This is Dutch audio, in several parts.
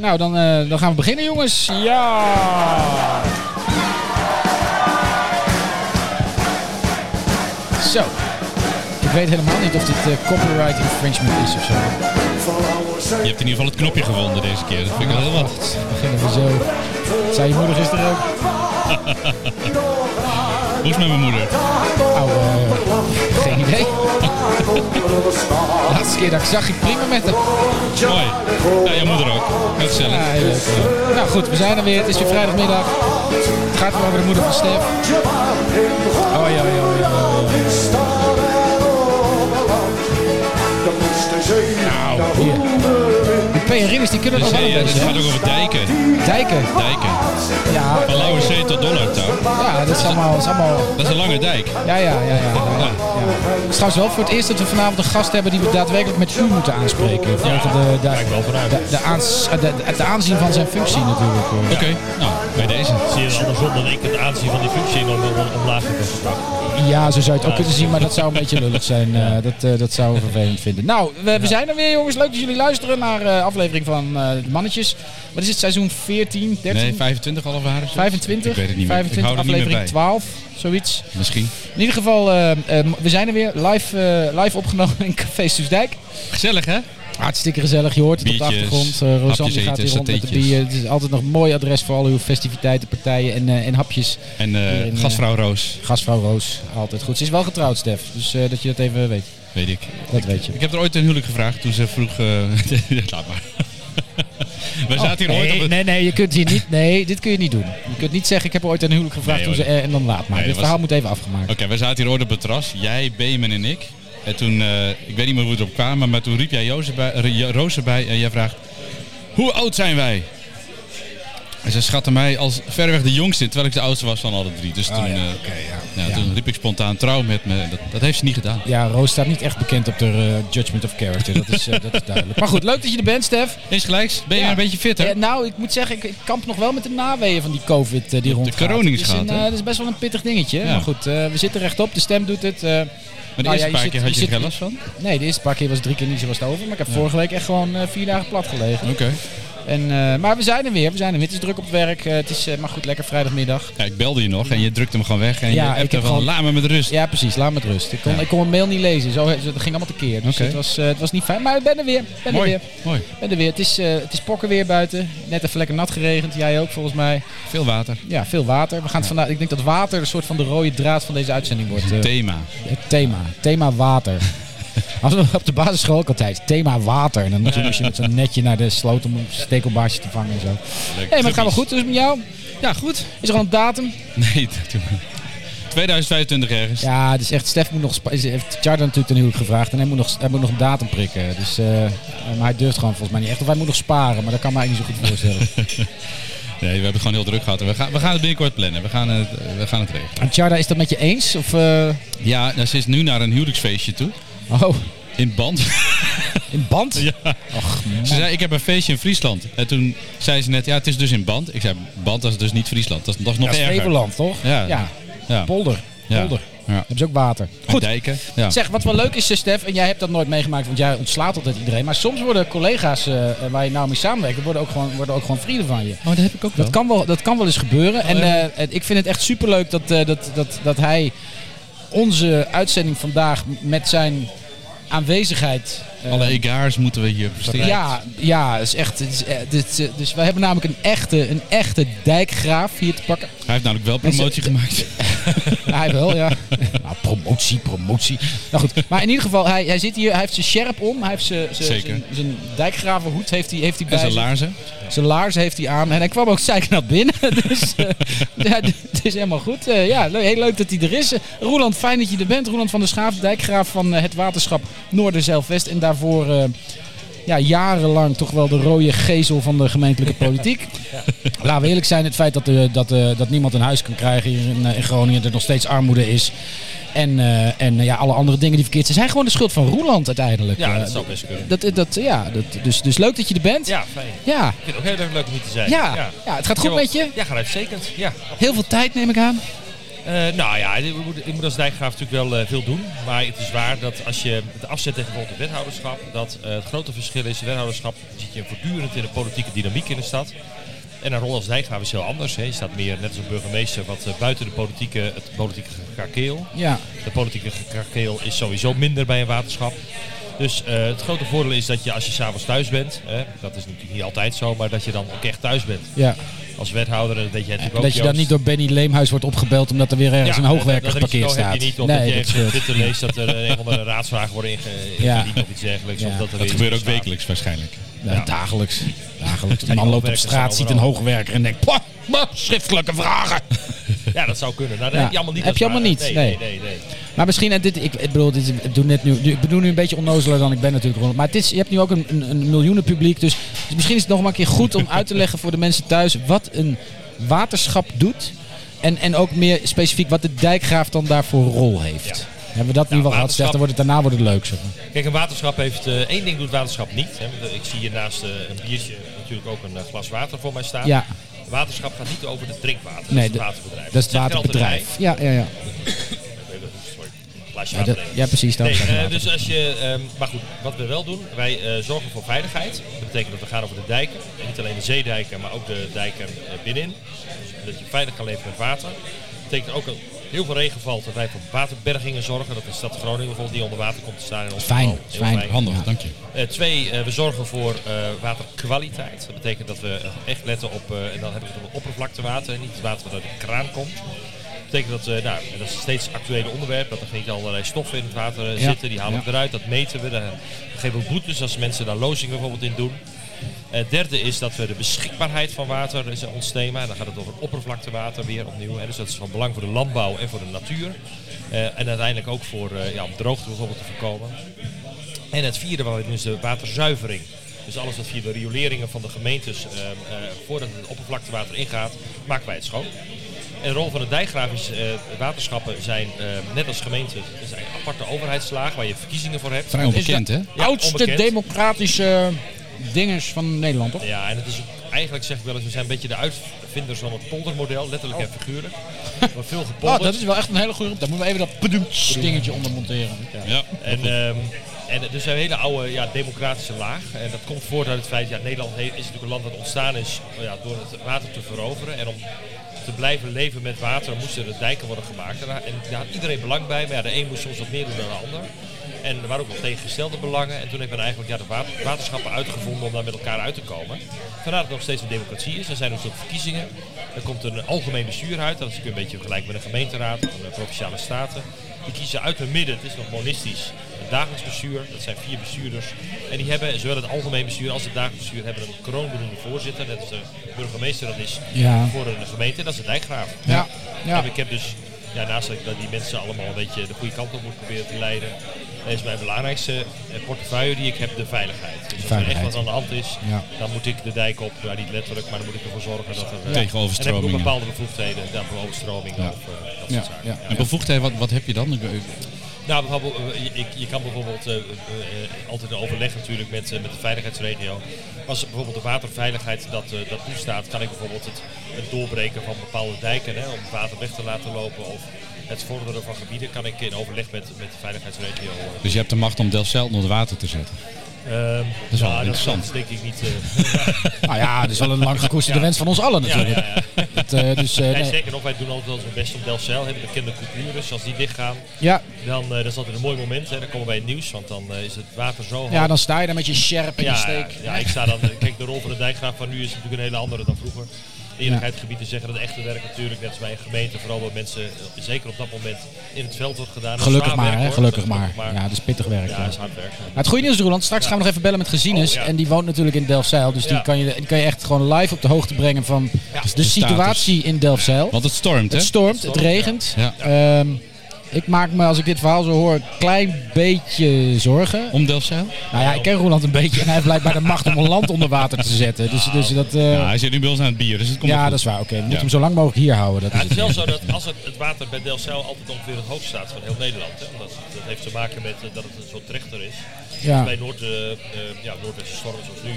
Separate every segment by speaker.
Speaker 1: Nou, dan, eh, dan gaan we beginnen, jongens. Ja! Zo. Ik weet helemaal niet of dit eh, copyright infringement is of zo.
Speaker 2: Je hebt in ieder geval het knopje gevonden deze keer. Dat vind ik wel wat.
Speaker 1: Beginnen we zo. Dat zei je moeder gisteren ook.
Speaker 2: Hoe is het met mijn moeder?
Speaker 1: Nou, eh, geen idee. Laatste keer dat ik zag, ik prima met haar.
Speaker 2: Mooi. Ja, jouw moeder ook. Heel gezellig.
Speaker 1: Ja, heel leuk. Ja. Nou goed, we zijn er weer. Het is weer vrijdagmiddag. Het gaat weer over de moeder van Stef. Oh ja, ja, ja.
Speaker 2: Nou,
Speaker 1: Hier. Die PR'ers die kunnen
Speaker 2: dus,
Speaker 1: nog wel
Speaker 2: hey,
Speaker 1: een
Speaker 2: ja, dit
Speaker 1: beetje,
Speaker 2: gaat
Speaker 1: hè?
Speaker 2: ook over dijken.
Speaker 1: Dijken.
Speaker 2: Dijken.
Speaker 1: Ja,
Speaker 2: Van Lauwe Zee tot Dollartown.
Speaker 1: ja, dat is allemaal... Dat is allemaal
Speaker 2: Dat is een lange dijk.
Speaker 1: ja, ja, ja, ja, ja, ja.
Speaker 2: Ja.
Speaker 1: Het is trouwens wel voor het eerst dat we vanavond een gast hebben die we daadwerkelijk met u moeten aanspreken. Vanwege de, de,
Speaker 3: Kijk wel vanuit.
Speaker 1: de, de, aans, eh, de, de- de aanzien van zijn functie natuurlijk. eh.
Speaker 2: Oké, nou, bij deze.
Speaker 3: Zie je het andersom dan ik het aanzien van die functie nog wel om- omlaag heb gebracht.
Speaker 1: Ja, zo zou je het ook kunnen zien, maar dat zou een beetje lullig zijn. Eh, dat, eh, dat zou we vervelend vinden. Nou, we, we zijn er weer jongens. Leuk dat jullie luisteren naar eh aflevering van eh, de Mannetjes. Wat is het, seizoen 14, 13?
Speaker 2: Nee, 25 al of haar? of zo?
Speaker 1: 25?
Speaker 2: Ik weet het niet meer.
Speaker 1: 25,
Speaker 2: ik hou er
Speaker 1: aflevering
Speaker 2: niet meer bij.
Speaker 1: 12, zoiets.
Speaker 2: Misschien.
Speaker 1: In ieder geval, eh, eh, we zijn er weer. Live, eh, live opgenomen in Café Soesdijk.
Speaker 2: Gezellig, hè?
Speaker 1: Hartstikke gezellig, je hoort het op de
Speaker 2: Biertjes,
Speaker 1: achtergrond. Eh Rosanne
Speaker 2: hapjes
Speaker 1: die gaat
Speaker 2: eten,
Speaker 1: hier rond met de
Speaker 2: satéetjes.
Speaker 1: bier. Het is altijd nog een mooi adres voor al uw festiviteiten, partijen en, eh, en hapjes.
Speaker 2: En eh,
Speaker 1: in, eh,
Speaker 2: gastvrouw Roos,
Speaker 1: Gastvrouw Roos, altijd goed. Ze is wel getrouwd, Stef. Dus eh, dat je dat even weet.
Speaker 2: weet ik.
Speaker 1: Dat weet je.
Speaker 2: Ik heb er ooit een huwelijk gevraagd toen ze vroeg... eh, Laat maar. Wij zaten
Speaker 1: Oh,
Speaker 2: hier
Speaker 1: nee,
Speaker 2: ooit op het...
Speaker 1: nee, nee, je kunt hier niet. Nee, dit kun je niet doen. Je kunt niet zeggen, ik heb ooit een huwelijk gevraagd
Speaker 2: Nee,
Speaker 1: toen ze,
Speaker 2: hoor.
Speaker 1: eh, en dan laat maar. dit
Speaker 2: Nee, dat
Speaker 1: verhaal
Speaker 2: was-
Speaker 1: moet even afgemaakt.
Speaker 2: Oké, wij zaten hier ooit op het terras. Jij, Beeman en ik. En toen, eh, ik weet niet meer hoe we erop kwamen, maar toen riep jij Jozef bij, eh, Jo- Roos erbij en jij vraagt... Hoe oud zijn wij? En ze schatte mij als verreweg de jongste, in, terwijl ik de oudste was van alle drie. Dus
Speaker 1: Ah,
Speaker 2: toen, eh, ja, toen riep ik spontaan trouw met me. Dat, dat heeft ze niet gedaan.
Speaker 1: Ja, Roos staat niet echt bekend op de eh, judgment of character. Dat is, eh, dat is duidelijk. Maar goed, leuk dat je er bent, Stef.
Speaker 2: Eens gelijks, ben je
Speaker 1: Ja.
Speaker 2: een beetje fitter?
Speaker 1: Eh, nou, ik moet zeggen, ik, ik kamp nog wel met de naweeën van die COVID eh, die rondgaat.
Speaker 2: coronings
Speaker 1: Het is een,
Speaker 2: gehad, hè?
Speaker 1: eh, Dat is best wel een pittig dingetje.
Speaker 2: Ja.
Speaker 1: Maar goed, eh, we zitten rechtop. De stem doet het. eh.
Speaker 2: maar de
Speaker 1: nou ja,
Speaker 2: eerste
Speaker 1: je
Speaker 2: paar
Speaker 1: zit-
Speaker 2: keer had
Speaker 1: je
Speaker 2: je
Speaker 1: zit-
Speaker 2: er geen last van? Oké.
Speaker 1: nee, de eerste paar keer was het drie keer niet zoals het over. Maar ik heb vorige week echt gewoon eh, vier dagen plat gelegen. En, eh, maar we zijn er weer. We zijn er weer. Het is druk op het werk. eh, het is eh, maar goed, lekker vrijdagmiddag.
Speaker 2: Ja, ik belde je nog en je drukte hem gewoon weg.
Speaker 1: Ja,
Speaker 2: En je
Speaker 1: ik heb
Speaker 2: hebt er van,
Speaker 1: gewoon-
Speaker 2: laat me met rust.
Speaker 1: Ja, precies. Laat me met rust. Ik kon,
Speaker 2: Ja.
Speaker 1: ik kon mijn mail niet lezen. Zo, dat ging allemaal tekeer. Dus
Speaker 2: Oké.
Speaker 1: het, was, eh, het was niet fijn. Maar ik ben er weer. Ik Ben er
Speaker 2: mooi,
Speaker 1: weer.
Speaker 2: mooi.
Speaker 1: Ik Ben er weer. Het is, eh, het is pokken weer buiten. Net even lekker nat geregend. Jij ook volgens mij.
Speaker 2: Veel water.
Speaker 1: Ja, veel water. We gaan het vandaag, ik denk dat water een soort van de rode draad van deze uitzending wordt. eh,
Speaker 2: Thema.
Speaker 1: het thema. Thema water. Als we op de basisschool ook altijd. Thema water. En dan moest je, moest je met zo'n netje naar de sloot om een stekelbaarsje te vangen en zo.
Speaker 2: Leuk.
Speaker 1: hey, maar het gaat wel
Speaker 2: Typisch.
Speaker 1: goed. Dus met jou?
Speaker 2: Ja, goed.
Speaker 1: Is er al een datum?
Speaker 2: Nee, dat doe maar. 2025 ergens.
Speaker 1: Ja, het is echt. Stef moet nog. spa- is- heeft Chardan natuurlijk een huwelijk gevraagd. En hij moet nog, hij moet nog een datum prikken. Dus, eh, maar hij durft gewoon volgens mij niet echt. Of hij moet nog sparen. Maar dat kan me eigenlijk niet zo goed voorstellen.
Speaker 2: Nee, we hebben het gewoon heel druk gehad. En We gaan, we gaan het binnenkort plannen. We gaan het, eh, we gaan het regelen.
Speaker 1: en Chardan, is dat met je eens? Of. eh,
Speaker 2: Ja, nou, ze is nu naar een huwelijksfeestje toe.
Speaker 1: oh,
Speaker 2: In band. Ze
Speaker 1: in band?
Speaker 2: Ja.
Speaker 1: Och, man.
Speaker 2: zei, ik heb een feestje in Friesland. En toen zei ze net, ja, het is dus in band. Ik zei, band, dat is dus niet Friesland. Dat is, dat is nog
Speaker 1: Dat is
Speaker 2: erger.
Speaker 1: Flevoland, toch?
Speaker 2: Ja.
Speaker 1: ja.
Speaker 2: Ja.
Speaker 1: Polder.
Speaker 2: Ja.
Speaker 1: Polder.
Speaker 2: Ja.
Speaker 1: Hebben ze ook water.
Speaker 2: En Dijken. Ja.
Speaker 1: Zeg, wat wel leuk is, eh, Stef, en jij hebt dat nooit meegemaakt, want jij ontslaat altijd iedereen. Maar soms worden collega's eh, waar je nou mee samenwerkt, worden ook gewoon, worden ook gewoon vrienden van je.
Speaker 2: Oh, dat heb ik ook wel.
Speaker 1: Dat kan wel, dat kan wel eens gebeuren. En
Speaker 2: ja.
Speaker 1: eh, het- ik vind het echt superleuk dat, eh, dat, dat, dat hij onze uitzending vandaag m- met zijn aanwezigheid... eh,
Speaker 2: Alle egaars moeten we hier presteren.
Speaker 1: ja, ja, het is echt. het is, eh, dit, eh, dus wij hebben namelijk een echte, een echte dijkgraaf hier te pakken.
Speaker 2: Hij heeft namelijk wel
Speaker 1: Mensen-
Speaker 2: promotie gemaakt.
Speaker 1: Ja, hij wel, ja. Nou, promotie, promotie. Nou goed, maar in ieder geval, hij, hij zit hier, hij heeft zijn sjerp om, hij heeft zijn, zijn,
Speaker 2: Zeker.
Speaker 1: zijn, zijn dijkgravenhoed heeft hij, heeft hij bij
Speaker 2: En zijn
Speaker 1: zich.
Speaker 2: laarzen.
Speaker 1: Zijn laars heeft hij aan en hij kwam ook zeiknat binnen. dus eh, ja, d- het is helemaal goed. Eh, ja, le- heel leuk dat hij er is. Eh, Roeland, fijn dat je er bent. Roeland van der Schaaf, dijkgraaf van eh, het waterschap Noorderzeilvest. En daarvoor eh, ja, jarenlang toch wel de rode gezel van de gemeentelijke politiek. Laten we eerlijk zijn, het feit dat, eh, dat, eh, dat niemand een huis kan krijgen hier in, eh, in Groningen, dat er nog steeds armoede is. En, eh, en eh, ja, alle andere dingen die verkeerd zijn, zijn gewoon de schuld van Roeland uiteindelijk.
Speaker 3: Ja,
Speaker 1: Eh,
Speaker 3: dat zou best kunnen.
Speaker 1: dat, dat, ja, dat, dus, dus leuk dat je er bent.
Speaker 3: Ja, fijn.
Speaker 1: ja.
Speaker 3: Ik vind het ook heel erg leuk om hier te zijn.
Speaker 1: Ja, ja. het gaat goed
Speaker 3: Jawel.
Speaker 1: met je.
Speaker 3: Ja, gaat uitstekend. Ja.
Speaker 1: Heel veel tijd neem ik aan.
Speaker 3: Eh, Eh, nou ja, ik moet, ik moet als dijkgraaf natuurlijk wel eh, veel doen. Maar het is waar dat als je het afzet tegen bijvoorbeeld het wethouderschap... dat eh, het grote verschil is, het wethouderschap zit je voortdurend in de politieke dynamiek in de stad. En een rol als dijkgraaf is heel anders. Hè. Je staat meer, net als een burgemeester, wat eh, buiten de politieke, het politieke kakeel.
Speaker 1: Ja,
Speaker 3: De politieke krakeel is sowieso minder bij een waterschap. Dus eh, het grote voordeel is dat je als je s'avonds thuis bent, hè, dat is natuurlijk niet altijd zo, maar dat je dan ook echt thuis bent.
Speaker 1: ja.
Speaker 3: Als wethouder, dat weet jij natuurlijk ook.
Speaker 1: Eh, Dat je dan
Speaker 3: Joost.
Speaker 1: niet door Benny Leemhuis wordt opgebeld omdat er weer ergens een hoogwerker
Speaker 3: dat- dat risico
Speaker 1: geparkeerd staat.
Speaker 3: Heb je niet, of dat
Speaker 1: nee,
Speaker 3: je
Speaker 1: dat
Speaker 3: even op
Speaker 1: scheelt.
Speaker 3: Twitter leest dat er een of andere raadsvragen worden ingediend
Speaker 1: Ja.
Speaker 3: of iets dergelijks. Of
Speaker 1: Ja.
Speaker 3: dat er
Speaker 2: Dat
Speaker 3: weer iets
Speaker 2: gebeurt ook
Speaker 3: ontstaat.
Speaker 2: wekelijks waarschijnlijk.
Speaker 1: Ja,
Speaker 3: Ja.
Speaker 1: Dagelijks. Dagelijks. De
Speaker 3: Die
Speaker 1: man loopt op
Speaker 3: hoogwerkers
Speaker 1: straat,
Speaker 3: zijn
Speaker 1: ziet een
Speaker 3: overal.
Speaker 1: hoogwerker en denkt, "Pah, bah, schriftelijke vragen.
Speaker 3: Ja, dat zou kunnen. Nou, dat
Speaker 1: Ja.
Speaker 3: heb je allemaal niet.
Speaker 1: Heb je
Speaker 3: als
Speaker 1: allemaal
Speaker 3: waar-
Speaker 1: niet,
Speaker 3: Nee,
Speaker 1: nee.
Speaker 3: nee, nee.
Speaker 1: Maar misschien, en dit, ik, ik bedoel, dit, ik, doe net nu, ik bedoel nu een beetje onnozeler dan ik ben natuurlijk. Ronald. Maar het is, je hebt nu ook een, een, een miljoenen publiek. Dus misschien is het nog maar een keer goed om uit te leggen voor de mensen thuis wat een waterschap doet. En, en ook meer specifiek wat de dijkgraaf dan daarvoor rol heeft.
Speaker 3: Ja.
Speaker 1: Hebben we dat nu
Speaker 3: Ja,
Speaker 1: wel gehad? Zeg, dan
Speaker 3: waterschap-
Speaker 1: wordt het, daarna wordt het leuk. Zeg maar.
Speaker 3: Kijk, een waterschap heeft... eh, één ding doet waterschap niet. Hè. Ik zie hier naast eh, een biertje natuurlijk ook een eh, glas water voor mij staan.
Speaker 1: Ja,
Speaker 3: Waterschap gaat niet over het drinkwater. Dat
Speaker 1: Nee,
Speaker 3: is het
Speaker 1: dat-
Speaker 3: waterbedrijf.
Speaker 1: dat is het
Speaker 3: Zegt er
Speaker 1: waterbedrijf. Ja, ja, ja.
Speaker 3: altijd bij. Sorry, een glaasje
Speaker 1: Ja,
Speaker 3: water
Speaker 1: dat-
Speaker 3: nemen.
Speaker 1: ja precies. Dat
Speaker 3: Nee,
Speaker 1: is het
Speaker 3: eh,
Speaker 1: water.
Speaker 3: dus als je, ehm, maar goed, wat we wel doen, wij eh, zorgen voor veiligheid. Dat betekent dat we gaan over de dijken. En niet alleen de zeedijken, maar ook de dijken eh, binnenin. Dat je veilig kan leven met water. Dat betekent ook dat heel veel regen valt. Dat wij voor waterbergingen zorgen. Dat is de stad Groningen bijvoorbeeld die onder water komt te staan. In ons
Speaker 1: Fijn,
Speaker 3: geval. Heel
Speaker 1: fijn.
Speaker 2: Handig,
Speaker 1: Ja.
Speaker 2: dank je.
Speaker 3: eh, twee, eh, we zorgen voor eh, waterkwaliteit. Dat betekent dat we echt letten op, eh, en dan hebben we het over oppervlaktewater, en niet het water wat uit de kraan komt. Dat betekent dat, eh, nou, en dat is een steeds actuele onderwerp, dat er niet allerlei stoffen in het water eh,
Speaker 1: Ja.
Speaker 3: zitten, die halen
Speaker 1: Ja.
Speaker 3: we eruit, dat meten we. Daar geven we boetes als mensen daar lozingen bijvoorbeeld in doen. Het derde is dat we de beschikbaarheid van water, dat is ons thema. En dan gaat het over oppervlaktewater weer opnieuw. Hè. Dus dat is van belang voor de landbouw en voor de natuur. Eh, en uiteindelijk ook voor, eh, ja, om droogte bijvoorbeeld te voorkomen. En het vierde wat we doen is de waterzuivering. Dus alles wat via de rioleringen van de gemeentes, ehm, eh, voordat het oppervlaktewater ingaat, maken wij het schoon. En de rol van de dijkgraaf is, eh, waterschappen zijn, eh, net als gemeenten, er zijn aparte overheidslagen waar je verkiezingen voor hebt.
Speaker 2: Vrij onbekend, hè?
Speaker 3: Ja,
Speaker 1: Oudste
Speaker 3: onbekend.
Speaker 1: democratische eh, dingers van Nederland, toch?
Speaker 3: Ja, en het is ook- eigenlijk zeg ik wel eens, we zijn een beetje de uitvinders van het poldermodel, letterlijk en figuurlijk. Er wordt veel
Speaker 1: Oh,
Speaker 3: gepolderd.
Speaker 1: dat is wel echt een hele goede roep. Daar moeten we even dat bedoemts dingetje onder monteren.
Speaker 2: Ja.
Speaker 3: En, ehm, en dus een hele oude ja, democratische laag. En dat komt voort uit het feit, ja, Nederland he- is natuurlijk een land dat ontstaan is oh ja, door het water te veroveren. En om te blijven leven met water moesten er dijken worden gemaakt. En daar en daar had iedereen belang bij, maar ja, de een moest soms wat meer doen dan de ander. En er waren ook wel tegengestelde belangen. En toen heeft men eigenlijk ja, de wa- waterschappen uitgevonden om daar met elkaar uit te komen. Vandaar dat het nog steeds een democratie is. Er zijn dus ook verkiezingen. Er komt een algemeen bestuur uit. Dat is natuurlijk een beetje gelijk met een gemeenteraad of een provinciale staten. Die kiezen uit hun midden. Het is nog monistisch. Een dagelijks bestuur. Dat zijn vier bestuurders. En die hebben zowel het algemeen bestuur als het dagelijks bestuur hebben een kroonbenoemde voorzitter. Net als de burgemeester dat is
Speaker 1: Ja.
Speaker 3: voor een gemeente. Dat is de dijkgraaf.
Speaker 1: Ja, ja.
Speaker 3: En ik heb dus, ja, naast dat ik dat die mensen allemaal een beetje de goede kant op moet proberen te leiden, is mijn belangrijkste eh, portefeuille die ik heb de veiligheid. Dus als er echt
Speaker 1: Veiligheid.
Speaker 3: wat aan de hand is,
Speaker 1: Ja.
Speaker 3: dan moet ik de dijk op, ja, niet letterlijk, maar dan moet ik ervoor zorgen dat er... eh,
Speaker 2: Tegen
Speaker 3: En dan heb ik ook
Speaker 2: overstromingen.
Speaker 3: bepaalde bevoegdheden, ja, voor overstromingen
Speaker 2: Ja.
Speaker 3: of eh, dat
Speaker 1: Ja,
Speaker 3: soort zaken.
Speaker 1: ja.
Speaker 2: En bevoegdheid, wat, wat heb je dan? Ik- ik-
Speaker 3: Nou, bijvoorbeeld, eh, je, ik- je kan bijvoorbeeld eh, eh, eh, altijd een overleg natuurlijk met, eh, met de veiligheidsregio. Als bijvoorbeeld de waterveiligheid dat, eh, dat toestaat, kan ik bijvoorbeeld het, het doorbreken van bepaalde dijken hè, om water weg te laten lopen. Of het vorderen van gebieden kan ik in overleg met, met de veiligheidsregio. eh,
Speaker 2: Dus je hebt de macht om Delfzijl onder water te zetten.
Speaker 3: ehm,
Speaker 2: is wel
Speaker 3: ja,
Speaker 2: interessant.
Speaker 3: Dat, dat is denk ik niet. eh,
Speaker 1: Nou ja, dat is wel een lang gekoesterde wens van ons allen
Speaker 3: ja, ja,
Speaker 1: natuurlijk.
Speaker 3: ja.
Speaker 1: Dat, eh, dus, eh,
Speaker 3: Nee,
Speaker 1: nee.
Speaker 3: zeker nog, wij doen altijd wel ons best om Delcel, hè, de bekende coupures, als die dichtgaan.
Speaker 1: ja,
Speaker 3: Dan, eh, dat is altijd een mooi moment, hè, dan komen we bij het nieuws, want dan eh, is het water zo hoog.
Speaker 1: ja, dan sta je daar met je sjerp en je
Speaker 3: Ja, ja,
Speaker 1: steek.
Speaker 3: ja, ik sta dan. Kijk, de rol van de dijkgraaf van nu is natuurlijk een hele andere dan vroeger. Eerlijkheid gebied te zeggen dat het echte werk natuurlijk, net als bij een gemeente, vooral wat mensen, eh, zeker op dat moment, in het veld wordt gedaan. Dat is
Speaker 1: Gelukkig
Speaker 3: zwaar
Speaker 1: maar,
Speaker 3: werk,
Speaker 1: hè,
Speaker 3: hoor.
Speaker 1: gelukkig
Speaker 3: Dat is
Speaker 1: maar. Ja, dat is pittig werk.
Speaker 3: Ja,
Speaker 1: ja.
Speaker 3: dat is hard werk.
Speaker 1: Maar het goede nieuws, Roland, straks gaan we nog even bellen met Gezines.
Speaker 3: Oh, ja.
Speaker 1: En die woont natuurlijk in Delfzijl. Dus die,
Speaker 3: Ja.
Speaker 1: kan je, die kan je echt gewoon live op de hoogte brengen van
Speaker 3: Ja.
Speaker 1: de,
Speaker 2: De
Speaker 1: situatie in Delfzijl.
Speaker 2: Want het stormt, hè?
Speaker 1: Het stormt,
Speaker 3: Het
Speaker 1: het
Speaker 3: stormt,
Speaker 1: regent.
Speaker 2: ja.
Speaker 1: Ehm, ik maak me, als ik dit verhaal zo hoor, een klein beetje zorgen.
Speaker 2: Om Delfzijl?
Speaker 1: Nou ja, ik ken Roland een beetje en hij heeft blijkbaar de macht om een land onder water te zetten. Dus, dus dat, eh,
Speaker 2: Ja, hij zit nu bij ons aan het bier, dus het komt wel
Speaker 1: ja,
Speaker 2: goed.
Speaker 1: dat is waar. Oké, we moeten
Speaker 2: Ja.
Speaker 1: hem zo lang mogelijk hier houden. Dat
Speaker 3: Ja,
Speaker 1: is
Speaker 3: het is
Speaker 1: het.
Speaker 3: wel zo dat als het, het water bij Delcel altijd ongeveer het hoogst staat van heel Nederland. Hè. Dat, dat heeft te maken met eh, dat het zo trechter is.
Speaker 1: Ja.
Speaker 3: Bij noord, eh eh, ja, noordwesten stormen zoals nu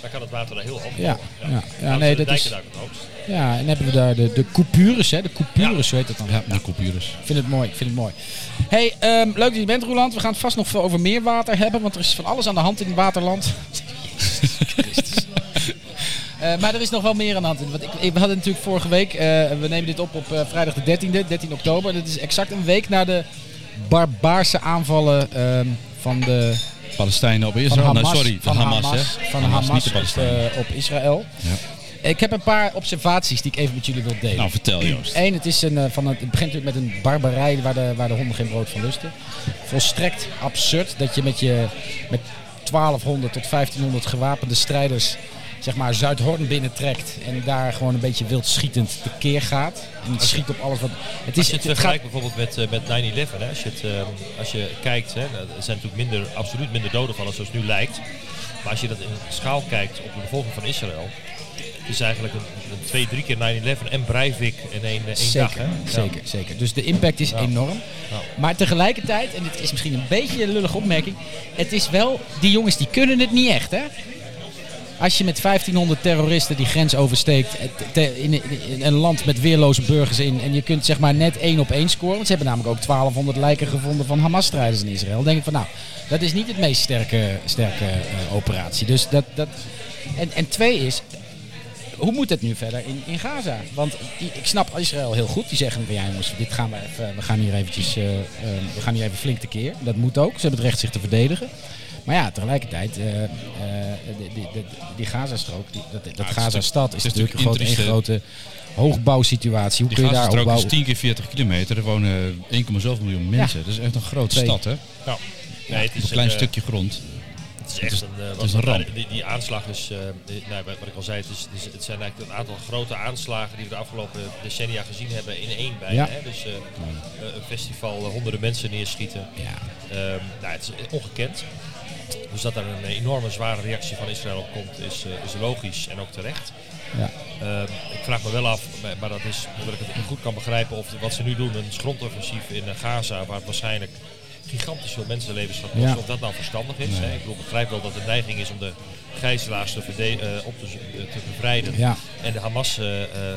Speaker 3: Dan kan het water daar heel hoog
Speaker 1: Ja,
Speaker 3: lopen.
Speaker 1: ja. ja
Speaker 3: Nou,
Speaker 1: nee,
Speaker 3: de
Speaker 1: dat is,
Speaker 3: dijken daar het hoogst.
Speaker 1: ja, en hebben we daar de, de coupures, hè? De coupures, weet het dan.
Speaker 2: Ja, de coupures.
Speaker 1: Ik vind het mooi, ik vind het mooi. Hey, ehm, leuk dat je bent, Roland. We gaan het vast nog veel over meer water hebben, want er is van alles aan de hand in Waterland. Jezus Christus. Eh, maar er is nog wel meer aan de hand. Want ik, ik, we hadden natuurlijk vorige week, eh, we nemen dit op op eh, vrijdag de 13e, 13 oktober. Dat is exact een week na de barbaarse aanvallen ehm, van de
Speaker 2: Palestijnen op
Speaker 1: van
Speaker 2: Israël.
Speaker 1: Hamas,
Speaker 2: nee, sorry, van, Hamas, hè?
Speaker 1: van Hamas,
Speaker 2: niet de
Speaker 1: op,
Speaker 2: Palestijnen.
Speaker 1: eh, op Israël. Ik heb een paar observaties die ik even met jullie wil delen.
Speaker 2: nou, vertel Joost.
Speaker 1: Eén, het, is een, eh, van het, het begint natuurlijk met een barbarij waar de, waar de honden geen brood van lusten. Volstrekt absurd dat je met, je, met 1200 tot 1500 gewapende strijders zeg maar, Zuidhoorn binnentrekt. En daar gewoon een beetje wild schietend tekeer gaat. En het schiet op alles wat... Het
Speaker 3: Als
Speaker 1: is,
Speaker 3: je het
Speaker 1: het,
Speaker 3: vergelijkt bijvoorbeeld met, eh, met 9-11, hè, als, je het, eh, als je kijkt, hè, nou, er zijn natuurlijk minder, absoluut minder doden van als zoals het nu lijkt. Maar als je dat in schaal kijkt op de bevolking van Israël, het is eigenlijk een, een twee, drie keer 9-11 en Breivik in één, eh, één dag.
Speaker 1: Zeker,
Speaker 3: Hè? Ja.
Speaker 1: zeker, zeker. Dus de impact is
Speaker 3: Ja.
Speaker 1: enorm.
Speaker 3: Ja.
Speaker 1: Maar tegelijkertijd, en dit is misschien een beetje een lullige opmerking, het is wel, die jongens die kunnen het niet echt, hè? Als je met 1500 terroristen die grens oversteekt eh, te- in, in een land met weerloze burgers in en je kunt zeg maar net één op één scoren, want ze hebben namelijk ook 1200 lijken gevonden van Hamas-strijders in Israël, dan denk ik van nou, dat is niet het meest sterke, sterke eh, operatie. Dus dat, dat, en, en twee is, hoe moet het nu verder in, in Gaza? Want die- ik snap Israël heel goed. Die zeggen van ja jongens, dit gaan we, even, we gaan hier eventjes, eh, eh, we gaan hier even flink tekeer. Dat moet ook. Ze hebben het recht zich te verdedigen. Maar ja, tegelijkertijd, eh, eh, die, die, die, die Gazastrook, die, dat, dat
Speaker 2: is
Speaker 1: Gaza-stad is
Speaker 2: natuurlijk- het is
Speaker 1: natuurlijk een grote, een
Speaker 2: intrieste-
Speaker 1: grote hoogbouwsituatie. Hoe
Speaker 2: Die
Speaker 1: kun je daar
Speaker 2: Gazastrook is
Speaker 1: opbouwen?
Speaker 2: 10 keer 40 kilometer. Er wonen 1,7 miljoen mensen. Dat is echt een grote
Speaker 1: Twee.
Speaker 2: stad, hè?
Speaker 3: Nou, nee, het is
Speaker 2: een klein
Speaker 3: eh,
Speaker 2: stukje grond.
Speaker 3: Het is echt een, eh,
Speaker 2: is een
Speaker 3: wat-
Speaker 2: ramp.
Speaker 3: Die, die aanslag is, eh, die- nou, wat ik al zei, het, is, het, is- het zijn eigenlijk een aantal grote aanslagen die we de afgelopen decennia gezien hebben in één bijna.
Speaker 1: Ja.
Speaker 3: Hè? Dus eh, eh, een festival, eh, honderden mensen neerschieten.
Speaker 1: Ja,
Speaker 3: Ehm, nou, het is ongekend. Dus dat er een enorme zware reactie van Israël op komt, is, eh, is logisch en ook terecht.
Speaker 1: ja.
Speaker 3: Ehm, ik vraag me wel af, maar- maar dat is omdat ik het niet goed kan begrijpen, of wat ze nu doen, een grondoffensief in eh, Gaza, waar het waarschijnlijk gigantisch veel mensenlevens gaat kosten,
Speaker 1: Ja.
Speaker 3: of dat nou verstandig is. Hè? Ik bedoel, ik begrijp wel dat de neiging is om de gijzelaars te, verde- eh, op te, z- eh, te bevrijden
Speaker 1: Ja.
Speaker 3: en de Hamas eh, eh, eh,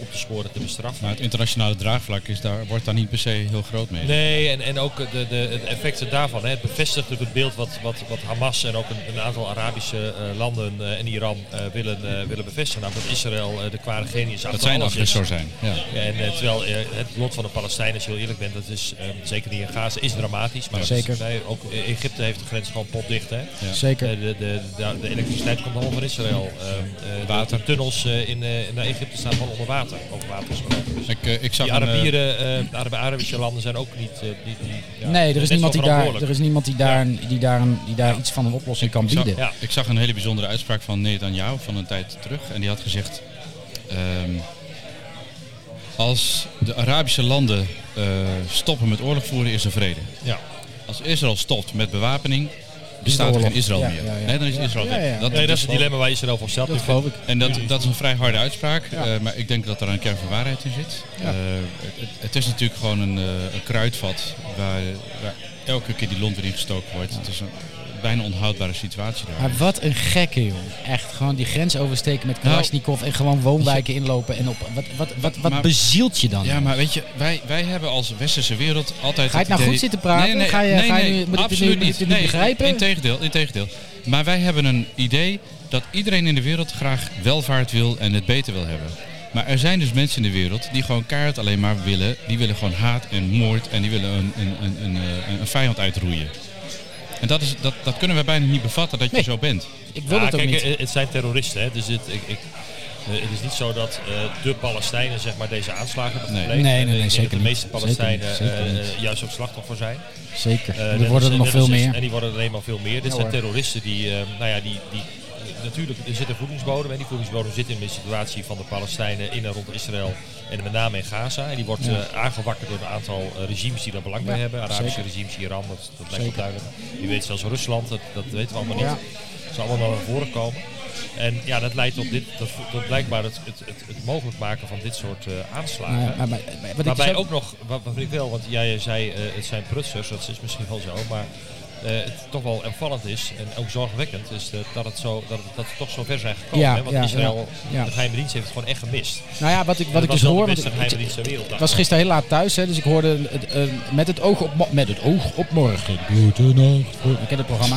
Speaker 3: op te sporen, te bestraffen.
Speaker 2: Maar het internationale draagvlak is daar, wordt daar niet per se heel groot mee.
Speaker 3: Nee, en, en ook de, de, de effecten daarvan. Hè. Het bevestigt natuurlijk het beeld wat, wat, wat Hamas en ook een, een aantal Arabische eh, landen eh, en Iran eh, willen, eh, willen bevestigen. Namelijk dat Israël eh, de kwade genius achter
Speaker 2: Dat zij een
Speaker 3: alles is.
Speaker 2: agressor zijn. Ja.
Speaker 3: En eh, terwijl eh, het lot van de Palestijnen, als je heel eerlijk bent, dat is eh, zeker niet in Gaza, is dramatisch. Maar dat is-
Speaker 1: Zeker.
Speaker 3: nee, ook eh, Egypte heeft de grens gewoon potdicht. Hè?
Speaker 2: Ja.
Speaker 1: zeker.
Speaker 3: Eh, De, de, de, de elektriciteit komt allemaal van Israël. Ehm, eh,
Speaker 2: Water.
Speaker 3: De tunnels eh, in, eh, naar Egypte staan gewoon onder water. Ook water is gewoon- dus
Speaker 2: Ik, eh, ik zag
Speaker 3: die
Speaker 2: een, eh,
Speaker 3: Arabieren, eh, de Arab- Arabische landen zijn ook niet... eh, die, die, ja,
Speaker 1: nee, er is,
Speaker 3: best
Speaker 1: niemand die
Speaker 3: wel
Speaker 1: daar, er
Speaker 3: verantwoordelijk.
Speaker 1: is niemand die daar, een- die daar, een- die daar iets van een oplossing kan
Speaker 2: Ik zag-
Speaker 1: bieden.
Speaker 3: Ja.
Speaker 2: Ik zag een hele bijzondere uitspraak van Netanyahu van een tijd terug. En die had gezegd... ehm, als de Arabische landen eh, stoppen met oorlog voeren, is er vrede.
Speaker 3: Ja.
Speaker 2: Als Israël stopt met bewapening,
Speaker 1: de
Speaker 2: bestaat er
Speaker 1: oorlog.
Speaker 2: geen Israël
Speaker 1: Ja,
Speaker 2: meer.
Speaker 1: ja, ja.
Speaker 2: Nee, dan is
Speaker 1: Ja.
Speaker 2: Israël
Speaker 1: Ja,
Speaker 2: weg.
Speaker 1: ja, ja.
Speaker 3: Nee, dat is het dilemma waar Israël voor staat.
Speaker 1: Dat geloof ik.
Speaker 2: En dat, dat is een vrij harde uitspraak,
Speaker 1: Ja.
Speaker 2: eh, maar ik denk dat daar een kern van waarheid in zit.
Speaker 1: Ja.
Speaker 2: Eh, het, het is natuurlijk gewoon een, eh, een kruidvat waar, waar elke keer die lont weer ingestoken wordt. Het is een bijna onhoudbare situatie daar.
Speaker 1: Maar wat een gekke joh. Echt gewoon die grens oversteken met
Speaker 3: Nou,
Speaker 1: Kalashnikov en gewoon woonwijken inlopen en op. Wat, wat, wat, wat
Speaker 2: Maar-
Speaker 1: bezielt je dan?
Speaker 2: Ja, maar weet je, wij, wij hebben als westerse wereld altijd.
Speaker 1: Ga je het
Speaker 2: het
Speaker 1: nou
Speaker 2: idee-
Speaker 1: goed zitten praten?
Speaker 2: Nee, nee,
Speaker 1: Ga je-
Speaker 2: nee,
Speaker 1: ga je
Speaker 2: nee,
Speaker 1: nu- moet ik dit
Speaker 2: absoluut
Speaker 1: nu- moet ik
Speaker 2: niet.
Speaker 1: dit nu
Speaker 2: nee,
Speaker 1: begrijpen?
Speaker 2: Integendeel, integendeel. Maar wij hebben een idee dat iedereen in de wereld graag welvaart wil en het beter wil hebben. Maar er zijn dus mensen in de wereld die gewoon kaart alleen maar willen. Die willen gewoon haat en moord en die willen een, een, een, een, eh, een vijand uitroeien. En dat, is, dat, dat kunnen we bijna niet bevatten dat je
Speaker 1: Nee.
Speaker 2: zo bent.
Speaker 1: Ik wil
Speaker 3: Ja,
Speaker 1: het ook
Speaker 3: kijk,
Speaker 1: niet.
Speaker 3: eh, Het zijn terroristen, hè? dus het, ik, ik, eh, het is niet zo dat eh, de Palestijnen zeg maar, deze aanslagen hebben
Speaker 2: Nee.
Speaker 3: gepleegd.
Speaker 1: Nee, nee,
Speaker 3: Ik
Speaker 1: nee,
Speaker 3: denk dat
Speaker 1: zeker
Speaker 3: De meeste
Speaker 1: niet.
Speaker 3: Palestijnen
Speaker 1: Zeker niet, zeker
Speaker 3: eh, eh, juist ook slachtoffer zijn.
Speaker 1: Zeker.
Speaker 3: Eh,
Speaker 1: er
Speaker 3: net
Speaker 1: worden
Speaker 3: als-
Speaker 1: er nog
Speaker 3: net
Speaker 1: veel
Speaker 3: als is-
Speaker 1: meer.
Speaker 3: En die worden er eenmaal veel meer. Dit
Speaker 1: Ja,
Speaker 3: zijn
Speaker 1: hoor.
Speaker 3: terroristen die, eh, nou ja, die, die natuurlijk, er zit een voedingsbodem. En die voedingsbodem zit in de situatie van de Palestijnen in en rond Israël. En met name in Gaza. En die wordt
Speaker 1: Ja.
Speaker 3: eh, aangewakkerd door een aantal eh, regimes die daar belang bij
Speaker 1: Ja,
Speaker 3: hebben. Arabische
Speaker 1: zeker.
Speaker 3: regimes, Iran, dat, dat lijkt
Speaker 1: Zeker.
Speaker 3: wel duidelijk. Je weet zelfs Rusland, dat, dat weten we allemaal niet.
Speaker 1: Ja.
Speaker 3: Dat zal allemaal wel naar voren komen. En ja, dat leidt op dit, dat, dat blijkbaar het, het, het, het mogelijk maken van dit soort eh, aanslagen.
Speaker 1: Nou ja, maar, maar- maar wat ik
Speaker 3: Waarbij
Speaker 1: dus ook-
Speaker 3: ook nog, wat, wat ik wel, want jij zei eh, het zijn prutsers, dat is misschien wel zo, maar eh, het toch wel opvallend is en ook zorgwekkend is dat- dat, het zo, dat, het, dat we toch zo ver zijn gekomen.
Speaker 1: Ja,
Speaker 3: hè? Want
Speaker 1: ja,
Speaker 3: Israël,
Speaker 1: ja, ja.
Speaker 3: de geheime dienst heeft het gewoon echt gemist.
Speaker 1: Nou ja, wat ik, wat ik dus
Speaker 3: dat was wel
Speaker 1: hoor...
Speaker 3: de
Speaker 1: want
Speaker 3: beste
Speaker 1: ik-
Speaker 3: geheime dienst ter wereld.
Speaker 1: Ik was gisteren heel laat thuis, hè, dus ik hoorde het, eh, met, het oog op, mo- met het oog op morgen. Ik ken het programma.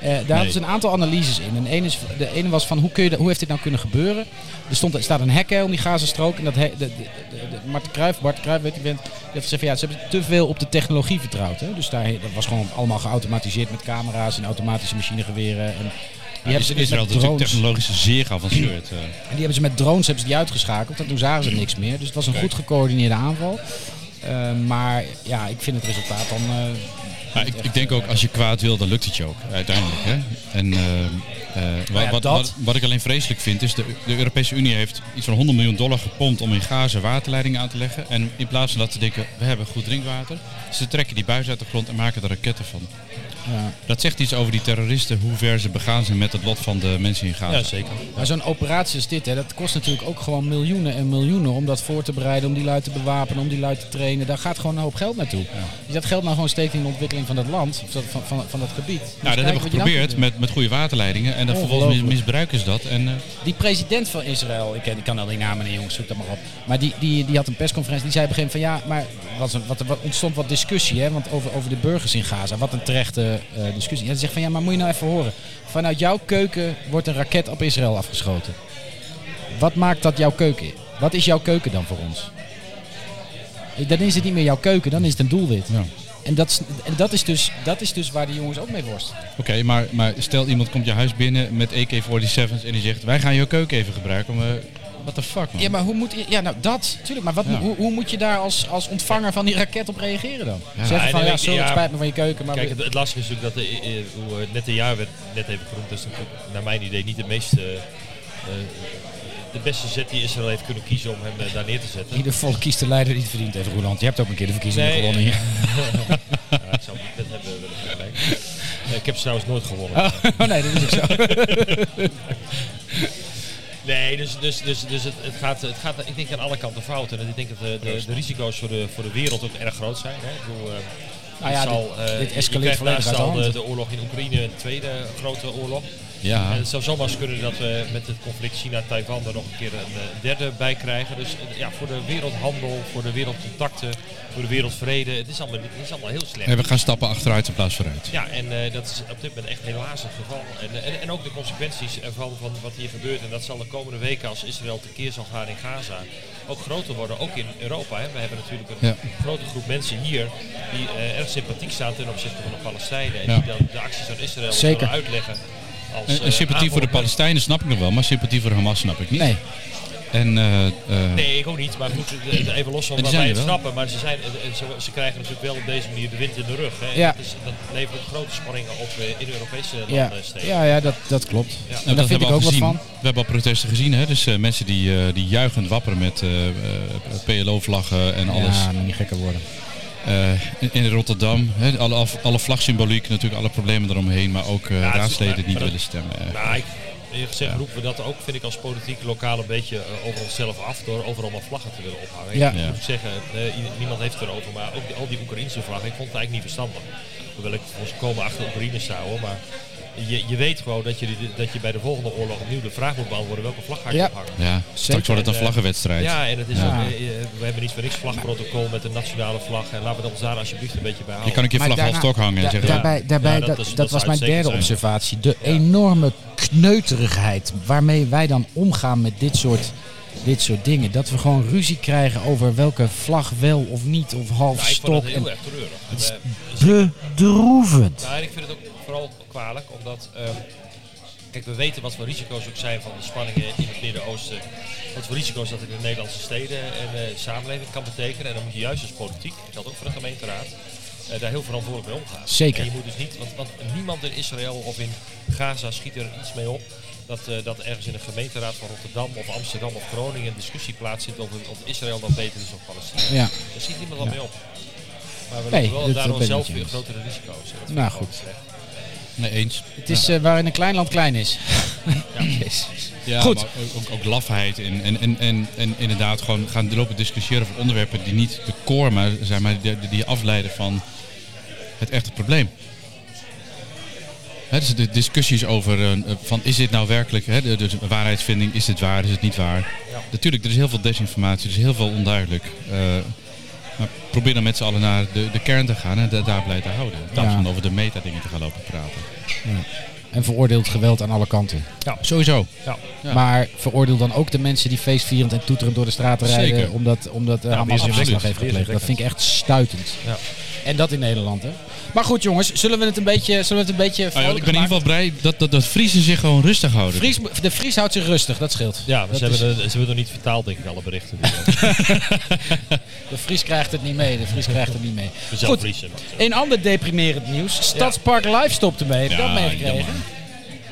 Speaker 1: Eh, daar hadden ze een aantal analyses in. En één is, de ene was van hoe, kun je, dat- hoe heeft dit nou kunnen gebeuren? Er stond, er staat een hek hè, om die Gazastrook. En dat hek, de, de, de, de- Marten Cruijff, Bart Cruijff, weet je bent, die heeft gezegd van ja, ze hebben te veel op de technologie vertrouwd. Hè? Dus daar, dat was gewoon allemaal geautomatiseerd met camera's en automatische machinegeweren. En die hebben
Speaker 2: Is,
Speaker 1: ze
Speaker 2: is
Speaker 1: dus
Speaker 2: Israël
Speaker 1: met
Speaker 2: natuurlijk
Speaker 1: drones.
Speaker 2: technologisch zeer geavanceerd. eh.
Speaker 1: En die hebben ze met drones hebben ze die uitgeschakeld. En toen zagen ze niks meer. Dus het was een
Speaker 2: Oké.
Speaker 1: goed gecoördineerde aanval. Eh, maar ja, ik vind het resultaat dan. eh,
Speaker 2: Maar Nou, ik, ik denk ook, als je kwaad wil, dan lukt het je ook, eh, uiteindelijk. Hè? En ehm, eh, wa-
Speaker 1: ja,
Speaker 2: wat,
Speaker 1: dat-
Speaker 2: wat, wat ik alleen vreselijk vind, is de, de Europese Unie heeft iets van 100 miljoen dollar gepompt om in Gaza waterleidingen aan te leggen. En in plaats van dat ze denken, we hebben goed drinkwater, ze trekken die buis uit de grond en maken er raketten van.
Speaker 1: ja.
Speaker 2: Dat zegt iets over die terroristen, hoe ver ze begaan zijn met het lot van de mensen in Gaza.
Speaker 3: Ja, zeker.
Speaker 1: Maar Nou, zo'n operatie als dit, hè, dat kost natuurlijk ook gewoon miljoenen en miljoenen om dat voor te bereiden, om die lui te bewapenen, om die lui te trainen. Daar gaat gewoon een hoop geld naartoe. Als je dat geld nou gewoon steekt in de ontwikkeling van dat land, of dat, van, van, van dat gebied. Moet je
Speaker 2: Nou,
Speaker 1: kijken wat
Speaker 2: dat hebben we
Speaker 1: je dan kunt
Speaker 2: geprobeerd
Speaker 1: doen.
Speaker 2: met, met goede waterleidingen. En dan vervolgens mis-
Speaker 1: Ongelooflijk.
Speaker 2: misbruiken ze dat. En, eh,
Speaker 1: Die president van Israël, ik, ken- ik kan al die namen niet jongens, zoek dat maar op. Maar die, die, die had een persconferentie, die zei op een gegeven moment van ja, maar was een, wat, wat, ontstond wat discussie hè, want over, over de burgers in Gaza. Wat een terechte eh, discussie. En hij zegt van ja, maar moet je nou even horen. Vanuit jouw keuken wordt een raket op Israël afgeschoten. Wat maakt dat jouw keuken? Wat is jouw keuken dan voor ons? Eh, Dan is het niet meer jouw keuken, dan is het een doelwit.
Speaker 2: Ja.
Speaker 1: En, dat is, en dat, is dus, dat is dus waar die jongens ook mee worstelen.
Speaker 2: Oké, maar, maar stel iemand komt je huis binnen met AK-47's en die zegt, wij gaan jouw keuken even gebruiken. Om, eh what the fuck man?
Speaker 1: Ja, maar hoe moet je... Ja, nou dat, tuurlijk. Maar wat,
Speaker 2: Ja.
Speaker 1: hoe, hoe moet je daar als, als ontvanger van die raket op reageren dan?
Speaker 2: Ja.
Speaker 1: Zeggen
Speaker 3: Ja,
Speaker 1: van,
Speaker 3: en
Speaker 1: ja,
Speaker 3: ik-
Speaker 1: sorry, het
Speaker 3: ja.
Speaker 1: spijt me van je keuken, maar...
Speaker 3: Kijk,
Speaker 1: we-
Speaker 3: het, het lastige is natuurlijk dat de, eh, eh, hoe eh, net een jaar werd net even genoemd, dat is natuurlijk naar mijn idee niet de meest eh, eh, de beste zet die Israël heeft kunnen kiezen om hem eh, daar neer te zetten.
Speaker 1: Ieder volk kiest de leider die het verdient, even Roland. Je hebt ook een keer de verkiezingen
Speaker 3: Nee,
Speaker 1: gewonnen.
Speaker 3: eh,
Speaker 1: hier.
Speaker 3: Ja, ik zou het net hebben willen vergelijken. Eh, ik heb ze trouwens nooit gewonnen.
Speaker 1: Oh nee, dat is ook zo.
Speaker 3: Nee, dus, dus, dus, dus het, het, gaat, het gaat, ik denk aan alle kanten fout. En ik denk dat de, de, de risico's voor de, voor de wereld ook erg groot zijn. Hè. Ik bedoel, eh,
Speaker 1: Nou ja,
Speaker 3: het zal,
Speaker 1: dit-
Speaker 3: eh,
Speaker 1: dit
Speaker 3: je
Speaker 1: escaleert
Speaker 3: krijgt
Speaker 1: volledig
Speaker 3: naast
Speaker 1: uit de
Speaker 3: al
Speaker 1: hand.
Speaker 3: De, de oorlog in Oekraïne, een tweede grote oorlog.
Speaker 2: Ja.
Speaker 3: En het zou zomaar eens kunnen dat we met het conflict China-Taiwan er nog een keer een eh, derde bij krijgen. Dus eh, ja, voor de wereldhandel, voor de wereldcontacten, voor de wereldvrede. Het is allemaal, het is allemaal heel slecht.
Speaker 2: En we gaan stappen achteruit in plaats vooruit.
Speaker 3: Ja, en eh, dat is op dit moment echt helaas het geval. En, eh, en, en ook de consequenties ervan van wat hier gebeurt. En dat zal de komende weken, als Israël tekeer zal gaan in Gaza, ook groter worden. Ook in Europa. Hè. We hebben natuurlijk een
Speaker 2: Ja.
Speaker 3: grote groep mensen hier die eh, erg sympathiek staan ten opzichte van de Palestijnen. En
Speaker 2: Ja.
Speaker 3: die dan de acties van Israël
Speaker 1: Zeker.
Speaker 3: zullen uitleggen. Als,
Speaker 2: En, en
Speaker 3: eh,
Speaker 2: sympathie voor de
Speaker 3: aanval op-
Speaker 2: Palestijnen snap ik nog wel, maar sympathie voor Hamas snap ik niet.
Speaker 1: Nee,
Speaker 2: En, eh, eh,
Speaker 3: Nee, ik ook niet. Maar goed, eh, eh, even los van
Speaker 2: En die zijn
Speaker 3: wat wij
Speaker 2: er
Speaker 3: het
Speaker 2: wel.
Speaker 3: snappen. Maar ze, zijn, eh, eh, ze, ze krijgen natuurlijk wel op deze manier de wind in de rug. Hè. En
Speaker 1: Ja.
Speaker 3: Dat, is, dat levert ook grote spanningen op eh, in Europese landen
Speaker 1: ja,
Speaker 3: steeds.
Speaker 1: ja, ja dat, dat klopt.
Speaker 3: Ja.
Speaker 1: En
Speaker 2: nou,
Speaker 1: daar vind
Speaker 2: hebben
Speaker 1: ik
Speaker 2: we
Speaker 1: ook
Speaker 2: al
Speaker 1: wat
Speaker 2: gezien.
Speaker 1: van.
Speaker 2: We hebben al protesten gezien, hè? dus eh, mensen die, eh, die juichend wapperen met eh, eh, PLO-vlaggen en alles.
Speaker 1: Ja, moet niet gekker worden.
Speaker 2: Eh, in, in Rotterdam, hè? Alle, af- alle vlagsymboliek, natuurlijk alle problemen eromheen, maar ook eh,
Speaker 3: het is-
Speaker 2: raadsleden
Speaker 3: maar-
Speaker 2: die niet
Speaker 3: maar dat-
Speaker 2: willen stemmen. eh.
Speaker 3: Nou, ik, eerlijk gezegd roepen we dat ook, vind ik, als politiek lokaal een beetje eh, over onszelf af door overal maar vlaggen te willen ophangen.
Speaker 1: Ja.
Speaker 3: Ik
Speaker 2: Ja.
Speaker 3: moet zeggen, eh, i- niemand heeft het erover, maar ook die- al die Oekraïnse vlaggen, ik vond het eigenlijk niet verstandig. Hoewel ik volkomen achter Oekraïne sta hoor, maar je, je weet gewoon dat je, die- dat je bij de volgende oorlog opnieuw de vraag moet beantwoorden welke vlag ga ik
Speaker 1: Ja.
Speaker 3: ophangen.
Speaker 2: ja, straks wordt het een
Speaker 3: En, eh,
Speaker 2: vlaggenwedstrijd.
Speaker 3: Ja, en het is
Speaker 1: Ja.
Speaker 3: ook, eh, eh, we hebben niet voor niks vlagprotocol met de nationale vlag. En laten we ons daar alsjeblieft een beetje bij
Speaker 2: Je
Speaker 3: houden.
Speaker 2: kan ook je
Speaker 1: Maar
Speaker 2: vlag half
Speaker 1: daarna-
Speaker 2: stok hangen en
Speaker 1: da-
Speaker 2: zeggen, ja,
Speaker 1: Daarbij, daarbij,
Speaker 3: Ja, dat
Speaker 1: dat,
Speaker 3: is-
Speaker 1: dat
Speaker 3: dat
Speaker 1: was
Speaker 3: zou
Speaker 1: mijn
Speaker 3: uitstekend
Speaker 1: derde
Speaker 3: zijn.
Speaker 1: observatie. De enorme kneuterigheid waarmee wij dan omgaan met dit soort, dit soort dingen. Dat we gewoon ruzie krijgen over welke vlag wel of niet of half
Speaker 3: Ja, ik vond
Speaker 1: stok.
Speaker 3: het heel erg treurig.
Speaker 1: is
Speaker 3: En, eh,
Speaker 1: bedroevend.
Speaker 3: Nou, en ik vind het ook vooral kwalijk, omdat... ehm, kijk, we weten wat voor risico's ook zijn van de spanningen in het Midden-Oosten. Wat voor risico's dat in de Nederlandse steden en eh, samenleving kan betekenen. En dan moet je juist als politiek, dat geldt ook voor de gemeenteraad, eh, daar heel verantwoordelijk mee omgaan.
Speaker 1: Zeker.
Speaker 3: En je moet dus niet, want, want niemand in Israël of in Gaza schiet er iets mee op... Dat, eh, dat ergens in de gemeenteraad van Rotterdam of Amsterdam of Groningen een discussie plaatsvindt over of Israël dan beter is of Palestina.
Speaker 1: Ja.
Speaker 3: Daar schiet niemand wat mee op. Maar we
Speaker 1: Nee, dat-
Speaker 3: lopen wel
Speaker 1: dat
Speaker 3: daardoor
Speaker 1: ben ik
Speaker 3: zelf
Speaker 1: met je
Speaker 3: weer
Speaker 1: eens.
Speaker 3: grotere risico's. En dat vind
Speaker 1: Nou,
Speaker 3: ik gewoon
Speaker 1: goed.
Speaker 3: slecht.
Speaker 2: nee eens.
Speaker 1: Het is eh, waarin een klein land klein is.
Speaker 2: Ja,
Speaker 1: Goed.
Speaker 2: maar ook, ook, ook lafheid en, en, en, en, en inderdaad gewoon gaan lopen discussiëren over onderwerpen die niet de core maar zijn, maar die, die afleiden van het echte probleem. Hè, dus de discussies over eh, van is dit nou werkelijk, hè, de, de waarheidsvinding, is dit waar, is het niet waar.
Speaker 3: Ja.
Speaker 2: Natuurlijk, er is heel veel desinformatie, er is heel veel onduidelijk. Eh, maar probeer dan met z'n allen naar de, de kern te gaan en da- daar blij te houden. In plaats
Speaker 1: Ja.
Speaker 2: van over de meta-dingen te gaan lopen praten.
Speaker 1: En veroordeelt geweld aan alle kanten.
Speaker 2: Sowieso.
Speaker 3: Ja.
Speaker 2: Ja.
Speaker 1: Maar veroordeel dan ook de mensen die feestvierend en toeterend door de straten rijden.
Speaker 2: Zeker.
Speaker 1: Omdat, omdat eh,
Speaker 3: Ja,
Speaker 1: Hamas
Speaker 3: die
Speaker 1: een
Speaker 3: is
Speaker 1: aanslag heeft
Speaker 3: absoluut. Die is
Speaker 1: gepleegd. Dat vind ik echt stuitend.
Speaker 3: Ja.
Speaker 1: En dat in Nederland, hè. Maar goed, jongens. Zullen we het een beetje... Zullen we het een beetje
Speaker 2: Ah, ja, ik
Speaker 1: vrolijker
Speaker 2: ben in ieder geval blij dat, dat, dat Friesen zich gewoon rustig houden.
Speaker 1: maken? Fries, de Fries houdt zich rustig, dat scheelt.
Speaker 3: Ja, maar
Speaker 1: Dat
Speaker 3: ze
Speaker 1: is-
Speaker 3: hebben, de- ze hebben nog niet vertaald, denk ik, alle berichten.
Speaker 1: De Fries krijgt het niet mee. De Fries krijgt het niet mee.
Speaker 3: Zelf vriezen.
Speaker 1: Een ander deprimerend nieuws. Stadspark Live stopt ermee. Heb je
Speaker 2: Ja,
Speaker 1: dat meegekregen?
Speaker 2: jammer.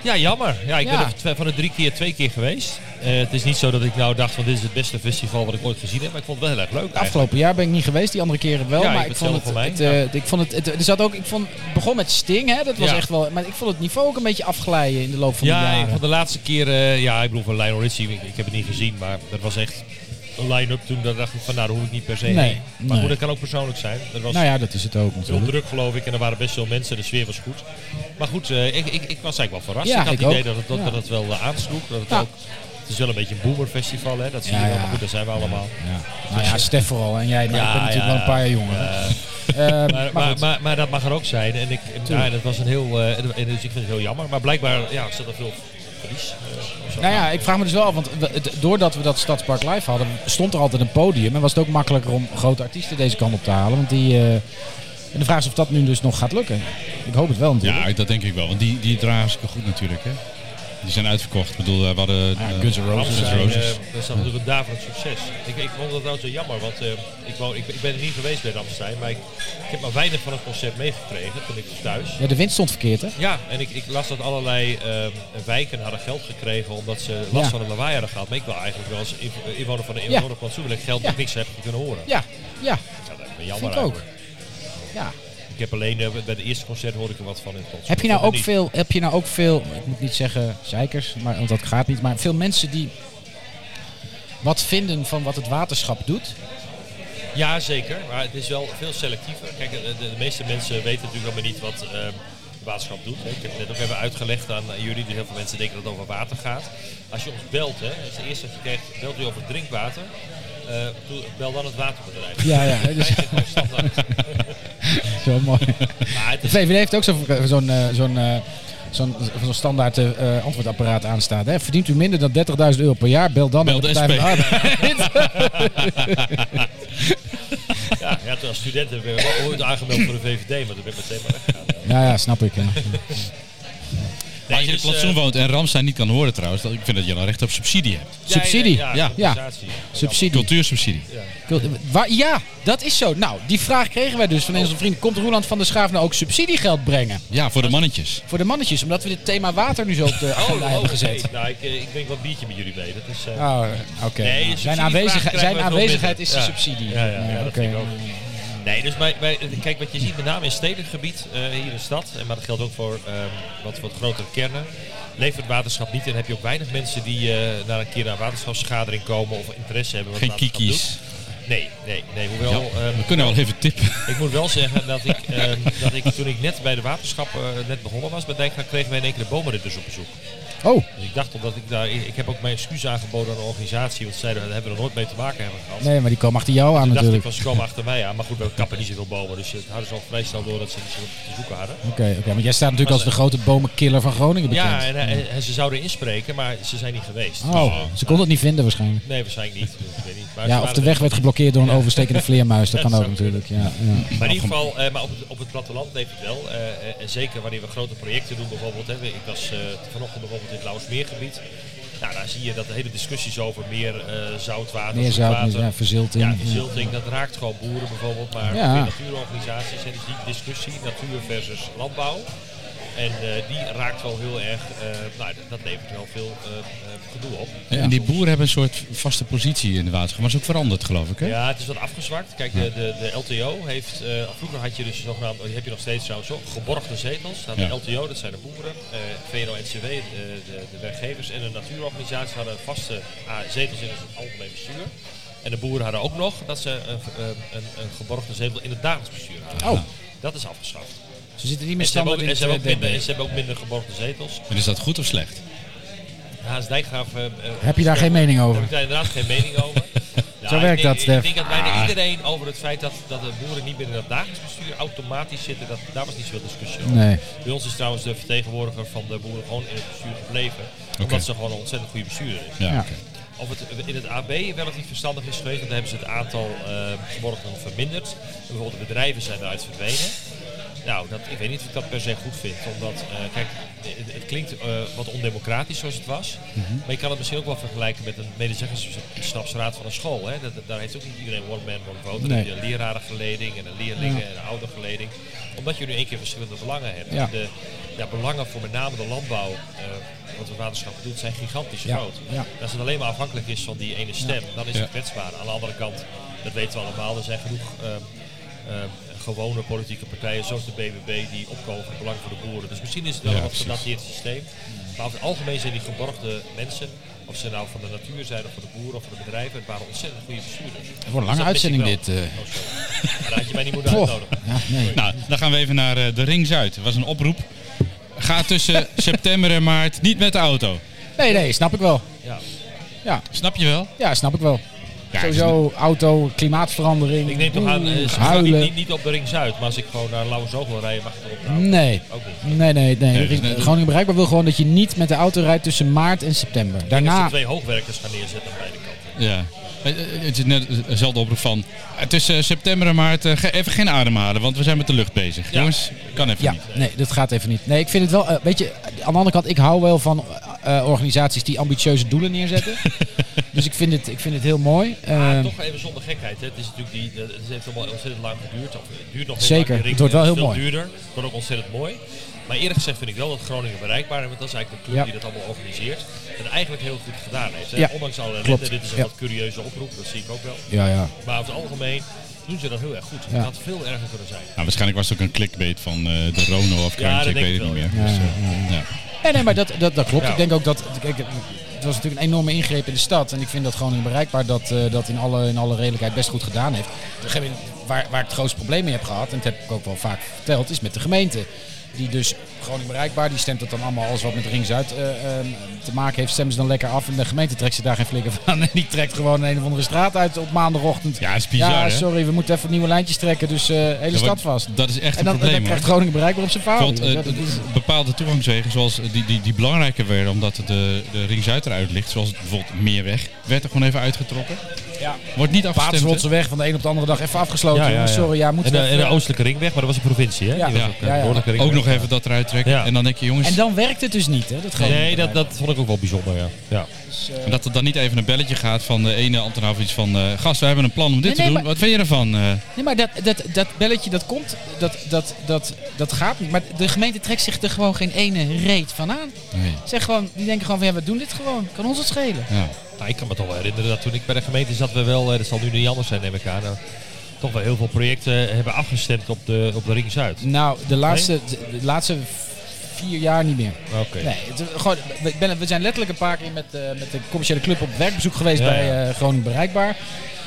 Speaker 3: Ja, jammer. Ja, ik
Speaker 1: Ja.
Speaker 3: ben er twee- van de drie keer twee keer geweest. Eh, het is niet zo dat ik nou dacht van dit is het beste festival wat ik ooit gezien heb. Maar ik vond het wel heel erg leuk eigenlijk.
Speaker 1: Afgelopen jaar ben ik niet geweest, die andere keren wel.
Speaker 3: Ja, je
Speaker 1: maar ik
Speaker 3: bent
Speaker 1: vond
Speaker 3: zelf
Speaker 1: het,
Speaker 3: voor mij,
Speaker 1: het, eh, ik vond het, het, er zat ook, ik vond, het begon met Sting, hè, dat was
Speaker 3: Ja.
Speaker 1: echt wel, maar ik vond het niveau ook een beetje afglijden in de loop van de
Speaker 3: Ja,
Speaker 1: jaren.
Speaker 3: ik vond de laatste keer, eh, ja, ik bedoel van Lionel Richie, ik, ik heb het niet gezien, maar dat was echt een line-up toen. Daar dacht ik van nou, daar hoef ik niet per se
Speaker 1: Nee,
Speaker 3: heen. Maar
Speaker 1: nee.
Speaker 3: goed, dat kan ook persoonlijk zijn. Dat was
Speaker 1: Nou ja, dat is het ook
Speaker 3: heel
Speaker 1: natuurlijk.
Speaker 3: druk geloof ik en er waren best veel mensen, de sfeer was goed. Maar goed, eh, ik, ik, ik was eigenlijk wel verrast.
Speaker 1: Ja,
Speaker 3: ik had
Speaker 1: ik
Speaker 3: het idee
Speaker 1: ook.
Speaker 3: dat het, dat,
Speaker 1: Ja.
Speaker 3: dat het wel eh, aansloeg. Dat het,
Speaker 1: Ja.
Speaker 3: ook, het is wel een beetje een boomerfestival, hè? dat zie
Speaker 1: Ja,
Speaker 3: je wel.
Speaker 1: ja.
Speaker 3: Maar goed, daar zijn we allemaal.
Speaker 1: Nou ja, Stef vooral en jij, maar ik ben natuurlijk wel een paar jaar jonger.
Speaker 3: Eh,
Speaker 1: Eh, maar,
Speaker 3: Maar, maar,
Speaker 1: goed.
Speaker 3: maar, maar dat mag er ook zijn. En ik, ja, en het was een heel, eh, en, en dus ik vind het heel jammer. Maar blijkbaar ja, zat er veel verlies. eh, of zo.
Speaker 1: nou ja, ik vraag me dus wel af, want we- het- doordat we dat Stadspark Live hadden, stond er altijd een podium. En was het ook makkelijker om grote artiesten deze kant op te halen. Want die, eh, en de vraag is of dat nu dus nog gaat lukken. Ik hoop het wel natuurlijk.
Speaker 2: Ja, dat denk ik wel. Want die, die draaien hartstikke goed natuurlijk. Hè? Die zijn uitverkocht. Ik bedoel, eh, we hadden... eh,
Speaker 1: Guns N' Roses.
Speaker 3: Anders
Speaker 2: Guns N'
Speaker 3: zijn, eh,
Speaker 2: Roses.
Speaker 3: dat is dan natuurlijk daar van het succes. Ik, ik vond dat trouwens wel jammer, want eh, ik, woon, ik, ik ben er niet geweest bij Ramstein, maar ik, ik heb maar weinig van het concept meegekregen toen ik was thuis.
Speaker 1: Ja, de wind stond verkeerd, hè?
Speaker 3: Ja, en ik, ik las dat allerlei ehm, wijken hadden geld gekregen omdat ze last
Speaker 1: Ja.
Speaker 3: van een lawaai hadden gehad. Maar ik wil eigenlijk wel als inv- inwoner van de
Speaker 1: Ja.
Speaker 3: inwoner van Zoen wil ik geld dat
Speaker 1: Ja.
Speaker 3: ik niks heb kunnen horen.
Speaker 1: Ja, ja,
Speaker 3: Ja, dat is me jammer
Speaker 1: Vind ik ook.
Speaker 3: eigenlijk.
Speaker 1: ja.
Speaker 3: Ik heb alleen eh, bij de eerste concert hoorde ik er wat van in het concert.
Speaker 1: Heb je, nou
Speaker 3: Verder
Speaker 1: ook
Speaker 3: niet.
Speaker 1: veel, heb je nou ook veel, ik moet niet zeggen zeikers, maar, want dat gaat niet, maar veel mensen die wat vinden van wat het waterschap doet?
Speaker 3: Ja, zeker. Maar het is wel veel selectiever. Kijk, de, de- de meeste mensen weten natuurlijk nog maar niet wat eh, de waterschap doet. hè. Ik heb het net ook even uitgelegd aan eh, jullie. Dus heel veel mensen denken dat het over water gaat. Als je ons belt, hè, dat is het eerste wat je krijgt, belt u over drinkwater. Eh, doe- bel dan het waterbedrijf.
Speaker 1: Ja, dus- ja, dat is-
Speaker 3: Kijk, dat is standaard.
Speaker 1: Zo mooi.
Speaker 3: Maar het
Speaker 1: De
Speaker 3: is-
Speaker 1: VVD heeft ook zo'n zo'n eh, zo'n eh, zo'n zo'n standaard eh, antwoordapparaat aanstaan. Hè? Verdient u minder dan 30.000 euro per jaar, bel dan
Speaker 2: Bel
Speaker 1: aan
Speaker 2: de
Speaker 1: Partij van
Speaker 2: SP.
Speaker 1: de Arbeid.
Speaker 3: ja, ja, toen als student heb ik wel ooit aangemeld voor de VVD, maar toen ben ik meteen maar weggegaan.
Speaker 1: ja, ja, snap ik. hè.
Speaker 2: Maar als je in
Speaker 3: dus,
Speaker 2: het plantsoen
Speaker 3: eh,
Speaker 2: woont en Ramstein niet kan horen trouwens, dan- ik vind dat je dan recht op subsidie hebt.
Speaker 1: Subsidie.
Speaker 3: Ja,
Speaker 2: Ja.
Speaker 3: ja, ja, compensatie.
Speaker 1: Subsidie.
Speaker 2: Cultuursubsidie.
Speaker 1: Cult- Waar- ja, dat is zo. Nou, die vraag kregen wij dus van onze vriend. Komt Roeland van der Schaaf nou ook subsidiegeld brengen?
Speaker 2: Ja, voor de mannetjes.
Speaker 1: Voor de mannetjes, omdat we dit thema water nu zo op
Speaker 3: Oh,
Speaker 1: de agenda hebben gezet.
Speaker 3: oké. Nou, ik, eh, ik drink wat biertje met jullie mee. Dat is, eh,
Speaker 1: Oh, oké.
Speaker 3: Nee,
Speaker 1: Nou,
Speaker 3: subsidievraag
Speaker 1: zijn
Speaker 3: krijgen
Speaker 1: aanwezigheid,
Speaker 3: we
Speaker 1: zijn
Speaker 3: veel
Speaker 1: aanwezigheid
Speaker 3: minder.
Speaker 1: is een
Speaker 3: Ja.
Speaker 1: subsidie.
Speaker 3: Ja, ja, ja, dat
Speaker 1: oké.
Speaker 3: vind ik ook. Nee, dus bij, bij, kijk wat je ziet, met name in stedelijk gebied, eh, hier in de stad, en maar dat geldt ook voor ehm, wat, wat grotere kernen, levert het waterschap niet en heb je ook weinig mensen die eh, naar een keer naar een waterschapsvergadering komen of interesse hebben. Wat
Speaker 2: Geen
Speaker 3: het waterschap
Speaker 2: kiki's.
Speaker 3: doet. Nee, nee, nee. Hoewel,
Speaker 2: Ja,
Speaker 3: ehm,
Speaker 2: we kunnen wel even tippen.
Speaker 3: ik moet wel zeggen dat ik, ehm, dat ik toen ik net bij de waterschap eh, net begonnen was bij Dijkgraaf, kregen wij in één keer de bomenritters op bezoek.
Speaker 1: Oh,
Speaker 3: Dus ik dacht omdat ik daar, ik, ik heb ook mijn excuus aangeboden aan de organisatie, want zeiden daar hebben we er nooit mee te maken hebben gehad.
Speaker 1: nee, maar die kwam achter jou aan
Speaker 3: Toen dacht ik
Speaker 1: natuurlijk.
Speaker 3: van ze komen achter mij aan, maar goed, we kappen niet zoveel bomen, dus het hadden ze al vrij snel door dat ze niet zoveel te zoeken hadden.
Speaker 1: Oké, oké, maar jij staat natuurlijk als de
Speaker 3: Maar
Speaker 1: grote bomenkiller van Groningen bekend.
Speaker 3: Ja, en, eh, en- en ze zouden inspreken, maar ze zijn niet geweest. Dus,
Speaker 1: Oh, ze kon het niet vinden waarschijnlijk.
Speaker 3: Nee, waarschijnlijk niet. Dus ik weet niet. Maar ze
Speaker 1: Ja, of
Speaker 3: waren
Speaker 1: de
Speaker 3: er-
Speaker 1: weg werd geblokkeerd door een overstekende vleermuis. Dat
Speaker 3: Ja,
Speaker 1: kan ook
Speaker 3: zou
Speaker 1: natuurlijk. Ja, ja.
Speaker 3: Maar in ieder geval, eh, maar op het, op het platteland leeft het wel. eh, eh, en zeker wanneer we grote projecten doen bijvoorbeeld. Hè, ik was eh, vanochtend bijvoorbeeld in het Lauwersmeergebied. Nou, daar zie je dat de hele discussies over meer eh, zoutwater,
Speaker 1: Meer zout,
Speaker 3: zoetwater.
Speaker 1: meer- ja, verzilting.
Speaker 3: Ja, verzilting, dat raakt gewoon boeren bijvoorbeeld, maar
Speaker 1: eh, Ja.
Speaker 3: ook weer natuurorganisaties. En dus die discussie, natuur versus landbouw. En eh, die raakt wel heel erg, eh, nou, dat, dat levert wel veel eh, eh, gedoe op.
Speaker 2: En die boeren hebben een soort vaste positie in de waterschap. Maar dat is ook veranderd, geloof ik. Hè?
Speaker 3: Ja, het is wat afgezwakt. Kijk, de, de, de LTO heeft, eh, vroeger had je dus zogenaamd, oh, die heb je nog steeds trouwens ook, geborgde zetels. Nou, de
Speaker 2: Ja.
Speaker 3: LTO, dat zijn de boeren, eh VNO-NCW, eh, de, de werkgevers en de natuurorganisaties hadden vaste ah, zetels in het algemeen bestuur. En de boeren hadden ook nog dat ze een, een, een, een geborgde zetel in het dagelijks bestuur hadden.
Speaker 1: Oh.
Speaker 3: Dat is afgeschaft. Dus
Speaker 1: Ze zitten niet meer
Speaker 3: En ze, hebben
Speaker 1: standaard
Speaker 3: ook, en, ze
Speaker 1: in het eh,
Speaker 3: hebben ook minder, en
Speaker 1: derde.
Speaker 3: ze hebben ook minder geborgde zetels.
Speaker 2: En is dat goed of slecht?
Speaker 3: Haas Dijkgraaf... eh, eh,
Speaker 1: Heb je daar geen mening
Speaker 3: Daar heb
Speaker 1: over?
Speaker 3: ik daar inderdaad geen mening over. Ja,
Speaker 1: Zo
Speaker 3: ik
Speaker 1: werkt
Speaker 3: denk-
Speaker 1: dat, Stef.
Speaker 3: Ik denk dat bijna iedereen over het feit dat, dat de boeren niet meer in dat dagelijks bestuur automatisch zitten, dat, daar was niet zoveel discussie over.
Speaker 1: Nee.
Speaker 3: Bij ons is trouwens de vertegenwoordiger van de boeren gewoon in het bestuur gebleven.
Speaker 2: Oké.
Speaker 3: Omdat ze gewoon een ontzettend goede bestuurder is.
Speaker 2: Ja,
Speaker 1: Ja.
Speaker 2: oké.
Speaker 3: Of het in het AB wel of niet verstandig is geweest, want dan hebben ze het aantal eh geborgden verminderd. En Bijvoorbeeld de bedrijven zijn eruit verdwenen. Nou, dat, ik weet niet of ik dat per se goed vind. Omdat, eh, kijk, het, het klinkt eh, wat ondemocratisch zoals het was.
Speaker 1: Mhm.
Speaker 3: Maar je kan het misschien ook wel vergelijken met een medezeggenschapsraad van een school. Hè? Dat, dat- daar heeft ook niet iedereen one man, one vote. Dan
Speaker 1: Nee.
Speaker 3: heb je een lerarengeleding en een leerlingen en een oudergeleding. Omdat je nu één keer verschillende belangen hebt.
Speaker 1: Ja.
Speaker 3: De ja, belangen voor met name de landbouw, eh, wat het waterschap doet, zijn gigantisch
Speaker 1: Ja,
Speaker 3: groot.
Speaker 1: ja.
Speaker 3: Als het alleen maar afhankelijk is van die ene stem, dan is
Speaker 2: Ja.
Speaker 3: het kwetsbaar. Aan de andere kant, dat weten we allemaal, er zijn genoeg ehm, ehm, gewone politieke partijen zoals de BBB die opkomen voor het belang van de boeren. Dus misschien is het wel
Speaker 2: Ja,
Speaker 3: een wat
Speaker 2: precies.
Speaker 3: gedateerd systeem. Maar over het algemeen zijn die geborgde mensen, of ze nou van de natuur zijn of van de boeren of van de bedrijven, het waren ontzettend goede bestuurders. Dus
Speaker 1: wordt een
Speaker 3: dat
Speaker 1: lange
Speaker 3: mis
Speaker 1: uitzending
Speaker 3: ik
Speaker 1: dit.
Speaker 3: wel.
Speaker 1: eh.
Speaker 3: Oh, sorry. Maar daar had je mij niet moeten
Speaker 1: Poh.
Speaker 3: uitnodigen.
Speaker 1: Ja, nee.
Speaker 2: Nou, dan gaan we even naar eh, de Ring Zuid. Dat was een oproep. Ga tussen september en maart niet met de auto.
Speaker 1: nee, nee, snap ik wel.
Speaker 3: Ja.
Speaker 2: Snap je wel?
Speaker 1: Ja, snap ik wel.
Speaker 2: Ja,
Speaker 1: Sowieso auto, klimaatverandering.
Speaker 3: Ik neem toch aan, eh,
Speaker 1: oeh,
Speaker 3: ze gaan niet,
Speaker 1: huilen.
Speaker 3: niet, niet op de Ring Zuid, maar als ik gewoon naar Lauwershoog wil rijden, mag ik erop nou houden.
Speaker 1: Nee.
Speaker 3: Ook niet.
Speaker 1: Nee, nee, nee.
Speaker 2: Nee, dus net-
Speaker 1: Groningen Bereikbaar wil gewoon dat je niet met de auto rijdt tussen maart en september.
Speaker 3: Ik denk dat
Speaker 1: Daarna,
Speaker 3: ze twee hoogwerkers gaan neerzetten aan beide kanten.
Speaker 2: is- Ja. Eh, eh, Het is net dezelfde oproep van. eh, Tussen september en maart eh, ge- even geen ademhalen, want we zijn met de lucht bezig.
Speaker 3: Ja.
Speaker 2: Jongens, kan even
Speaker 1: ja,
Speaker 2: niet.
Speaker 1: nee, dat gaat even niet. Nee, ik vind het wel, eh, weet je, aan de andere kant, ik hou wel van eh, eh, organisaties die ambitieuze doelen neerzetten. dus ik vind het, ik vind het heel mooi.
Speaker 3: Maar
Speaker 1: Ehm,
Speaker 3: toch even zonder gekheid. Hè. Het, is natuurlijk die, dat- het heeft allemaal ontzettend lang geduurd. Of het duurt nog heel
Speaker 1: Zeker,
Speaker 3: lang, die
Speaker 1: het wordt wel
Speaker 3: ring-
Speaker 1: heel
Speaker 3: veel duurder. Het wordt ook ontzettend mooi. Maar eerlijk gezegd vind ik wel dat Groningen bereikbaar is. Want dat is eigenlijk de club
Speaker 1: Ja.
Speaker 3: die dat allemaal organiseert. En eigenlijk heel goed gedaan heeft. Hè.
Speaker 1: Ja,
Speaker 3: Ondanks alle
Speaker 1: klopt.
Speaker 3: ellende. Dit is een
Speaker 1: Ja.
Speaker 3: wat curieuze oproep. Dat zie ik ook wel.
Speaker 1: ja, ja.
Speaker 3: Maar over het algemeen doen ze dat heel erg goed. Het
Speaker 1: Ja.
Speaker 3: had veel erger kunnen zijn.
Speaker 2: Nou, waarschijnlijk was het ook een clickbait van eh, de Rono of
Speaker 3: Ja,
Speaker 2: Kruintje, ik
Speaker 3: dat denk
Speaker 2: weet
Speaker 3: ik
Speaker 2: het niet meer.
Speaker 3: wel,
Speaker 1: ja.
Speaker 2: Dus,
Speaker 1: Ja,
Speaker 2: eh, ja.
Speaker 1: Nee, nee, maar dat, dat, dat klopt.
Speaker 3: Ja.
Speaker 1: Ik denk ook dat, kijk, het was natuurlijk een enorme ingreep in de stad. En ik vind dat Groningen Bereikbaar dat, eh, dat in, alle, in alle redelijkheid best goed gedaan heeft. De geme- waar, waar ik het grootste probleem mee heb gehad, en dat heb ik ook wel vaak verteld, is met de gemeente. Die dus Groningen Bereikbaar, die stemt dat dan allemaal alles wat met Ring Zuid eh, ehm, te maken heeft, stemmen ze dan lekker af. En de gemeente trekt ze daar geen flikker van. En die trekt gewoon een of andere straat uit op maandagochtend.
Speaker 2: Ja, is bizar,
Speaker 1: Ja,
Speaker 2: hè?
Speaker 1: sorry, we moeten even nieuwe lijntjes trekken, dus eh hele
Speaker 2: Dat
Speaker 1: stad
Speaker 2: wordt-
Speaker 1: vast.
Speaker 2: Dat is echt
Speaker 1: En dan,
Speaker 2: een probleem,
Speaker 1: dan
Speaker 2: hoor.
Speaker 1: krijgt Groningen Bereikbaar op zijn vader.
Speaker 2: Want eh, bepaalde toegangswegen, zoals eh, die, die, die belangrijker werden omdat de, de Ring Zuid eruit ligt, zoals bijvoorbeeld Meerweg, werd er gewoon even uitgetrokken.
Speaker 1: ja.
Speaker 2: Wordt niet afgestemd.
Speaker 1: Paatswoldse
Speaker 2: hè?
Speaker 1: weg van de een op de andere dag even afgesloten.
Speaker 3: Ja, ja,
Speaker 1: Oh, jongens.
Speaker 3: ja.
Speaker 1: Sorry, ja, moet
Speaker 3: En,
Speaker 1: het
Speaker 3: de- en
Speaker 1: even-
Speaker 3: de Oostelijke Ringweg, maar dat was een provincie. Hè?
Speaker 1: Ja.
Speaker 3: Die was
Speaker 2: Ja.
Speaker 3: ook, eh,
Speaker 1: Ja, ja.
Speaker 3: behoorlijke
Speaker 2: Ook
Speaker 3: ringweg.
Speaker 2: nog even dat eruit trekken.
Speaker 3: Ja.
Speaker 2: En dan denk je, jongens,
Speaker 1: En dan werkt het dus niet, hè? Dat Dus,
Speaker 3: Nee, dat, dat vond ik ook wel bijzonder. Ja. Ja.
Speaker 1: eh,
Speaker 2: dat er dan niet even een belletje gaat van de ene ambtenaar of iets van... eh gast, we hebben een plan om dit
Speaker 1: Nee,
Speaker 2: te
Speaker 1: nee,
Speaker 2: doen.
Speaker 1: maar-
Speaker 2: Wat vind je ervan? Eh,
Speaker 1: Nee, maar dat, dat, dat belletje dat komt, dat, dat, dat, dat gaat niet. Maar de gemeente trekt zich er gewoon geen ene reet van aan.
Speaker 2: nee.
Speaker 1: Zeg gewoon, die denken gewoon van ja, we doen dit gewoon. Kan ons het schelen.
Speaker 2: Ja.
Speaker 3: Nou, ik kan me toch wel herinneren dat toen ik bij de gemeente zat, we wel, eh, dat zal nu niet anders zijn, neem ik aan, eh, toch wel heel veel projecten eh, hebben afgestemd op de, op de Ring Zuid.
Speaker 1: Nou, de laatste, de, de laatste vier jaar niet meer.
Speaker 3: Oké.
Speaker 1: Nee, het is gewoon, we, ben- we zijn letterlijk een paar keer met, eh, met de commerciële club op werkbezoek geweest
Speaker 3: Ja,
Speaker 1: bij
Speaker 3: ja.
Speaker 1: eh, Groningen Bereikbaar.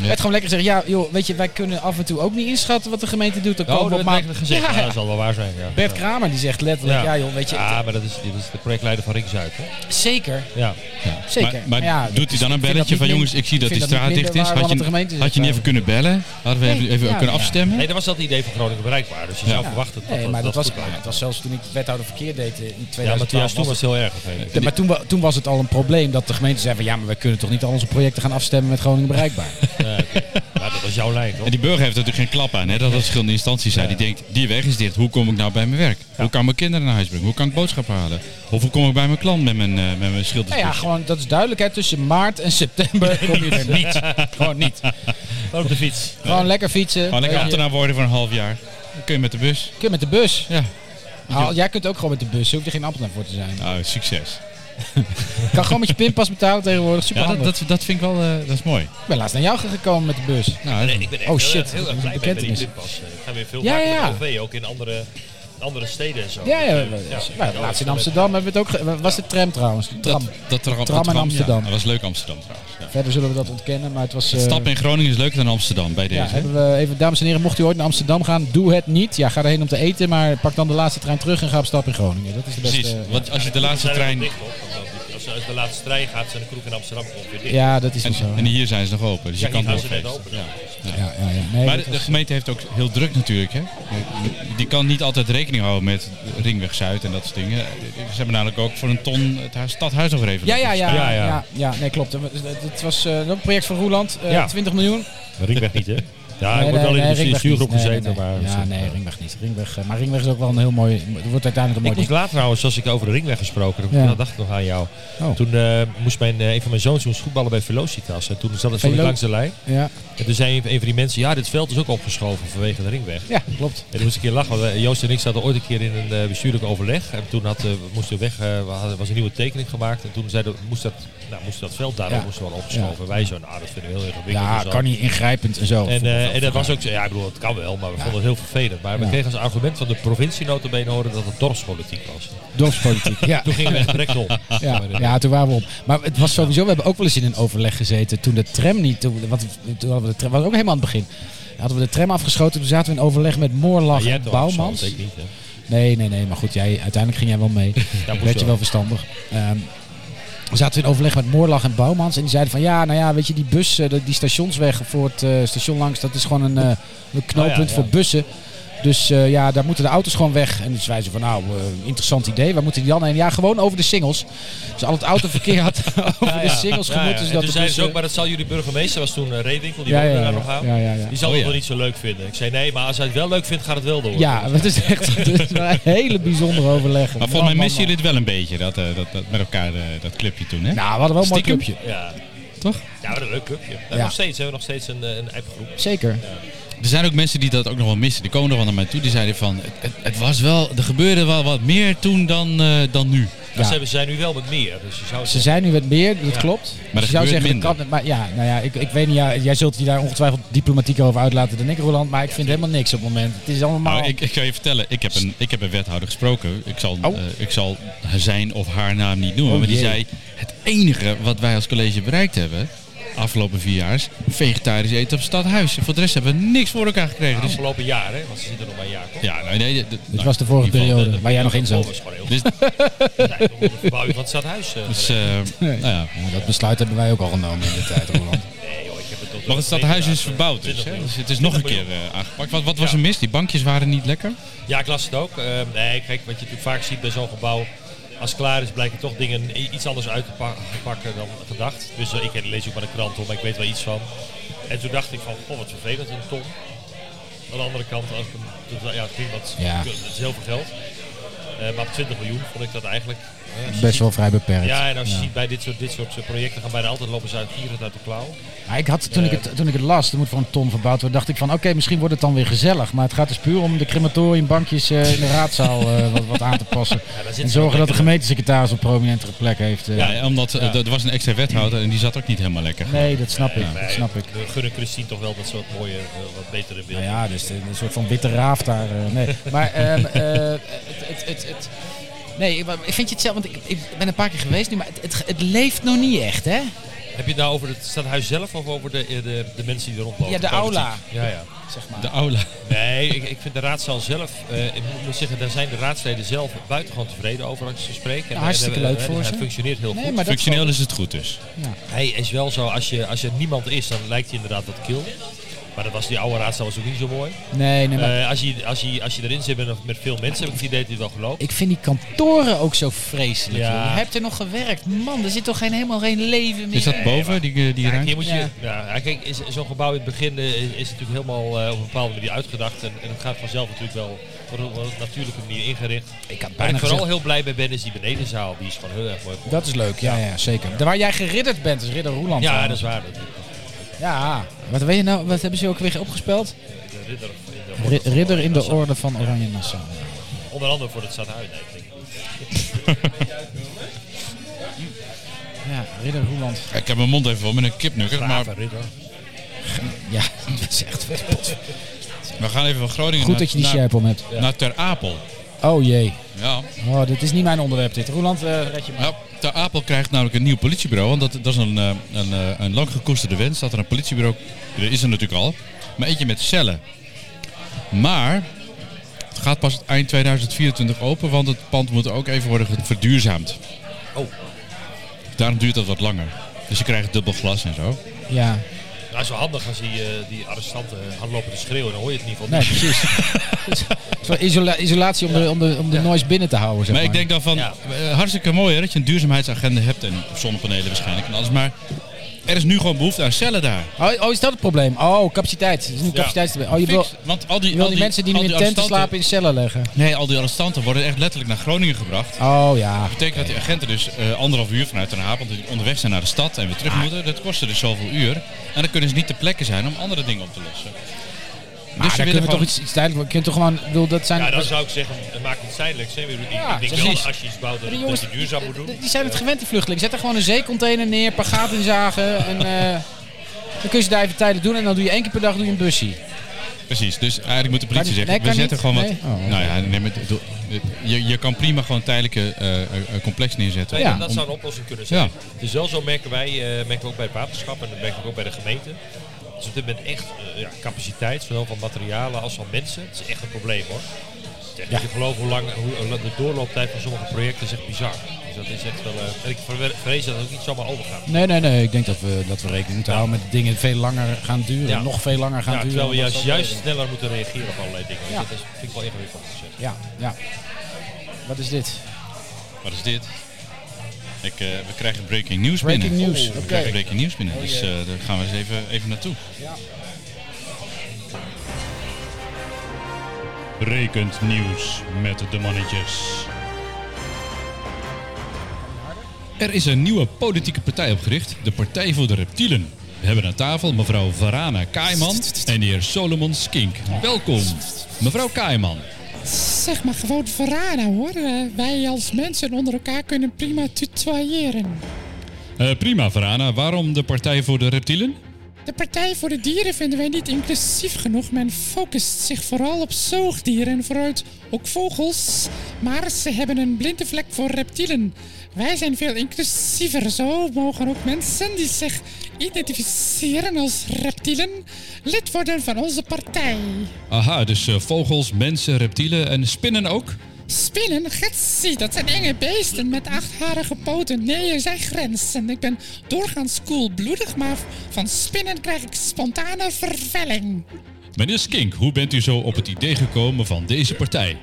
Speaker 2: Ja.
Speaker 1: Het gewoon lekker zeggen, ja joh, weet je, wij kunnen af en toe ook niet inschatten wat de gemeente doet. Dan
Speaker 3: Oh,
Speaker 1: komen
Speaker 3: dat
Speaker 1: we op
Speaker 3: werd
Speaker 1: maand-
Speaker 3: eigenlijk gezegd.
Speaker 1: Ja,
Speaker 3: Ja,
Speaker 1: ja.
Speaker 3: dat zal wel waar zijn, ja.
Speaker 1: Bert
Speaker 3: Ja.
Speaker 1: Kramer die zegt letterlijk, ja, joh, weet je,
Speaker 3: Ja, maar dat is, dat is de projectleider van Ring Zuid, hè?
Speaker 1: zeker.
Speaker 3: Ja.
Speaker 2: Ja.
Speaker 1: Zeker.
Speaker 2: Maar,
Speaker 1: Maar
Speaker 2: maar
Speaker 1: ja, dat
Speaker 2: doet hij
Speaker 1: is-
Speaker 2: dan een
Speaker 1: ik vind dat
Speaker 2: belletje
Speaker 1: niet
Speaker 2: van...
Speaker 1: min-
Speaker 2: jongens, ik zie dat
Speaker 1: vind dat niet
Speaker 2: die straat
Speaker 1: minder
Speaker 2: dicht is.
Speaker 1: waar dan
Speaker 2: Had
Speaker 1: de gemeente
Speaker 2: je, had je niet
Speaker 1: zegt
Speaker 2: even kunnen bellen? Hadden we even,
Speaker 1: Nee,
Speaker 2: even
Speaker 1: ja,
Speaker 2: kunnen
Speaker 1: ja.
Speaker 2: afstemmen?
Speaker 3: Nee, dat was dat idee van Groningen bereikbaar. Dus je zou
Speaker 1: Ja.
Speaker 3: verwachten dat
Speaker 1: Nee,
Speaker 3: dat,
Speaker 1: maar dat,
Speaker 3: dat
Speaker 1: was,
Speaker 3: goed blijkt.
Speaker 1: het was zelfs toen ik wethouder verkeer deed eh, in
Speaker 3: Ja, maar
Speaker 1: 2012.
Speaker 3: toen, ja,
Speaker 1: was
Speaker 3: toen was
Speaker 1: het-
Speaker 3: het heel erg. vervelend.
Speaker 1: Ja, maar toen, wa- toen was het al een probleem dat de gemeente zei van ja, maar we kunnen toch niet al onze projecten gaan afstemmen met Groningen Bereikbaar.
Speaker 3: Ja, oké. Maar dat was jouw lijn, toch?
Speaker 2: En die burger heeft natuurlijk geen klap aan. Hè? Dat dat verschillende instanties zijn. Die denkt, die weg is dicht. Hoe kom ik nou bij mijn werk? Hoe kan ik mijn kinderen naar huis brengen? Hoe kan ik boodschappen halen? Of hoe kom ik bij mijn klant met mijn, eh, met mijn
Speaker 1: Nou ja,
Speaker 2: schildersbus?
Speaker 1: gewoon, dat is duidelijkheid. Tussen maart en september kom je er niet. gewoon niet.
Speaker 3: Maar op de fiets.
Speaker 1: Gewoon lekker fietsen.
Speaker 2: Gewoon lekker
Speaker 1: weet je.
Speaker 2: ambtenaar worden voor een half jaar. Dan kun je met de bus.
Speaker 1: Kun je met de bus.
Speaker 2: Ja.
Speaker 1: Ah, jij kunt ook gewoon met de bus. Je hoeft er geen ambtenaar voor te zijn.
Speaker 2: Nou, succes.
Speaker 1: Je kan gewoon met je pinpas betalen tegenwoordig. Super
Speaker 2: Ja, dat, dat, dat vind ik wel, eh, dat is mooi.
Speaker 1: Ik ben laatst naar jou gekomen met de bus.
Speaker 2: Nou,
Speaker 3: Nee, ik ben echt
Speaker 1: Oh,
Speaker 3: heel
Speaker 1: shit.
Speaker 3: erg- heel
Speaker 1: Dat
Speaker 3: erg
Speaker 1: is
Speaker 3: blij
Speaker 1: een
Speaker 3: met die
Speaker 1: bekentenis.
Speaker 3: pinpas. Ik ga weer veel
Speaker 1: Ja,
Speaker 3: vaker
Speaker 1: ja,
Speaker 3: met de OV, ook in andere andere steden en zo.
Speaker 1: Ja, ja,
Speaker 3: Dus,
Speaker 1: we-
Speaker 3: eh,
Speaker 1: we-
Speaker 3: ja,
Speaker 1: nou, laatst in Amsterdam hebben we het ook... ge- was de tram trouwens? De Tram.
Speaker 2: Dat, dat tra- dat
Speaker 1: Tram in
Speaker 2: ja.
Speaker 1: Amsterdam.
Speaker 2: Dat was leuk Amsterdam trouwens. Ja.
Speaker 1: Verder zullen we dat ontkennen, maar het was... eh,
Speaker 2: Stap in Groningen is leuker dan Amsterdam bij
Speaker 1: ja,
Speaker 2: deze.
Speaker 1: hebben we even, dames en heren, mocht u ooit naar Amsterdam gaan, doe het niet. Ja, ga erheen om te eten, maar pak dan de laatste trein terug en ga op stap in Groningen. Dat is de beste...
Speaker 2: Precies,
Speaker 1: eh, ja.
Speaker 2: want als je de laatste
Speaker 3: Zijn er wel
Speaker 2: trein...
Speaker 3: dicht, hoor, want als- Als, als de laatste trein gaat, zijn de kroeg in Amsterdam ongeveer dicht.
Speaker 1: Ja, dat is wel
Speaker 2: En,
Speaker 1: zo.
Speaker 2: en hier zijn ze nog open, dus je
Speaker 3: Ja,
Speaker 2: kan
Speaker 3: hier gaan ze net
Speaker 2: doorfeesten.
Speaker 3: open.
Speaker 1: Ja,
Speaker 2: Ja.
Speaker 1: ja, ja. Nee,
Speaker 2: Maar
Speaker 1: dat
Speaker 2: de, de
Speaker 1: was-
Speaker 2: gemeente heeft ook heel druk natuurlijk. Hè? Die kan niet altijd rekening houden met Ringweg Zuid en dat soort dingen. Ze hebben namelijk ook voor een ton het huis- stadhuis nog weer even
Speaker 1: Ja, ja,
Speaker 2: laten
Speaker 1: ja, ja,
Speaker 4: Ja,
Speaker 1: ja.
Speaker 4: ja.
Speaker 1: nee, klopt. Het was eh, ook een project van Roeland, eh,
Speaker 4: Ja.
Speaker 1: 20 miljoen.
Speaker 4: Ringweg niet, hè? Ja,
Speaker 1: Nee,
Speaker 4: ik word
Speaker 1: nee,
Speaker 4: wel
Speaker 1: nee,
Speaker 4: in de
Speaker 1: Ringweg
Speaker 4: stuurgroep
Speaker 1: niet. Nee,
Speaker 4: gezeten,
Speaker 1: nee, nee.
Speaker 4: maar...
Speaker 1: Ja, nee, Ringweg niet. Ringweg, eh, maar Ringweg is ook wel een heel mooi... Het wordt uiteindelijk een
Speaker 3: Ik
Speaker 1: mooi
Speaker 3: moest laat trouwens, als ik over de ringweg gesproken heb,
Speaker 1: Ja.
Speaker 3: dan dacht ik nog aan jou.
Speaker 1: Oh.
Speaker 3: Toen eh, moest mijn, eh, een van mijn zoons moest voetballen bij Velocitas. En toen zat het zo
Speaker 1: Velo-
Speaker 3: langs de lijn.
Speaker 1: ding. Ja,
Speaker 3: En toen zei een van die mensen, ja, dit veld is ook opgeschoven vanwege de ringweg.
Speaker 1: ja, klopt.
Speaker 3: En toen moest ik een keer lachen. want, eh, Joost en ik zaten ooit een keer in een eh, bestuurlijk overleg. En toen had, eh, we moesten we weg, eh, we hadden, was een nieuwe tekening gemaakt. En toen zeiden we, moest dat, nou, moest dat veld daar
Speaker 1: Ja.
Speaker 3: ook moest worden opgeschoven. En Wij zo, nou, dat vinden we heel ingewikkeld.
Speaker 1: Ja,
Speaker 3: en zo.
Speaker 1: kan niet ingrijpend en zo.
Speaker 3: En, eh, en dat was ook zo, ja, ik bedoel, het kan wel, maar we vonden het heel vervelend. Maar we
Speaker 1: Ja.
Speaker 3: kregen als argument van de provincie notabene horen dat het dorpspolitiek was.
Speaker 1: Dorpspolitiek, ja.
Speaker 3: Toen gingen we echt direct om.
Speaker 1: Ja, ja, toen waren we op. Maar het was sowieso, we hebben ook wel eens in een overleg gezeten toen de tram niet. Toen, want toen hadden we de tram, was ook helemaal aan het begin. Hadden we de tram afgeschoten, toen zaten we in overleg met Moorlag
Speaker 3: jij
Speaker 1: en
Speaker 3: hebt toch afgeschoten,
Speaker 1: Bouwmans.
Speaker 3: Ik niet, hè?
Speaker 1: Nee, nee, nee. Maar goed, jij, uiteindelijk ging jij wel mee.
Speaker 3: moest
Speaker 1: Werd je
Speaker 3: wel.
Speaker 1: wel verstandig. Ehm, we zaten in overleg met Moorlag en Bouwmans. En die zeiden van ja, nou ja, weet je, die bus, eh, dat- die stationsweg voor het eh, station langs, dat is gewoon een, eh, een knooppunt
Speaker 3: Oh ja, ja.
Speaker 1: voor bussen. Dus eh, ja, daar moeten de auto's gewoon weg. En dus wij zeiden van nou, eh, interessant idee. Waar moeten die dan heen? Ja, gewoon over de singles. Dus al het autoverkeer had over
Speaker 3: Ja,
Speaker 1: de
Speaker 3: ja.
Speaker 1: singles
Speaker 3: Ja,
Speaker 1: gemoet.
Speaker 3: ja.
Speaker 1: Dus
Speaker 3: En
Speaker 1: dat
Speaker 3: toen
Speaker 1: de
Speaker 3: zeiden ze
Speaker 1: bussen-
Speaker 3: ook, maar dat zal jullie burgemeester, was toen eh, Redinkel, die
Speaker 1: ja, ja,
Speaker 3: woonde
Speaker 1: ja,
Speaker 3: daar nog aan.
Speaker 1: ja, ja, ja.
Speaker 3: Die zal
Speaker 2: Oh,
Speaker 3: het
Speaker 2: ja.
Speaker 3: wel niet zo leuk vinden. Ik zei nee, maar als hij het wel leuk vindt, gaat het wel door.
Speaker 1: Ja, dat is echt het is een hele bijzondere overleg.
Speaker 2: Maar volgens mij missen jullie het wel een beetje, dat, eh, dat, dat, met elkaar eh, dat clubje toen. Hè?
Speaker 1: Nou, we hadden wel een mooi
Speaker 2: Stiekem?
Speaker 1: clubje.
Speaker 3: Ja.
Speaker 1: Toch?
Speaker 3: Ja, wat een leuk clubje.
Speaker 1: Ja.
Speaker 3: En Nog steeds, hebben we nog steeds een, eh, een appgroep.
Speaker 1: Zeker.
Speaker 2: Er zijn ook mensen die dat ook nog wel missen. Die komen nog wel naar mij toe. Die zeiden van, het, het- het was wel, er gebeurde wel wat meer toen dan, eh, dan nu.
Speaker 1: Ja.
Speaker 3: Ja. Ze hebben- zijn nu wel met meer. Dus je zou
Speaker 1: Ze
Speaker 3: zeggen,
Speaker 1: zijn nu wat meer, dat
Speaker 3: Ja.
Speaker 1: klopt. Dus
Speaker 2: Maar
Speaker 1: je
Speaker 2: er
Speaker 1: zou
Speaker 2: gebeurt
Speaker 1: zeggen,
Speaker 2: minder.
Speaker 1: dat kan, maar ja, nou ja, ik, ik weet niet, ja, jij zult je daar ongetwijfeld diplomatieker over uitlaten dan ik, Roland. Maar ik vind helemaal niks op het moment. Het is allemaal...
Speaker 2: Nou, ik, ik ga je vertellen, ik heb, een, ik heb een wethouder gesproken. Ik zal,
Speaker 1: Oh.
Speaker 2: eh, ik zal zijn of haar naam niet noemen.
Speaker 1: Oh,
Speaker 2: maar die
Speaker 1: jee.
Speaker 2: zei, het enige wat wij als college bereikt hebben... afgelopen vier jaar is vegetarisch eten op stadhuis. En voor de rest hebben we niks voor elkaar gekregen. Dus,
Speaker 3: afgelopen jaar, hè, want ze zitten nog maar een jaar. Kom.
Speaker 2: ja, nou, nee, dit- dit-
Speaker 1: Dit
Speaker 2: nou,
Speaker 1: was de vorige
Speaker 2: in ieder
Speaker 1: periode,
Speaker 2: geval,
Speaker 1: waar jij nog in
Speaker 3: Dat
Speaker 1: zat.
Speaker 3: was gewoon heel
Speaker 2: Dus,
Speaker 3: Ja, ik bedoel, de verbouwing van het stadhuis. eh,
Speaker 2: dus, eh,
Speaker 1: Nee.
Speaker 2: nou ja.
Speaker 1: Ja, dat besluit hebben wij ook al genomen in de tijd, Roland.
Speaker 3: Nee, joh, ik heb het tot
Speaker 2: Maar het stadhuis is verbouwd dus, hè? dus het is nog een keer eh, aangepakt. Wat, wat was er mis? Die bankjes waren niet lekker?
Speaker 3: Ja, ik las het ook. Eh, nee, kijk, wat je natuurlijk vaak ziet bij zo'n gebouw. Als het klaar is, blijken toch dingen i- iets anders uit te pa- pakken dan gedacht. Dus eh, ik lees ook maar de krant om, maar ik weet wel iets van. En toen dacht ik van, oh wat vervelend, een ton. Aan de andere kant, als ik hem- dus, ja, het ging wat,
Speaker 1: Ja.
Speaker 3: dat is heel veel geld. Eh, maar op 20 miljoen vond ik dat eigenlijk... eh, als je
Speaker 1: Best wel
Speaker 3: ziet-
Speaker 1: vrij beperkt.
Speaker 3: Ja, en als je ziet bij dit soort, dit soort eh, projecten gaan bijna altijd lopen ze uit gierend uit de klauw.
Speaker 1: Maar ik had, toen, ik het, toen ik het las, er moet voor een ton verbouwd worden, dacht ik van oké, misschien wordt het dan weer gezellig. Maar het gaat dus puur om de crematoriumbankjes eh, in de raadzaal eh, wat, wat aan te passen.
Speaker 3: daar zit
Speaker 1: en
Speaker 3: ze wel
Speaker 1: zorgen dat de
Speaker 3: lekker.
Speaker 1: gemeentesecretaris een prominentere plek heeft. eh.
Speaker 2: Ja, omdat eh,
Speaker 3: Ja.
Speaker 2: er was een extra wethouder en die zat ook niet helemaal lekker.
Speaker 1: Nee, dat snap ik, dat
Speaker 3: Nee,
Speaker 1: snap ik.
Speaker 3: We gunnen Christine toch wel dat soort mooie, eh, wat betere
Speaker 1: Nou
Speaker 3: beelden.
Speaker 1: ja, dus de- een soort van witte raaf daar. eh, nee. Maar ehm, eh, het, het, het, het- nee, maar vind je het zelf? Want ik, ik ben een paar keer geweest nu, maar het, het, het leeft nog niet echt, hè?
Speaker 3: Heb je het nou over het stadhuis zelf of over de, eh, de, de mensen die er rondlopen?
Speaker 1: Ja, de
Speaker 3: Politiek.
Speaker 1: aula.
Speaker 3: Ja, ja.
Speaker 1: Zeg maar.
Speaker 2: De aula.
Speaker 3: Nee, ik, ik vind de raadzaal zelf, eh, ik moet- moet zeggen, daar zijn de raadsleden zelf buitengewoon tevreden over als ze spreken. En, eh,
Speaker 1: hartstikke
Speaker 3: eh,
Speaker 1: leuk
Speaker 3: eh,
Speaker 1: voor
Speaker 3: Hij
Speaker 1: ze.
Speaker 3: functioneert heel
Speaker 1: Nee,
Speaker 3: goed.
Speaker 1: maar dat
Speaker 2: Functioneel is het goed dus.
Speaker 3: Hij is wel zo, als, je, als er niemand is, dan lijkt hij inderdaad wat kil. Maar dat was die oude raadzaal was ook niet zo mooi.
Speaker 1: Nee, nee, maar
Speaker 3: Eh, als, je, als, je, als je erin zit met, met veel mensen, heb ik het idee dat hij het wel gelooft.
Speaker 1: ik vind die kantoren ook zo vreselijk.
Speaker 3: Ja.
Speaker 1: joh. Je hebt er nog gewerkt. Man, er zit toch geen, helemaal geen leven meer.
Speaker 2: Is dat boven, die, die
Speaker 3: Ja,
Speaker 2: ruimte?
Speaker 3: hier moet je, ja. kijk, is, zo'n gebouw in het begin eh, is, is natuurlijk helemaal eh, op een bepaalde manier uitgedacht. En, en het gaat vanzelf natuurlijk wel op een, op een natuurlijke manier ingericht.
Speaker 1: Ik had
Speaker 3: Waar
Speaker 1: bijna
Speaker 3: ik vooral
Speaker 1: gezegd,
Speaker 3: heel blij bij ben is die benedenzaal. Die is gewoon heel erg mooi. geworden.
Speaker 1: dat is leuk, ja, ja, zeker. Daar Waar jij geridderd bent, is Ridder Roeland.
Speaker 3: Ja,
Speaker 1: trouwens.
Speaker 3: dat is waar. Dat,
Speaker 1: Ja, wat, weet je nou, wat hebben ze ook weer opgespeld?
Speaker 3: de ridder, in de
Speaker 1: Ri- Ridder in de
Speaker 3: oorlog.
Speaker 1: Orde van Oranje Nassau.
Speaker 3: Onder andere voor het stadhuis. nee, ik denk.
Speaker 1: Ja, Ridder Roeland.
Speaker 2: Ik heb mijn mond even vol met een kipnugget, maar
Speaker 3: Brave ridder.
Speaker 1: Ja, dat is echt...
Speaker 2: we gaan even van Groningen
Speaker 1: Goed
Speaker 2: naar,
Speaker 1: dat je die
Speaker 2: naar,
Speaker 1: sjerp om hebt.
Speaker 2: naar Ter Apel.
Speaker 1: Oh jee.
Speaker 2: Ja.
Speaker 1: Oh, dit is niet mijn onderwerp dit. Roeland, eh, red je maar.
Speaker 2: Ja, Ter Apel krijgt namelijk een nieuw politiebureau. Want dat, dat is een, eh, een, eh, een lang gekoesterde wens dat er een politiebureau... Er is er natuurlijk al. Maar eentje met cellen. Maar het gaat pas eind 2024 open. Want het pand moet ook even worden ge- verduurzaamd.
Speaker 3: Oh.
Speaker 2: Daarom duurt dat wat langer. Dus je krijgt dubbel glas en zo.
Speaker 1: Ja,
Speaker 3: Nou, is wel handig als die, eh, die arrestanten gaan lopen te schreeuwen. Dan hoor je het in ieder geval
Speaker 1: nee,
Speaker 3: niet.
Speaker 1: precies. Het is een soort isola- isolatie om de, om de, om de noise binnen te houden, zeg
Speaker 2: Maar
Speaker 1: maar.
Speaker 2: ik denk dan van,
Speaker 3: Ja.
Speaker 2: eh, hartstikke mooi hè, dat je een duurzaamheidsagenda hebt. En zonnepanelen waarschijnlijk en alles. Maar er is nu gewoon behoefte aan cellen daar.
Speaker 1: Oh, oh, is dat het probleem? Oh, capaciteit. Het is nu capaciteitsprobleem. Oh, je wil,
Speaker 2: Fix. Want al die,
Speaker 1: je wil
Speaker 2: al
Speaker 1: die mensen die
Speaker 2: al
Speaker 1: nu in tenten
Speaker 2: arrestanten-
Speaker 1: slapen in cellen leggen.
Speaker 2: Nee, al die arrestanten worden echt letterlijk naar Groningen gebracht. Dat
Speaker 1: Oh ja.
Speaker 2: betekent dat die agenten dus eh, anderhalf uur vanuit Den Haag, want die onderweg zijn naar de stad en weer
Speaker 1: Ah.
Speaker 2: terug moeten. Dat kost ze dus zoveel uur. En dan kunnen ze niet ter plekke zijn om andere dingen op te lossen. Dus
Speaker 1: Maar
Speaker 2: ze
Speaker 1: daar
Speaker 2: willen
Speaker 1: kunnen we toch
Speaker 2: gewoon-
Speaker 1: iets, iets duidelijk... We kunnen toch gewoon... Ik bedoel, dat zijn...
Speaker 3: Ja, dan zou ik zeggen, maak het tijdelijks. Hè, weer die,
Speaker 1: Ja,
Speaker 3: ik denk wel,
Speaker 2: precies.
Speaker 3: dat als je iets bouwt, dat,
Speaker 1: Maar
Speaker 3: dat
Speaker 1: die
Speaker 3: je duurzaam moet doen.
Speaker 1: Die zijn het gewend, die vluchtelingen. Zet er gewoon een zeecontainer neer, paar gaten in zagen. En eh, dan kun je ze daar even tijdelijk doen. En dan doe je één keer per dag doe je een busje.
Speaker 2: Precies, dus eigenlijk moet de politie
Speaker 1: Kan-
Speaker 2: zeggen,
Speaker 1: nee,
Speaker 2: we
Speaker 1: kan
Speaker 2: zetten
Speaker 1: niet.
Speaker 2: gewoon wat...
Speaker 1: Nee. Oh.
Speaker 2: Nou ja, nee, maar het- het- het- je, je kan prima gewoon tijdelijke eh, eh, complex neerzetten.
Speaker 3: Nee,
Speaker 1: Ja.
Speaker 3: dat- dat
Speaker 2: Om-
Speaker 3: zou een oplossing kunnen zijn.
Speaker 2: Ja.
Speaker 3: Het is wel zo, merken wij, eh, merken we ook bij het waterschap en dat merken we ook bij de gemeente. Dus op dit moment echt eh, ja, capaciteit, zowel van materialen als van mensen. Het is echt een probleem hoor. Het is echt niet te geloven hoe lang hoe, hoe lang de doorlooptijd van sommige projecten is echt bizar. Dus dat is echt wel. eh, en ik verwe- vrees dat het ook niet zomaar overgaat.
Speaker 1: Nee, nee, nee. Ik denk dat we, dat we rekening moeten houden met dingen die veel langer gaan duren.
Speaker 3: Ja.
Speaker 1: Nog veel langer gaan
Speaker 3: Ja,
Speaker 1: duren.
Speaker 3: terwijl we
Speaker 1: omdat
Speaker 3: juist,
Speaker 1: ze dat
Speaker 3: juist
Speaker 1: weten.
Speaker 3: sneller moeten reageren op allerlei dingen. Dus
Speaker 1: Ja.
Speaker 3: Dat is, vind ik wel ingewikkeld gezegd.
Speaker 1: Ja, ja. Wat is dit?
Speaker 2: Wat is dit? Ik, eh, we krijgen breaking news
Speaker 1: Breaking
Speaker 2: binnen.
Speaker 1: news,
Speaker 2: We
Speaker 1: oké. Oh,
Speaker 2: krijgen breaking news binnen, dus eh, daar gaan we eens even, even naartoe.
Speaker 4: Rekent nieuws met de mannetjes.
Speaker 2: Er is een nieuwe politieke partij opgericht, de Partij voor de Reptielen. We hebben aan tafel mevrouw Varana Kaaiman en de heer Solomon Skink. Welkom, mevrouw Kaaiman.
Speaker 5: Zeg maar gewoon verraden hoor. Eh, wij als mensen onder elkaar kunnen prima tutoyeren.
Speaker 2: Eh, prima, Varana. Waarom de Partij voor de Reptielen?
Speaker 5: De Partij voor de Dieren vinden wij niet inclusief genoeg. Men focust zich vooral op zoogdieren en vooruit ook vogels. Maar ze hebben een blinde vlek voor reptielen. Wij zijn veel inclusiever. Zo mogen ook mensen die zich identificeren als reptielen lid worden van onze partij.
Speaker 2: Aha, dus eh, vogels, mensen, reptielen en spinnen ook?
Speaker 5: Spinnen, getsie, dat zijn enge beesten met achtharige poten. Nee, er zijn grenzen. Ik ben doorgaans koelbloedig, maar van spinnen krijg ik spontane vervelling.
Speaker 2: Meneer Skink, hoe bent u zo op het idee gekomen van deze partij?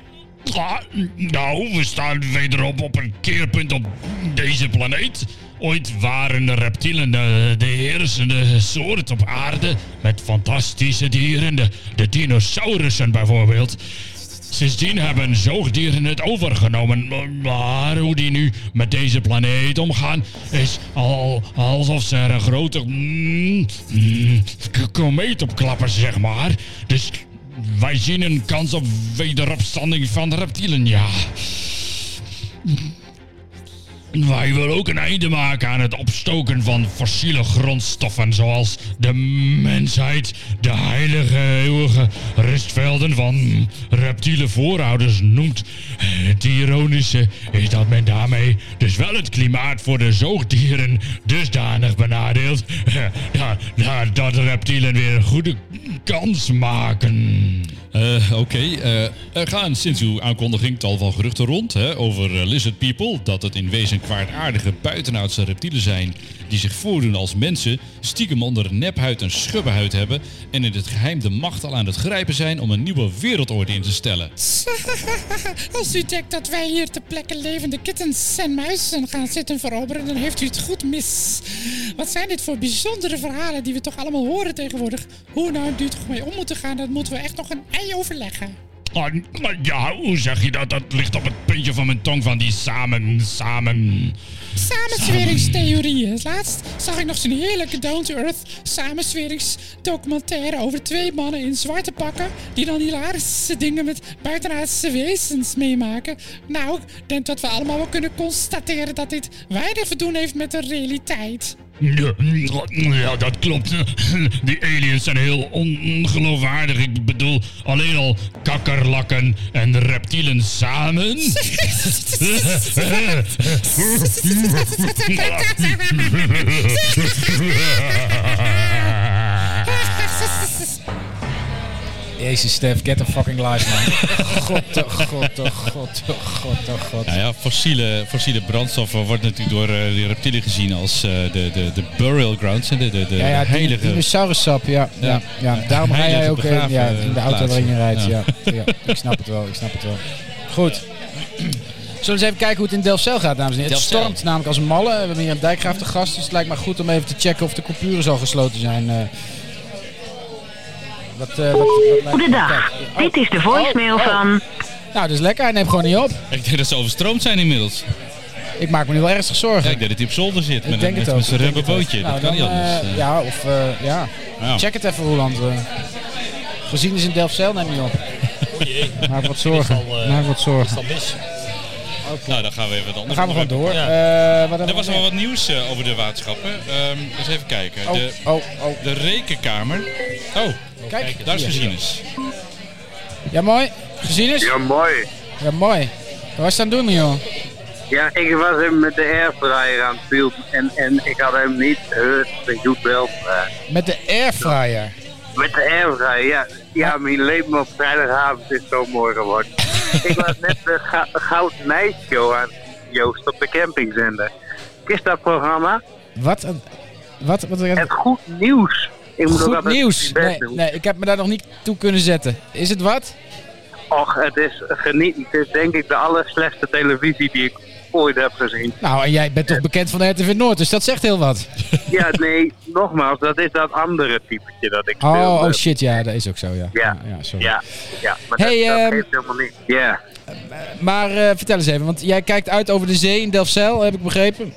Speaker 4: Ja, nou, we staan wederop op een keerpunt op deze planeet. Ooit waren de reptielen eh, de, de heersende soort op aarde. Met fantastische dieren, de, de dinosaurussen bijvoorbeeld. Sindsdien hebben zoogdieren het overgenomen. Maar hoe die nu met deze planeet omgaan, is al alsof ze er een grote mm, mm, k- komeet op klappen, zeg maar. Dus wij zien een kans op wederopstanding van reptielen, ja. Wij willen ook een einde maken aan het opstoken van fossiele grondstoffen, zoals de mensheid, de heilige eeuwige rustvelden van reptiele voorouders noemt. Het ironische is dat men daarmee dus wel het klimaat voor de zoogdieren dusdanig benadeelt dat, dat, dat reptielen weer een goede kans maken.
Speaker 2: Eh, Oké, eh, er gaan sinds uw aankondiging tal van geruchten rond hè, over eh, lizard people. Dat het in wezen kwaadaardige buitenaardse reptielen zijn die zich voordoen als mensen, stiekem onder een nephuid en schubbenhuid hebben en in het geheim de macht al aan het grijpen zijn om een nieuwe wereldorde in te stellen.
Speaker 5: Als u denkt dat wij hier ter plekke levende kittens en muizen gaan zitten veroberen, dan heeft u het goed mis. Wat zijn dit voor bijzondere verhalen die we toch allemaal horen tegenwoordig? Hoe nou duurt mee om moeten gaan, dat moeten we echt nog een ei overleggen.
Speaker 4: Ah, maar ja, hoe zeg je dat? Dat ligt op het puntje van mijn tong van die samen, samen.
Speaker 5: Samenzweringstheorieën. Laatst zag ik nog zo'n heerlijke down-to-earth samenzweringsdocumentaire over twee mannen in zwarte pakken die dan hilarische dingen met buitenaardse wezens meemaken. Nou, ik denk dat we allemaal wel kunnen constateren dat dit weinig te doen heeft met de realiteit.
Speaker 4: Ja, ja, dat klopt. Die aliens zijn heel ongeloofwaardig. Ik bedoel, alleen al kakkerlakken en reptielen samen.
Speaker 1: Jezus, Stef, get a fucking life, man. God, oh god, oh god, oh god, oh god.
Speaker 2: Nou ja, fossiele, fossiele brandstoffen wordt natuurlijk door eh, de reptielen gezien als eh, de, de, de burial grounds. hè, De, de, de
Speaker 1: Ja, ja, die
Speaker 2: heilige...
Speaker 1: dinosaurussap, ja. ja. ja. Daarom rij
Speaker 2: Heilige
Speaker 1: jij ook eh, ja,
Speaker 2: begraven,
Speaker 1: in de auto
Speaker 2: plaats.
Speaker 1: waarin je rijdt. Ja.
Speaker 2: Ja.
Speaker 1: Ja. Ik snap het wel, ik snap het wel. Goed. Zullen we eens even kijken hoe het in Delfzijl gaat, dames en heren. Het
Speaker 2: Delfzijl.
Speaker 1: stormt namelijk als een malle. We hebben hier een dijkgraaf te gast, dus het lijkt me goed om even te checken of de coupures al gesloten zijn. eh. Wat, eh, wat, wat lijkt-
Speaker 6: Goedendag,
Speaker 1: Kijk. Oh.
Speaker 6: dit is de voicemail
Speaker 1: Oh, oh.
Speaker 6: van...
Speaker 1: Nou, dus lekker. Hij neemt gewoon niet op.
Speaker 2: Ik denk dat ze overstroomd zijn inmiddels.
Speaker 1: Ik maak me nu wel ernstig
Speaker 2: Ja,
Speaker 1: zorgen.
Speaker 2: ik denk dat hij op zolder zit
Speaker 1: ik
Speaker 2: met,
Speaker 1: denk
Speaker 2: een- met,
Speaker 1: het ook.
Speaker 2: met zijn
Speaker 1: ik denk het ook.
Speaker 2: rubberbootje.
Speaker 1: Nou,
Speaker 2: dat kan niet
Speaker 1: dan,
Speaker 2: anders.
Speaker 1: eh,
Speaker 2: Eh,
Speaker 1: ja, of eh, ja.
Speaker 2: ja.
Speaker 1: Check het even, Roland. eh. Gezien is in Delfzijl, neem je op.
Speaker 3: Oh jee.
Speaker 1: Maak wat zorgen.
Speaker 3: Is al, eh,
Speaker 1: Maak wat
Speaker 3: Is
Speaker 1: zorgen.
Speaker 3: dat mis?
Speaker 2: Nou, dan gaan we even wat
Speaker 1: Dan
Speaker 2: anders
Speaker 1: gaan we gewoon door.
Speaker 3: Ja.
Speaker 1: Eh, wat
Speaker 2: Er
Speaker 1: hebben
Speaker 2: was
Speaker 1: we
Speaker 2: al
Speaker 1: nog
Speaker 2: wat nieuws eh, over de waterschappen. Ehm eens even kijken.
Speaker 1: meer?
Speaker 2: De,
Speaker 1: Oh, oh, oh.
Speaker 2: de rekenkamer. Oh,
Speaker 1: Kijk,
Speaker 2: daar is
Speaker 1: hier.
Speaker 2: Gezienis.
Speaker 1: Ja, mooi. Gezien is?
Speaker 7: Ja, mooi.
Speaker 1: Ja, mooi. Wat was je aan het doen, joh?
Speaker 7: Ja, ik was hem met de airfryer aan het filmen en, en ik had hem niet gehoord. Ik doe het wel. eh,
Speaker 1: Met de airfryer.
Speaker 7: met de airfryer, ja. Ja, mijn leven op vrijdagavond is zo mooi geworden. ik was net de Ga- Goud Meisje aan Joost op de campingzender. Is dat programma?
Speaker 1: Wat een... Wat, wat,
Speaker 7: Het Goed Nieuws. Ik moet ook
Speaker 1: goed
Speaker 7: altijd
Speaker 1: nieuws.
Speaker 7: mijn
Speaker 1: Nee,
Speaker 7: best doen.
Speaker 1: nee, ik heb me daar nog niet toe kunnen zetten. Is het wat?
Speaker 7: Och, het is genieten. Het is denk ik de allerslechtste televisie die ik ooit heb gezien.
Speaker 1: Nou, en jij bent toch bekend van de RTV Noord, dus dat zegt heel wat.
Speaker 7: Ja, nee, nogmaals, dat is dat andere typetje dat ik eh,
Speaker 1: Oh,
Speaker 7: speelde.
Speaker 1: oh shit, ja, dat is ook zo, ja.
Speaker 7: Ja.
Speaker 1: ja sorry.
Speaker 7: Ja, ja, maar
Speaker 1: Hey,
Speaker 7: dat,
Speaker 1: ehm,
Speaker 7: dat geeft helemaal niet. Ja,
Speaker 1: Maar eh, vertel eens even, want jij kijkt uit over de zee in Delfzijl, heb ik begrepen.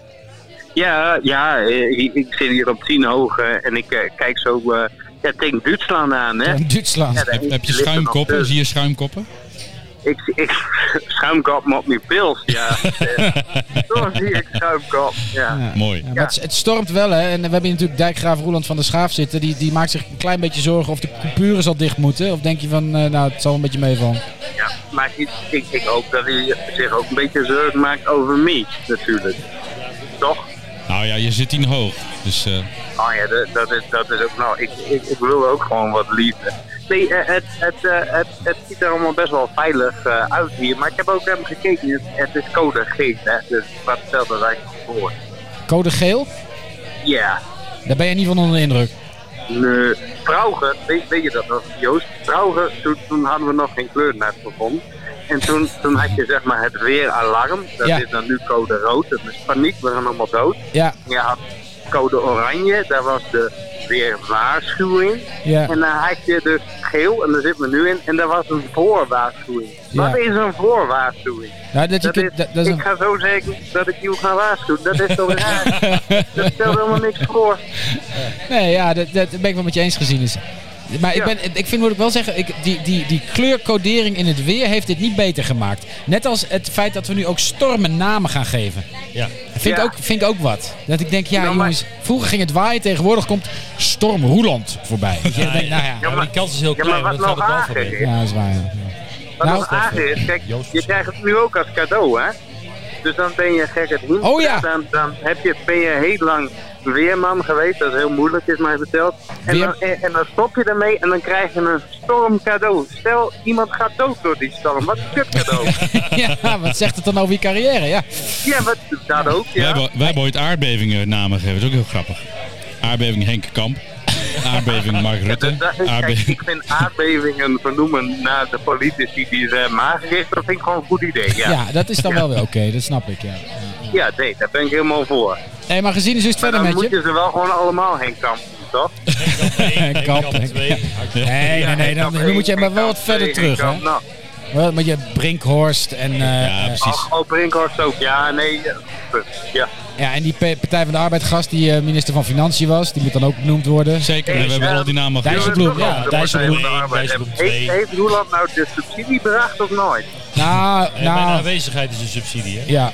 Speaker 7: ja, ja eh, ik, ik zit hier op tien hoog eh, en ik eh, kijk zo eh, ja, tegen Duitsland aan. Hè?
Speaker 1: In Duitsland.
Speaker 7: Ja, daar
Speaker 2: Heb, heb je
Speaker 7: ligt er nog
Speaker 2: schuimkoppen?
Speaker 7: tussen.
Speaker 2: Zie je schuimkoppen?
Speaker 7: Ik, ik schuimkap me op mijn pils, ja. Eh, Zo zie ik schuimkap, ja.
Speaker 2: Mooi.
Speaker 1: Ja, maar het, het stormt wel, hè. En we hebben hier natuurlijk dijkgraaf Roeland van der Schaaf zitten. Die, die maakt zich een klein beetje zorgen of de coupures al dicht moeten. Of denk je van, eh, nou, het zal een beetje meevallen.
Speaker 7: ja. Maar ik, ik, ik hoop dat hij zich ook een beetje zorgen maakt over mij, natuurlijk. Toch?
Speaker 2: Nou ja, je zit tien hoog. Dus eh,
Speaker 7: Oh ja, dat, dat, is, dat is ook. Nou, ik, ik, ik wil ook gewoon wat liefde. Nee, eh, het, het, eh, het, het ziet er allemaal best wel veilig eh, uit hier. Maar ik heb ook hem gekeken. Het, het is code geel, hè? Dus wat stelt dat eigenlijk voor?
Speaker 1: Code geel?
Speaker 7: Ja.
Speaker 1: Daar ben je niet van onder de indruk.
Speaker 7: Nee. Trouwger, weet, weet je dat nog, Joost? Trouwger, toen, toen hadden we nog geen kleurnet gevonden. En toen, toen had je zeg maar het weeralarm. Dat
Speaker 1: Ja.
Speaker 7: is dan nu code rood. Dat is paniek, we gaan allemaal dood.
Speaker 1: Ja,
Speaker 7: Je had code oranje, daar was de weerwaarschuwing.
Speaker 1: ja.
Speaker 7: En dan had je dus geel, en daar zit we nu in, en daar was een voorwaarschuwing.
Speaker 1: Ja.
Speaker 7: Wat is een voorwaarschuwing?
Speaker 1: Nou, dat je
Speaker 7: Dat is,
Speaker 1: kunt, dat, dat is
Speaker 7: ik
Speaker 1: een,
Speaker 7: ga zo zeggen dat ik jou ga waarschuwen. Dat is toch raar? dat stelt helemaal niks voor.
Speaker 1: nee, ja, dat, dat ben ik wel met je eens gezien. Is. Maar ik,
Speaker 7: Ja.
Speaker 1: ben, ik vind, moet ik wel zeggen, ik, die, die, die kleurcodering in het weer heeft dit niet beter gemaakt. Net als het feit dat we nu ook stormen namen gaan geven.
Speaker 3: Ja.
Speaker 1: Vind,
Speaker 7: Ja.
Speaker 1: ook, vind ik ook wat. Dat ik denk, ja
Speaker 7: Nou, maar-
Speaker 1: jongens, vroeger ging het waaien, tegenwoordig komt Storm Roeland voorbij. Ja,
Speaker 3: Ja,
Speaker 1: nou ja,
Speaker 3: Ja, maar die kans is heel
Speaker 7: Ja,
Speaker 3: klein,
Speaker 7: maar wat
Speaker 3: want het gaat
Speaker 7: nog
Speaker 3: op
Speaker 7: aardig
Speaker 3: alfabet.
Speaker 7: is,
Speaker 1: ja, dat is waar. ja.
Speaker 7: wat
Speaker 1: Nou,
Speaker 7: nog aardig is, kijk,
Speaker 3: Joost
Speaker 7: je krijgt het nu ook als cadeau, hè? Dus dan ben je gek het niet.
Speaker 1: Oh ja.
Speaker 7: Dan, dan heb je, ben je heel lang weerman geweest, dat is heel moeilijk, is mij verteld. En
Speaker 1: Weer-
Speaker 7: dan, en, en dan stop je ermee en dan krijg je een storm cadeau. Stel, iemand gaat dood door die storm. Wat een kut cadeau.
Speaker 1: Ja. wat zegt het dan over je carrière? Ja.
Speaker 7: Ja, wat, dat ook,
Speaker 2: wij,
Speaker 7: ja.
Speaker 2: hebben, wij hebben ooit aardbevingen namen gegeven. Dat is ook heel grappig. Aardbeving Henk Kamp. Aardbeving Mark Rutte.
Speaker 7: Dat- dat- kijk,
Speaker 2: Aardbeving...
Speaker 7: Dus, eh, ik vind aardbevingen vernoemen naar de politici die ze hebben aangericht, dat vind ik gewoon een goed idee.
Speaker 1: Ja.
Speaker 7: Ja, ja.
Speaker 1: dat is dan wel weer oké, dat snap ik. Ja.
Speaker 7: nee, daar ben ik helemaal voor.
Speaker 1: Hey, maar gezien is het
Speaker 7: Maar
Speaker 1: verder
Speaker 7: dan
Speaker 1: met je.
Speaker 7: moeten ze wel gewoon allemaal heen kampen, toch?
Speaker 3: Nee,
Speaker 1: Kap,
Speaker 3: Kamp
Speaker 1: hè.
Speaker 3: twee.
Speaker 1: Nee, nee, nee, dan,
Speaker 7: Henkamp
Speaker 1: dan
Speaker 7: één,
Speaker 1: moet je maar wel
Speaker 7: Henkamp
Speaker 1: wat verder
Speaker 7: twee,
Speaker 1: terug.
Speaker 7: Henkamp-
Speaker 1: Hè?
Speaker 7: Nou,
Speaker 1: Wel met je Brinkhorst en, eh,
Speaker 2: Ja,
Speaker 1: eh,
Speaker 2: precies.
Speaker 7: ach, oh, Brinkhorst ook, ja, nee. eh, Ja,
Speaker 1: ja, en die P- Partij van de Arbeid gast die eh, minister van Financiën was, die moet dan ook benoemd worden.
Speaker 2: Zeker, we hebben al die namen
Speaker 1: Daar is
Speaker 2: gegeven.
Speaker 1: het Dijsselbloem, ja, Dijsselbloem.
Speaker 3: Dijsselbloem twee.
Speaker 7: Heeft, heeft Roeland nou de subsidie beracht of nooit?
Speaker 1: Nou,
Speaker 3: En Mijn
Speaker 1: nou,
Speaker 3: aanwezigheid is een subsidie, hè?
Speaker 1: ja,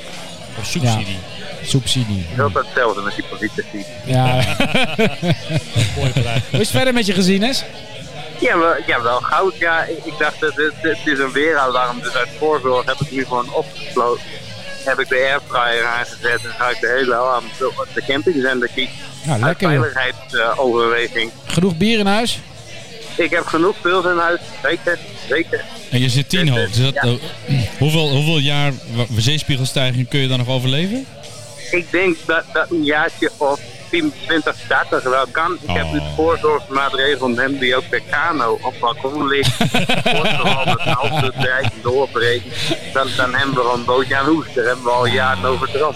Speaker 3: Of subsidie.
Speaker 1: Subsidie.
Speaker 7: Het is altijd hetzelfde met die politici.
Speaker 1: Ja.
Speaker 3: Mooi bedrijf.
Speaker 1: Hoe is het verder met je gezien, hè?
Speaker 7: Ja, wel, ja, wel goud. Ja, ik, ik dacht, het, het, het is een weeralarm, dus uit voorzorg heb ik nu gewoon opgesloten. Heb ik de airfryer aangezet en ga ik de hele avond op de camping zijn. Dat ik
Speaker 1: Nou,
Speaker 7: uit
Speaker 1: lekker. joh.
Speaker 7: veiligheidsoverweging.
Speaker 1: Genoeg bier in huis?
Speaker 7: Ik heb genoeg pils in huis, zeker, zeker.
Speaker 2: En je zit tien hoog. Dus dat,
Speaker 7: Ja.
Speaker 2: eh, hoeveel, hoeveel jaar wa- zeespiegelstijging kun je dan nog overleven?
Speaker 7: Ik denk dat, dat een jaartje of 10, 20, 30 wel kan. Ik heb nu
Speaker 2: Oh.
Speaker 7: voorzorgsmaatregelen om hem die ook per kano op balkon ligt. Vooral dat als het rijk doorbreekt, dan, dan hebben we gewoon een bootje aan hoest. Daar hebben we al jaren over gedaan.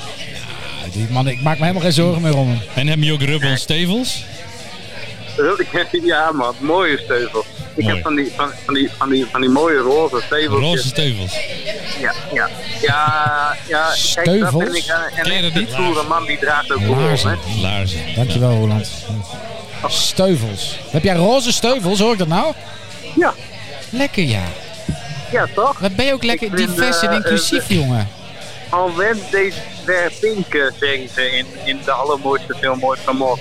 Speaker 1: Ja, die man, ik maak me helemaal geen zorgen meer om hem.
Speaker 2: En heb je ook rubbel en stevels?
Speaker 7: Ja man, mooie steuvel. Ik
Speaker 2: Mooi.
Speaker 7: heb van die, van, van, die, van, die, van die mooie roze steuveltjes.
Speaker 2: Roze stevels.
Speaker 7: Ja, ja. Ja, ja. Kijk, dat
Speaker 1: Steuvels?
Speaker 7: vind ik eh,
Speaker 2: Ken je
Speaker 7: een
Speaker 2: dat niet?
Speaker 7: echt niet stoere man die draagt ook roze. hè.
Speaker 1: Laarzen.
Speaker 2: Laarzen.
Speaker 1: Dankjewel, Roland. Steuvels. Heb jij roze steuvels? Hoor ik dat nou?
Speaker 7: Ja,
Speaker 1: Lekker, ja.
Speaker 7: ja toch?
Speaker 1: Wat ben je ook lekker
Speaker 7: Ik vind,
Speaker 1: divers en
Speaker 7: eh,
Speaker 1: inclusief, jongen.
Speaker 7: Al went deze verpinken, zeggen ze in, in de allermooiste film ooit van Mok.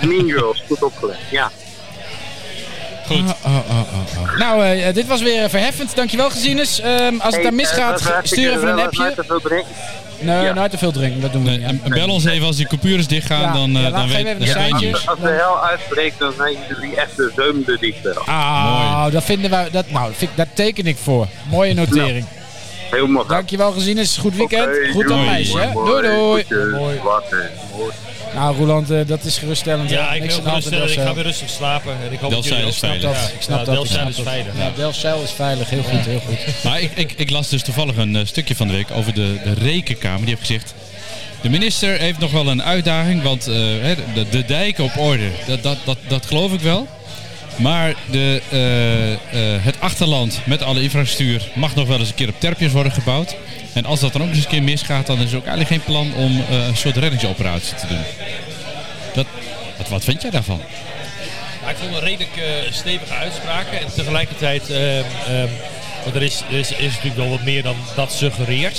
Speaker 7: Mean Girls, goed opgelet. Ja, eh,
Speaker 2: Goed.
Speaker 1: Oh, oh, oh, oh. Nou, eh, dit was weer verheffend. Dankjewel, Gezienes. Ehm als het daar
Speaker 7: Hey, eh,
Speaker 1: misgaat,
Speaker 7: dat was hartstikke
Speaker 1: stuur even een
Speaker 7: gezellig,
Speaker 1: appje.
Speaker 7: maar te veel drinken.
Speaker 1: Nee,
Speaker 7: Ja.
Speaker 1: nooit te veel drinken. Dat doen we
Speaker 2: Nee,
Speaker 1: niet.
Speaker 2: Eh, en-
Speaker 1: ja.
Speaker 2: en bel ons even als die coupures dichtgaan,
Speaker 1: Ja,
Speaker 2: dan,
Speaker 1: ja,
Speaker 2: eh,
Speaker 1: laat-
Speaker 2: dan
Speaker 1: geef
Speaker 2: weet
Speaker 1: even
Speaker 2: dan
Speaker 1: de
Speaker 2: weet je.
Speaker 1: seintjes.
Speaker 2: het.
Speaker 7: Als, als de hel uitbreekt, dan zijn jullie echt de zeumde die ik wel.
Speaker 1: Ah, dat vinden wij. Dat, nou, vind, ik- daar teken ik voor. Mooie notering.
Speaker 7: Helemaal goed.
Speaker 1: Dankjewel, Gezienes. Goed weekend.
Speaker 7: Oké,
Speaker 1: Goed aan
Speaker 7: doei.
Speaker 1: meisje. hè?
Speaker 7: Mooi,
Speaker 1: Doei, doei.
Speaker 7: goedjes,
Speaker 3: Mooi.
Speaker 7: water, mooi.
Speaker 1: Nou, Roland, eh, dat is geruststellend.
Speaker 3: Ja,
Speaker 1: hè?
Speaker 3: ik
Speaker 1: Niks
Speaker 3: wil
Speaker 1: aan de hand
Speaker 3: geruststellen.
Speaker 1: met
Speaker 3: Ik ga
Speaker 1: Delfzijl.
Speaker 3: weer rustig slapen. En ik hoop dat
Speaker 2: Delfzijl
Speaker 3: jullie
Speaker 2: is
Speaker 3: ook-
Speaker 2: veilig.
Speaker 1: Dat, ik snap
Speaker 3: Ja,
Speaker 1: dat. ik
Speaker 3: Delfzijl
Speaker 1: snap
Speaker 3: is
Speaker 1: dat.
Speaker 3: veilig,
Speaker 1: Ja,
Speaker 3: ja.
Speaker 1: Delfzijl is veilig. Heel goed, heel goed.
Speaker 2: Maar ik, ik, ik las dus toevallig een eh, stukje van de week over de, de rekenkamer. Die heeft gezegd, de minister heeft nog wel een uitdaging, want eh, hè, de, de dijken op orde, dat, dat, dat, dat geloof ik wel. Maar de, eh, eh, het achterland met alle infrastructuur mag nog wel eens een keer op terpjes worden gebouwd. En als dat dan ook eens een keer misgaat, dan is er ook eigenlijk geen plan om eh, een soort reddingsoperatie te doen. Dat, wat, wat vind jij daarvan?
Speaker 3: Ja, ik vond het een redelijk eh, stevige uitspraken. En tegelijkertijd, ehm, ehm, want er is, er is, is natuurlijk wel wat meer dan dat suggereert.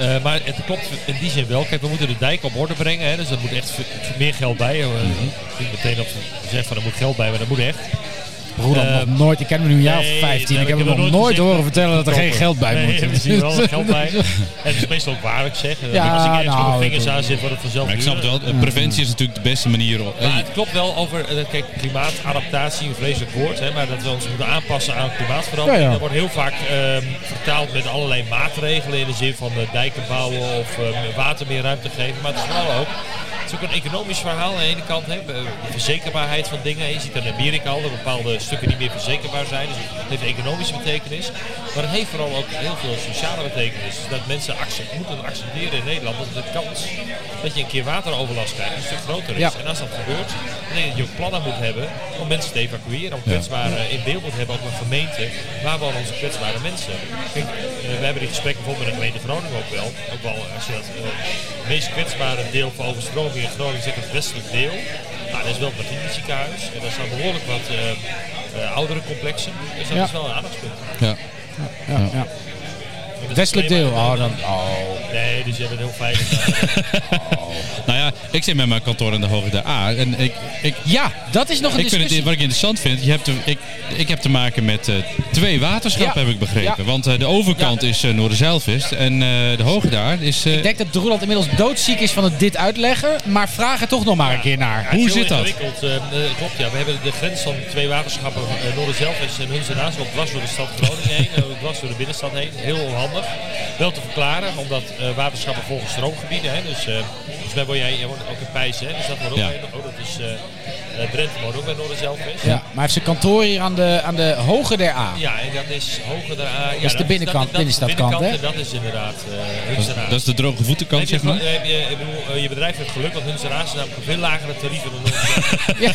Speaker 3: Eh, maar het klopt in die zin wel. Kijk, we moeten de dijk op orde brengen. Hè, dus er moet echt veel- meer geld bij. Eh, Niet meteen dat we zeggen van er moet geld bij, maar dat moet echt.
Speaker 1: Roland,
Speaker 3: Eh,
Speaker 1: nog nooit. Ik ken hem nu een jaar
Speaker 3: Nee,
Speaker 1: of 15.
Speaker 3: nee,
Speaker 1: ik heb hem nog nooit,
Speaker 3: gezien
Speaker 1: horen vertellen dat er geen geld bij
Speaker 3: nee,
Speaker 1: moet.
Speaker 3: Nee, precies, er wel wat geld bij. En het is meestal ook waar, ik zeg.
Speaker 1: Ja,
Speaker 3: Als ik ergens
Speaker 1: nou,
Speaker 3: met mijn vingers
Speaker 1: dat-
Speaker 3: aan zit, wordt het vanzelf
Speaker 2: Maar ik snap het
Speaker 3: duurder.
Speaker 2: wel, eh, preventie is natuurlijk de beste manier. om-
Speaker 3: Maar het klopt wel over, eh, kijk, klimaatadaptatie, een vreselijk woord, hè, maar dat we ons moeten aanpassen aan klimaatverandering.
Speaker 1: Ja, ja.
Speaker 3: Dat wordt heel vaak ehm, vertaald met allerlei maatregelen in de zin van eh, dijken bouwen of eh, water meer ruimte geven. Maar het is vooral ook, het is ook een economisch verhaal aan de ene kant, hè, eh, de verzekerbaarheid van dingen. Je ziet in Amerika al dat bepaalde stukken niet meer verzekerbaar zijn, dus het heeft economische betekenis. Maar het heeft vooral ook heel veel sociale betekenis. Dus dat mensen accep- moeten accepteren in Nederland dat de kans dat je een keer wateroverlast krijgt een stuk groter is.
Speaker 1: Ja.
Speaker 3: En als dat gebeurt, dan denk ik dat je ook plannen moet hebben om mensen te evacueren, om kwetsbaren in beeld moet hebben, ook een gemeente, waar wonen onze kwetsbare mensen. Kijk, eh, we hebben die gesprekken bijvoorbeeld met de gemeente Groningen ook wel. Ook wel als je dat eh, het meest kwetsbare deel van overstroming in Groningen zegt, het westelijk deel. Nou, dat is wel het Martini ziekenhuis en daar staan behoorlijk wat eh eh, oudere complexen. Dus dat
Speaker 1: Ja.
Speaker 3: is wel een aandachtspunt.
Speaker 2: Ja.
Speaker 1: Ja, ja.
Speaker 3: Want het is
Speaker 1: Westelijk
Speaker 3: alleen
Speaker 1: deel.
Speaker 3: maar-
Speaker 1: Oh, dan. Oh.
Speaker 3: Nee, dus je bent heel veilig.
Speaker 2: Nou ja, ik zit met mijn kantoor in de Hoge de A. En ik, ik,
Speaker 1: Ja, dat is nog een
Speaker 2: ik vind
Speaker 1: discussie.
Speaker 2: het, wat ik interessant vind, je hebt te- ik, ik heb te maken met eh, twee waterschappen,
Speaker 1: Ja.
Speaker 2: heb ik begrepen.
Speaker 1: Ja.
Speaker 2: Want eh, de overkant is uh, Noorderzeilvest en eh, de Hoge daar is... eh,
Speaker 1: Ik denk dat Roland inmiddels doodziek is van het dit uitleggen. Maar vraag er toch nog maar een keer naar.
Speaker 2: Hoe
Speaker 3: Het is
Speaker 2: zit
Speaker 3: heel
Speaker 2: dat?
Speaker 3: ingewikkeld. Eh, eh, klopt, ja. We hebben de grens van twee waterschappen, uh, Noorderzelvest en Hunzenaas, ook dwars door de stad Groningen heen, eh, dwars door de binnenstad heen. Heel handig. Wel te verklaren, omdat eh, waterschappen volgen stroomgebieden. Hè, dus, eh dus wij woon jij, jij woont ook in Pijs, hè? Dus dat wordt ook
Speaker 2: Ja.
Speaker 3: bij, oh, dat is, eh, eh, Drenthe woont ook bij Noorderzelvest.
Speaker 1: Ja, maar hij heeft zijn kantoor hier aan de, aan de hoge der A.
Speaker 3: Ja, en dat is hoger daaraan. Ja, dat
Speaker 1: de binnenkant,
Speaker 3: dat is de
Speaker 1: binnenstadkant,
Speaker 3: binnenkant en Dat is inderdaad uh,
Speaker 2: dat, is- dat is de droge voetenkant,
Speaker 3: je,
Speaker 2: zeg maar.
Speaker 3: gel- heb je, ik bedoel, eh, je bedrijf heeft geluk, want hun salaris is namelijk een veel lagere tarieven dan ons.
Speaker 1: Ja,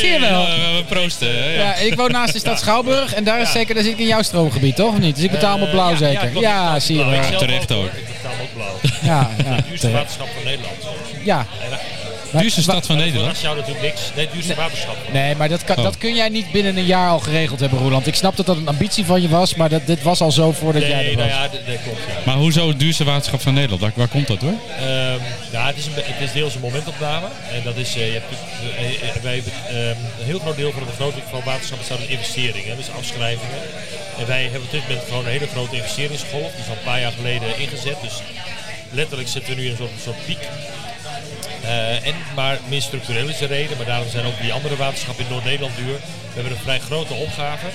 Speaker 1: zie je wel.
Speaker 2: Ja, Eh, we proosten. hè, ja.
Speaker 1: Ja, ik woon naast de stad Schouwburg en daar is zeker, daar zit ik in jouw stroomgebied, toch? Of niet? Dus ik betaal me blauw
Speaker 3: Eh, ja,
Speaker 1: zeker.
Speaker 3: klopt, ik betaal
Speaker 1: Ja,
Speaker 3: me
Speaker 1: zie je
Speaker 3: blauw.
Speaker 1: wel.
Speaker 3: Ik zelf
Speaker 2: Terecht ook.
Speaker 3: hoor. Ik betaal me ook blauw.
Speaker 1: Ja, ja,
Speaker 3: Duurste
Speaker 1: terecht.
Speaker 3: waterschap van Nederland.
Speaker 1: ja,
Speaker 3: En, eh,
Speaker 2: Duurste stad van
Speaker 3: Dat
Speaker 2: Nederland.
Speaker 3: is jou natuurlijk niks. Nee, duurste waterschap.
Speaker 1: Nee, maar dat, kan,
Speaker 2: Oh.
Speaker 1: dat kun jij niet binnen een jaar al geregeld hebben, Roland. Ik snap dat dat een ambitie van je was, maar dat, dit was al zo voordat jij
Speaker 3: Nee,
Speaker 1: er was.
Speaker 3: nou ja, dat dat klopt. Ja.
Speaker 2: Maar hoezo het duurste waterschap van Nederland? Waar, waar komt dat door?
Speaker 3: Ehm, ja, het is, een, be- het is deels een momentopname. En dat is, eh, je hebt, natuurlijk, eh, eh, wij hebben ehm, een heel groot deel van de begroting van waterschap bestaat uit investeringen, dus afschrijvingen. En wij hebben op dit moment gewoon een hele grote investeringsgolf, die is al een paar jaar geleden ingezet. Dus letterlijk zitten we nu in een soort, soort piek. Eh, en, maar meer structureel is de reden, maar daarom zijn ook die andere waterschappen in Noord-Nederland duur. We hebben een vrij grote opgave.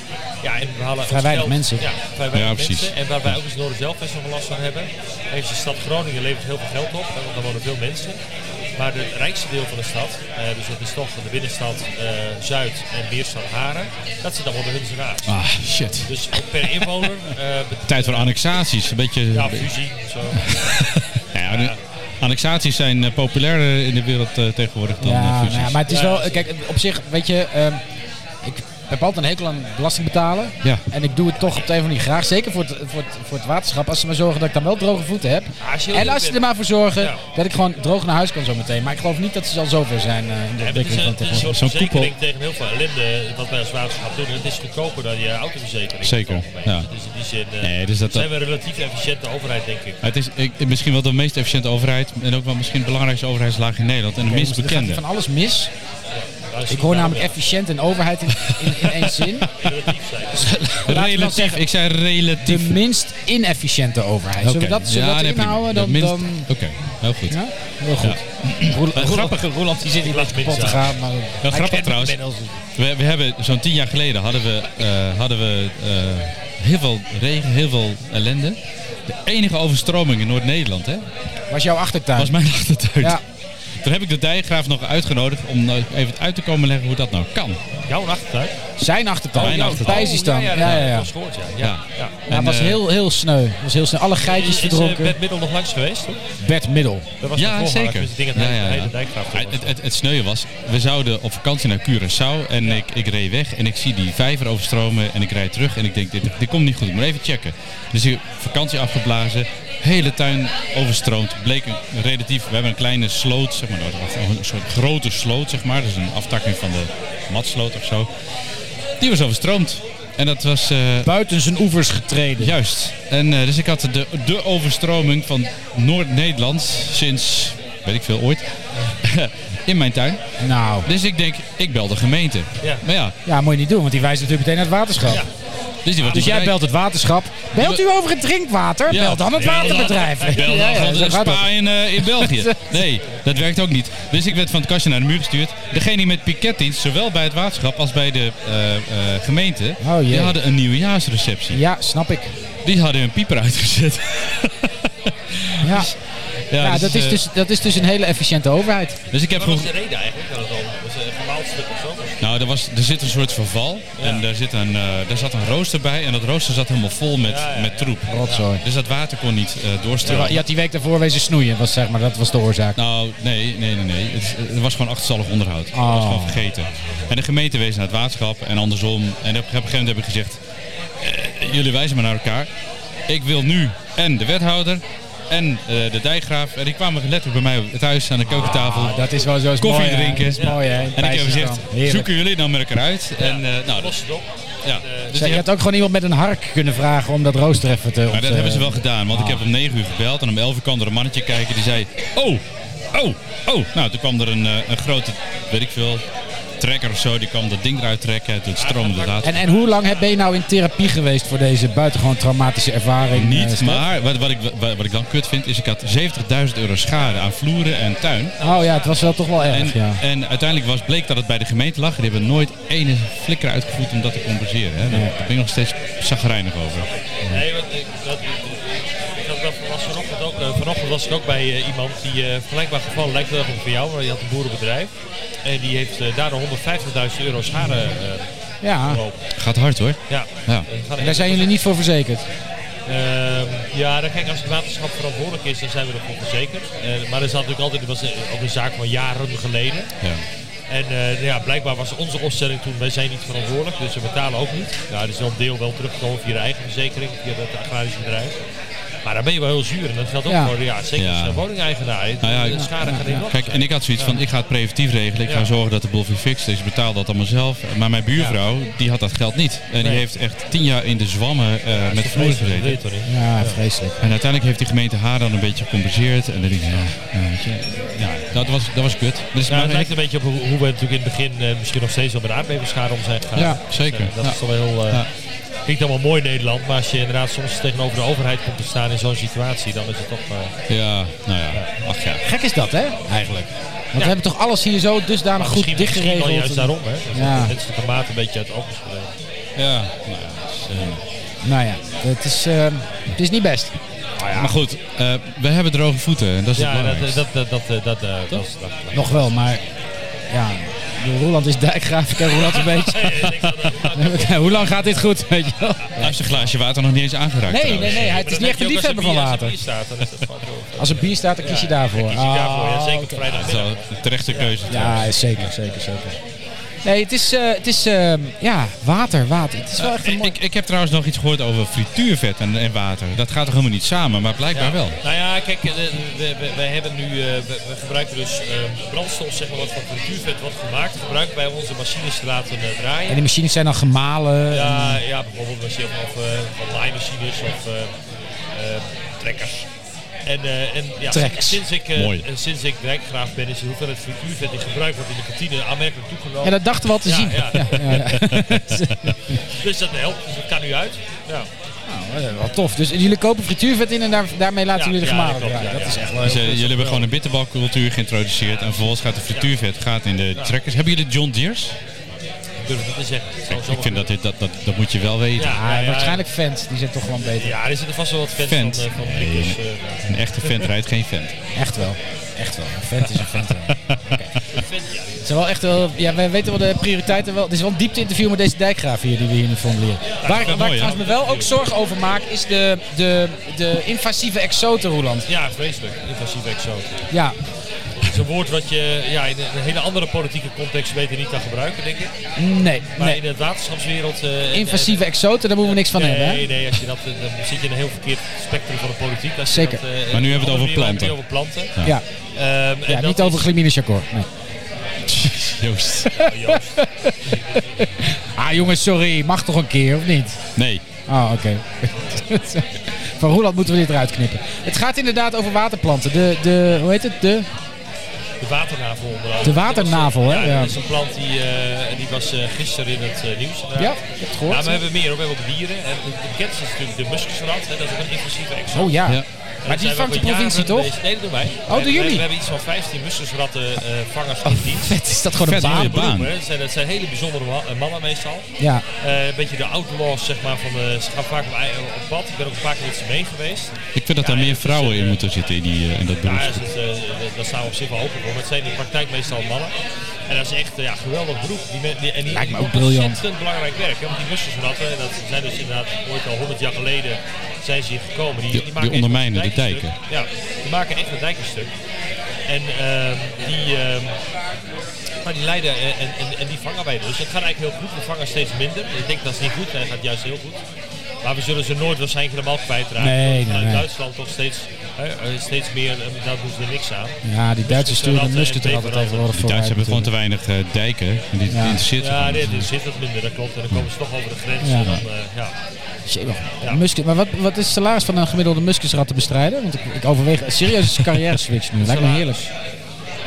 Speaker 3: Ja, en we halen
Speaker 1: Vrij
Speaker 3: ons
Speaker 1: weinig
Speaker 3: geld-
Speaker 1: mensen.
Speaker 3: Ja, vrij weinig
Speaker 2: Ja,
Speaker 3: mensen.
Speaker 2: precies.
Speaker 3: En waar wij ook als Noorden zelf best nog wel last van hebben. Heeft de stad Groningen levert heel veel geld op, hè, want daar wonen veel mensen. Maar het rijkste deel van de stad, eh, dus dat is toch de binnenstad eh, Zuid en Weerstad Haren, dat zit allemaal de Hunze Raad.
Speaker 2: Ah, shit.
Speaker 3: Dus ook per inwoner. eh, bet-
Speaker 2: Tijd voor annexaties. Een beetje... eh,
Speaker 3: Ja, fusie. Zo.
Speaker 2: Ja, anne- annexaties zijn eh, populairder in de wereld eh, tegenwoordig dan eh,
Speaker 1: Ja,
Speaker 2: fusies.
Speaker 1: nou ja, maar het is
Speaker 3: Ja,
Speaker 1: wel,
Speaker 3: dat is-
Speaker 1: kijk, op zich, weet je, ehm, ik heb altijd een hekel aan belasting betalen.
Speaker 2: Ja.
Speaker 1: En ik doe het toch op de een of andere manier graag. Zeker voor het, voor, het, voor het waterschap. Als ze maar zorgen dat ik dan wel droge voeten heb.
Speaker 3: Ja, als je heel
Speaker 1: En
Speaker 3: leuk
Speaker 1: als ze er
Speaker 3: bent.
Speaker 1: maar voor zorgen
Speaker 3: Ja.
Speaker 1: dat ik gewoon droog naar huis kan zometeen. Maar ik geloof niet dat ze al zover zijn eh, in de
Speaker 3: Ja, maar het is
Speaker 1: ontwikkeling
Speaker 3: een,
Speaker 1: van
Speaker 3: het is een soort
Speaker 1: technologie.
Speaker 2: Zo'n
Speaker 3: verzekering tegen heel veel ellende wat wij als waterschap doen. En het is goedkoper dan je autoverzekering.
Speaker 2: Zeker,
Speaker 3: in het algemeen.
Speaker 2: ja.
Speaker 3: Dus in die zin eh,
Speaker 2: Nee, dus dat-
Speaker 3: zijn we een relatief efficiënte overheid, denk ik.
Speaker 2: Het is ik, misschien wel de meest efficiënte overheid. En ook wel misschien de belangrijkste overheidslaag in Nederland. En de minst
Speaker 1: dus Er gaat hier
Speaker 2: bekende.
Speaker 1: van alles mis.
Speaker 3: Daar is
Speaker 1: Ik
Speaker 3: niet
Speaker 1: hoor
Speaker 3: aan
Speaker 1: namelijk
Speaker 3: de-
Speaker 1: efficiënt en overheid in, in, in één zin.
Speaker 3: Relatief zijn.
Speaker 1: Laten we dan
Speaker 2: Relatief.
Speaker 1: zeggen,
Speaker 2: Ik zei
Speaker 1: de
Speaker 2: relatief.
Speaker 1: minst inefficiënte overheid. Zullen we
Speaker 2: Oké.
Speaker 1: dat, zullen we
Speaker 2: Ja,
Speaker 1: dat
Speaker 2: nee, prima.
Speaker 1: inhouden?
Speaker 2: De
Speaker 1: Dan,
Speaker 2: minst-
Speaker 1: dan,
Speaker 2: Oké, heel goed.
Speaker 1: ja? Heel goed. Roel-
Speaker 2: Eh,
Speaker 1: Roel-
Speaker 2: grappig,
Speaker 1: Roland die zit hier
Speaker 3: Ik laat
Speaker 1: lekker kapot
Speaker 3: mensen
Speaker 1: te
Speaker 3: aan.
Speaker 1: gaan. Maar,
Speaker 2: Wel grappig trouwens. We, we hebben zo'n tien jaar geleden hadden we, eh, hadden we eh, heel veel regen, heel veel ellende. De enige overstroming in Noord-Nederland hè,
Speaker 1: was jouw achtertuin.
Speaker 2: was mijn achtertuin.
Speaker 1: Ja.
Speaker 2: Toen heb ik de dijgraaf nog uitgenodigd om nou even uit te komen leggen hoe dat nou kan.
Speaker 3: Jouw nachtuin?
Speaker 1: Zijn achtertuin.
Speaker 2: Mijn
Speaker 1: Jouw
Speaker 2: achtertuin.
Speaker 1: Pijsjes dan. Ja, ja, ja.
Speaker 3: Dat gehoord, Oh,
Speaker 2: Ja.
Speaker 3: ja. ja. ja.
Speaker 1: Ja, het was
Speaker 2: En, eh,
Speaker 1: heel, heel sneu. Het was heel sneu. Alle geitjes
Speaker 3: Is eh,
Speaker 1: verdronken.
Speaker 3: Bert Middel nog langs geweest? hoor?
Speaker 1: Bert Middel.
Speaker 3: Dat was
Speaker 2: ja,
Speaker 3: de voormalig,
Speaker 2: zeker.
Speaker 3: Dus ik denk dat
Speaker 2: Ja,
Speaker 3: hij
Speaker 2: ja,
Speaker 3: de
Speaker 2: ja.
Speaker 3: hele dijkgraaf
Speaker 2: Ah, het, het, het sneuwe was, we zouden op vakantie naar Curaçao en ik, ik reed weg en ik zie die vijver overstromen en ik rijd terug en ik denk, dit, dit komt niet goed, ik moet even checken. Dus ik vakantie afgeblazen, hele tuin overstroomd, bleek een relatief, we hebben een kleine sloot, zeg maar, nou, dat was een soort grote sloot, zeg maar, dus een aftakking van de matsloot of zo. Die was overstroomd en dat was... eh,
Speaker 1: Buiten zijn oevers getreden.
Speaker 2: Juist. En eh, dus ik had de, de overstroming van Noord-Nederland sinds, weet ik veel, ooit. in mijn tuin.
Speaker 1: Nou,
Speaker 2: Dus ik denk, ik bel de gemeente.
Speaker 3: Ja.
Speaker 2: Maar ja,
Speaker 1: ja, moet je niet doen, want die wijst natuurlijk meteen naar het waterschap.
Speaker 3: Ja.
Speaker 2: dus die wordt
Speaker 1: Dus jij belt het waterschap. Belt u over het drinkwater?
Speaker 2: Ja.
Speaker 1: Bel dan het
Speaker 2: Ja,
Speaker 1: waterbedrijf.
Speaker 2: Ik bel
Speaker 1: Ja, ja,
Speaker 2: dan
Speaker 1: zo
Speaker 2: gewoon
Speaker 1: gaat dat.
Speaker 2: spa in, eh, in België. Nee, dat werkt ook niet. Dus ik werd van het kastje naar de muur gestuurd. Degene die met piketdienst, zowel bij het waterschap als bij de eh, eh, gemeente,
Speaker 1: Oh, jee.
Speaker 2: die hadden een nieuwjaarsreceptie.
Speaker 1: Ja, snap ik.
Speaker 2: Die hadden hun pieper uitgezet.
Speaker 1: Ja,
Speaker 2: ja,
Speaker 1: ja,
Speaker 2: dus,
Speaker 1: dat, is
Speaker 2: eh,
Speaker 1: dus, dat is dus een hele efficiënte overheid.
Speaker 2: dus ik heb
Speaker 3: Wat was
Speaker 2: gewoon
Speaker 3: de reden eigenlijk? Dat het al was het een gemaald stuk of zo?
Speaker 2: Nou, er, was, er zit een soort verval. En daar, zit een, eh, daar zat een rooster bij. En dat rooster zat helemaal vol met,
Speaker 3: Ja, ja,
Speaker 2: met troep.
Speaker 1: Rotzooi.
Speaker 2: Dus dat water kon niet eh, doorstromen.
Speaker 1: Je had die week daarvoor wezen snoeien, was, zeg maar. dat was de oorzaak.
Speaker 2: Nou, nee, nee, nee. nee. Het, het was gewoon achterstallig onderhoud. Dat was
Speaker 1: Oh.
Speaker 2: gewoon vergeten. En de gemeente wees naar het waterschap en andersom. En op een gegeven moment heb ik gezegd... eh, jullie wijzen maar naar elkaar. Ik wil nu en de wethouder en eh, de dijkgraaf. En die kwamen letterlijk bij mij thuis aan de keukentafel.
Speaker 1: Ah, dat is wel zo is
Speaker 2: Koffie
Speaker 1: mooi, hè.
Speaker 2: drinken.
Speaker 1: Dat is mooi, hè.
Speaker 2: en ik heb gezegd, zoeken jullie dan met elkaar uit? En, eh, nou, dat,
Speaker 3: Los het op. Eh,
Speaker 2: ja. Dus
Speaker 1: Zij,
Speaker 2: die
Speaker 1: je
Speaker 2: heb-
Speaker 1: had ook gewoon iemand met een hark kunnen vragen om dat rooster even te...
Speaker 2: Maar dat hebben ze wel gedaan, want ik heb om 9 uur gebeld en om 11 uur kwam er een mannetje kijken die zei: Oh, oh, oh. Nou, toen kwam er een, eh, een grote, weet ik veel, trekker of zo, die kwam dat ding eruit trekken. en Toen stroomde het water.
Speaker 1: En, en hoe lang heb- ben je nou in therapie geweest voor deze buitengewoon traumatische ervaring? eh,
Speaker 2: Niet,
Speaker 1: Stef?
Speaker 2: maar wat, wat, ik, wat, wat ik dan kut vind is: ik had 70.000 euro schade aan vloeren en tuin.
Speaker 1: Oh ja, het was wel toch wel
Speaker 2: En,
Speaker 1: erg, ja.
Speaker 2: en uiteindelijk was, bleek dat het bij de gemeente lag. Die hebben nooit ene flikker uitgevoerd om dat te compenseren. Hè. Daar ben ik nog steeds zagrijnig over.
Speaker 3: Nee, want ik, dat, ik had dat was vanochtend ook. eh, vanochtend was ik ook bij eh, iemand die eh vergelijkbaar geval lijkt wel op voor jou, maar die had een boerenbedrijf. En die heeft eh, daardoor 150.000 euro schade eh
Speaker 1: Ja,
Speaker 3: gelopen.
Speaker 2: Gaat hard hoor.
Speaker 3: Ja.
Speaker 2: Ja.
Speaker 3: En het gaat
Speaker 1: en daar zijn jullie niet voor verzekerd.
Speaker 3: Ehm, ja, dan kijk, als het waterschap verantwoordelijk is, dan zijn we ervoor verzekerd. Eh, maar dat is natuurlijk altijd dat was eh, ook een zaak van jaren geleden.
Speaker 2: Ja.
Speaker 3: En eh, ja, blijkbaar was onze opstelling toen, wij zijn niet verantwoordelijk, dus we betalen ook niet. Nou, er is wel een deel wel teruggekomen via de eigen verzekering, via het agrarische bedrijf. Maar dan ben je wel heel zuur. En dat geldt ook
Speaker 1: Ja.
Speaker 3: voor ja, zeker
Speaker 2: Ja.
Speaker 3: als je een woningeigenaar. bent.
Speaker 2: Nou ja,
Speaker 3: de
Speaker 2: ik-
Speaker 3: schade gaat enorm
Speaker 2: Kijk, en ik had zoiets van, ik ga het preventief regelen. Ik ga
Speaker 3: Ja.
Speaker 2: zorgen dat de boel weer fixt is. Ik betaal dat allemaal zelf. Maar mijn buurvrouw, die had dat geld niet. En die
Speaker 3: Nee.
Speaker 2: heeft echt tien jaar in de zwammen eh,
Speaker 3: zijn. Dat is
Speaker 2: met
Speaker 3: toch
Speaker 2: vloer
Speaker 3: vreselijk, dat wil
Speaker 2: gezeten.
Speaker 3: je toch niet?
Speaker 1: Ja, vreselijk.
Speaker 2: En uiteindelijk heeft die gemeente haar dan een beetje gecompenseerd. En dan denk ik, ja, ja, weet je, ja, dat, was, dat was kut. Dat is
Speaker 3: Nou,
Speaker 2: maar
Speaker 3: het lijkt een beetje op hoe, hoe we natuurlijk in het begin eh, misschien nog steeds wel met de aardbevingsschade om zijn gegaan.
Speaker 1: Ja,
Speaker 2: zeker.
Speaker 3: Eh, dat
Speaker 2: Ja.
Speaker 3: is toch wel heel... eh,
Speaker 2: Ja.
Speaker 3: Klinkt allemaal mooi in Nederland, maar als je inderdaad soms tegenover de overheid komt te staan in zo'n situatie, dan is het toch... eh,
Speaker 2: Ja, nou ja, ach ja.
Speaker 1: Gek is dat, hè? Eigenlijk. Want we hebben toch alles hier zo dusdanig
Speaker 3: Maar
Speaker 1: goed
Speaker 3: misschien, misschien wel
Speaker 1: dichtgeregeld.
Speaker 3: juist daarom, hè? Dat
Speaker 1: Ja.
Speaker 3: ja. de menselijke mate een beetje uit het oog is verdwenen.
Speaker 2: Ja, nou ja, dat is, eh,
Speaker 1: Nou ja, het is, eh, het is niet best.
Speaker 2: Maar goed, eh, we hebben droge voeten. En dat is het
Speaker 3: Ja, dat,
Speaker 2: belangrijkste.
Speaker 3: dat, dat, dat, eh, dat, eh, dat is... Dat,
Speaker 1: Nog wel, maar ja, ik bedoel, Roeland is dijkgraaf. Ik ken Roeland een beetje. Hoe lang gaat dit goed, weet je wel?
Speaker 2: Hij heeft zijn glaasje water nog niet eens aangeraakt
Speaker 1: Nee, nee,
Speaker 2: trouwens.
Speaker 1: nee, hij het is niet echt een liefhebber van water.
Speaker 3: Als er bier staat, dan is dat gewoon door.
Speaker 1: Als er bier staat, dan kies je daarvoor.
Speaker 3: Kies je daarvoor, ja,
Speaker 1: Ah,
Speaker 3: zeker op
Speaker 1: oké.
Speaker 3: vrijdag.
Speaker 2: Zo, de terechte keuze. trouwens.
Speaker 1: Ja, zeker, zeker, zeker. Nee, het is, eh, het is eh, ja, water, water. Het is wel echt een mooi...
Speaker 2: Eh, ik, ik heb trouwens nog iets gehoord over frituurvet en, en water. Dat gaat toch helemaal niet samen, maar blijkbaar wel.
Speaker 3: Nou ja, kijk, eh, we, we, we hebben nu, eh, we, we gebruiken dus eh, brandstof, zeg maar, wat van frituurvet wordt gemaakt. Gebruikt bij onze machines te laten eh,
Speaker 1: En
Speaker 3: draaien.
Speaker 1: die machines zijn dan gemalen.
Speaker 3: Ja, ja, bijvoorbeeld machine of eh, van laaimachines of eh, eh, trekkers. En, eh, en ja,
Speaker 1: Trekkers.
Speaker 3: sinds ik, eh,
Speaker 2: Mooi.
Speaker 3: eh, sinds ik dijkgraaf ben, is de hoeveelheid frituurvet die gebruikt wordt in de kantine aanmerkelijk toegenomen.
Speaker 1: Ja, dat dachten we al te
Speaker 3: Ja,
Speaker 1: zien.
Speaker 3: ja.
Speaker 1: ja, ja.
Speaker 3: Dus dat helpt, dus dat kan nu uit. Ja.
Speaker 1: Nou, wat tof. Dus jullie kopen frituurvet in en daar, daarmee laten
Speaker 3: Ja,
Speaker 1: jullie de
Speaker 3: ja,
Speaker 1: gemalen
Speaker 3: klopt,
Speaker 1: draaien.
Speaker 3: ja,
Speaker 1: dat
Speaker 3: ja.
Speaker 1: is echt
Speaker 2: Dus,
Speaker 1: leuk.
Speaker 2: eh, jullie hebben gewoon een bitterbalcultuur geïntroduceerd. En vervolgens gaat de frituurvet gaat in de trekkers. Hebben jullie John Deers?
Speaker 3: Ik durf het niet te zeggen. Het zou
Speaker 2: Kijk, ik
Speaker 3: zomaar
Speaker 2: vind dat, dit, dat, dat, dat moet je wel weten.
Speaker 3: Ja.
Speaker 1: Ah, waarschijnlijk fans, die zijn toch gewoon beter.
Speaker 3: Ja, er zitten vast wel wat fans
Speaker 2: Vent.
Speaker 3: van, eh, van
Speaker 2: Nee.
Speaker 3: Blikkers, eh,
Speaker 2: Een echte vent rijdt geen vent.
Speaker 1: Echt wel. Echt wel. Een vent is een vent. hè.
Speaker 3: vent, ja.
Speaker 1: Het zijn wel echt wel, ja, wij weten wel de prioriteiten wel. Het is wel een diepte interview met deze dijkgraaf hier die we hier nu formuleren. Waar, ik-
Speaker 2: wel
Speaker 1: waar
Speaker 2: mooi,
Speaker 1: ik trouwens me
Speaker 2: hè?
Speaker 1: wel ook zorgen over maak, is de, de, de invasieve exoten, Roland.
Speaker 3: Ja, vreselijk. Invasief exoot.
Speaker 1: Ja,
Speaker 3: Het is een woord wat je ja, in een hele andere politieke context beter niet kan gebruiken, denk ik.
Speaker 1: nee,
Speaker 3: Maar
Speaker 1: nee.
Speaker 3: in het waterschapswereld... eh, en-
Speaker 1: Invasieve exoten, daar moeten we niks van
Speaker 3: en-
Speaker 1: hebben. Hè?
Speaker 3: Nee, nee, als je dat, eh, dan zit je in een heel verkeerd spectrum van de politiek. Als je
Speaker 1: Zeker.
Speaker 3: dat, eh,
Speaker 2: Maar nu hebben
Speaker 3: op
Speaker 2: we het
Speaker 3: een
Speaker 2: over
Speaker 3: andere manier-
Speaker 2: planten.
Speaker 3: Over planten.
Speaker 1: Ja,
Speaker 3: Ehm, en
Speaker 1: ja
Speaker 3: dat
Speaker 1: niet
Speaker 3: is- Oh,
Speaker 1: over glimine chacor. Nee.
Speaker 2: Joost.
Speaker 3: Joost.
Speaker 1: Ah jongens, sorry, mag toch een keer, of niet?
Speaker 2: Nee.
Speaker 1: Ah, oké. Van Roeland moeten we dit eruit knippen. Het gaat inderdaad over waterplanten. De, de hoe heet het? De,
Speaker 3: De waternavel onder andere.
Speaker 1: De waternavel, hè?
Speaker 3: Ja,
Speaker 1: Ja.
Speaker 3: dat is een plant die, eh, die was eh, gisteren in het eh, nieuws.
Speaker 1: ja, ik heb het
Speaker 3: Ja, maar
Speaker 1: gehoord.
Speaker 3: we hebben meer. hoor. We hebben ook dieren. En de de bekendste is natuurlijk de muskusrat. hè. Dat is ook een invasieve exoot.
Speaker 1: Oh ja.
Speaker 2: Ja.
Speaker 3: En
Speaker 1: Maar
Speaker 3: daar
Speaker 1: die
Speaker 3: zijn we
Speaker 1: vangt de
Speaker 3: al jaren
Speaker 1: provincie toch?
Speaker 3: bezig- Nee, dat doen wij. We
Speaker 1: doen
Speaker 3: hebben-
Speaker 1: jullie?
Speaker 3: We hebben iets van 15 muskusratten eh, vangers in dienst.
Speaker 1: Vet, is dat gewoon een
Speaker 2: Vet, mooie
Speaker 1: baan?
Speaker 2: baan.
Speaker 3: Beroepen, hè. Dat zijn, dat zijn hele bijzondere wa- eh, mannen meestal.
Speaker 1: Ja,
Speaker 3: Eh, een beetje de outlaws, zeg maar. Van de, ze gaan vaak op, ei- op pad. Ik ben ook vaak met ze mee geweest.
Speaker 2: Ik vind dat daar
Speaker 3: Ja,
Speaker 2: meer
Speaker 3: het is,
Speaker 2: vrouwen in
Speaker 3: eh,
Speaker 2: moeten zitten in, die, eh, in dat
Speaker 3: Ja,
Speaker 2: beroep.
Speaker 3: dat, is, eh, dat- dat staan we op zich wel open voor. Maar het zijn in de praktijk meestal mannen. En dat is echt eh, ja, een geweldig beroep. Die men- die, en die,
Speaker 1: Lijkt me
Speaker 3: die
Speaker 1: ook
Speaker 3: doen
Speaker 1: briljant.
Speaker 3: ontzettend belangrijk werk. Hè? Want die muskusratten, en dat zijn dus inderdaad ooit al 100 jaar geleden zijn ze hier gekomen. Die,
Speaker 2: Die- die
Speaker 3: maken echt
Speaker 2: ondermijnen de
Speaker 3: een dijkje
Speaker 2: dijken.
Speaker 3: stuk. Ja, die maken echt een dijkje stuk. En ehm, die, ehm, maar die leiden eh, en, en, en die vangen wij dus. Het gaat eigenlijk heel goed. We vangen steeds minder. Ik denk dat is niet goed. Het gaat juist heel goed. Maar we zullen ze nooit waarschijnlijk helemaal kwijtraken.
Speaker 1: Nee,
Speaker 3: Want
Speaker 1: nee,
Speaker 3: vanuit
Speaker 1: nee.
Speaker 3: Duitsland toch steeds, hè, eh, steeds meer, eh, daar doen ze er niks aan.
Speaker 1: ja die Duitsers sturen de
Speaker 3: Muskusratten
Speaker 1: musket er
Speaker 3: en
Speaker 1: altijd
Speaker 3: peperratten.
Speaker 1: tegenwoordig
Speaker 2: Die
Speaker 1: voor.
Speaker 2: Duitsers hebben
Speaker 1: uit
Speaker 2: gewoon te weinig eh, dijken. En die
Speaker 1: Ja.
Speaker 2: interesseert ze
Speaker 3: Ja,
Speaker 2: gewoon
Speaker 3: nee,
Speaker 2: niet.
Speaker 3: er zit wat minder, dat klopt. En dan komen ze toch over de grens.
Speaker 1: Ja.
Speaker 3: En dan, eh, ja.
Speaker 1: natuurlijk. Jee, wacht.
Speaker 3: Ja.
Speaker 1: Musket- Maar wat, wat is het salaris van een gemiddelde muskusrat te bestrijden? Want ik, ik overweeg een serieuze carrière switch nu. Lijkt me heerlijk.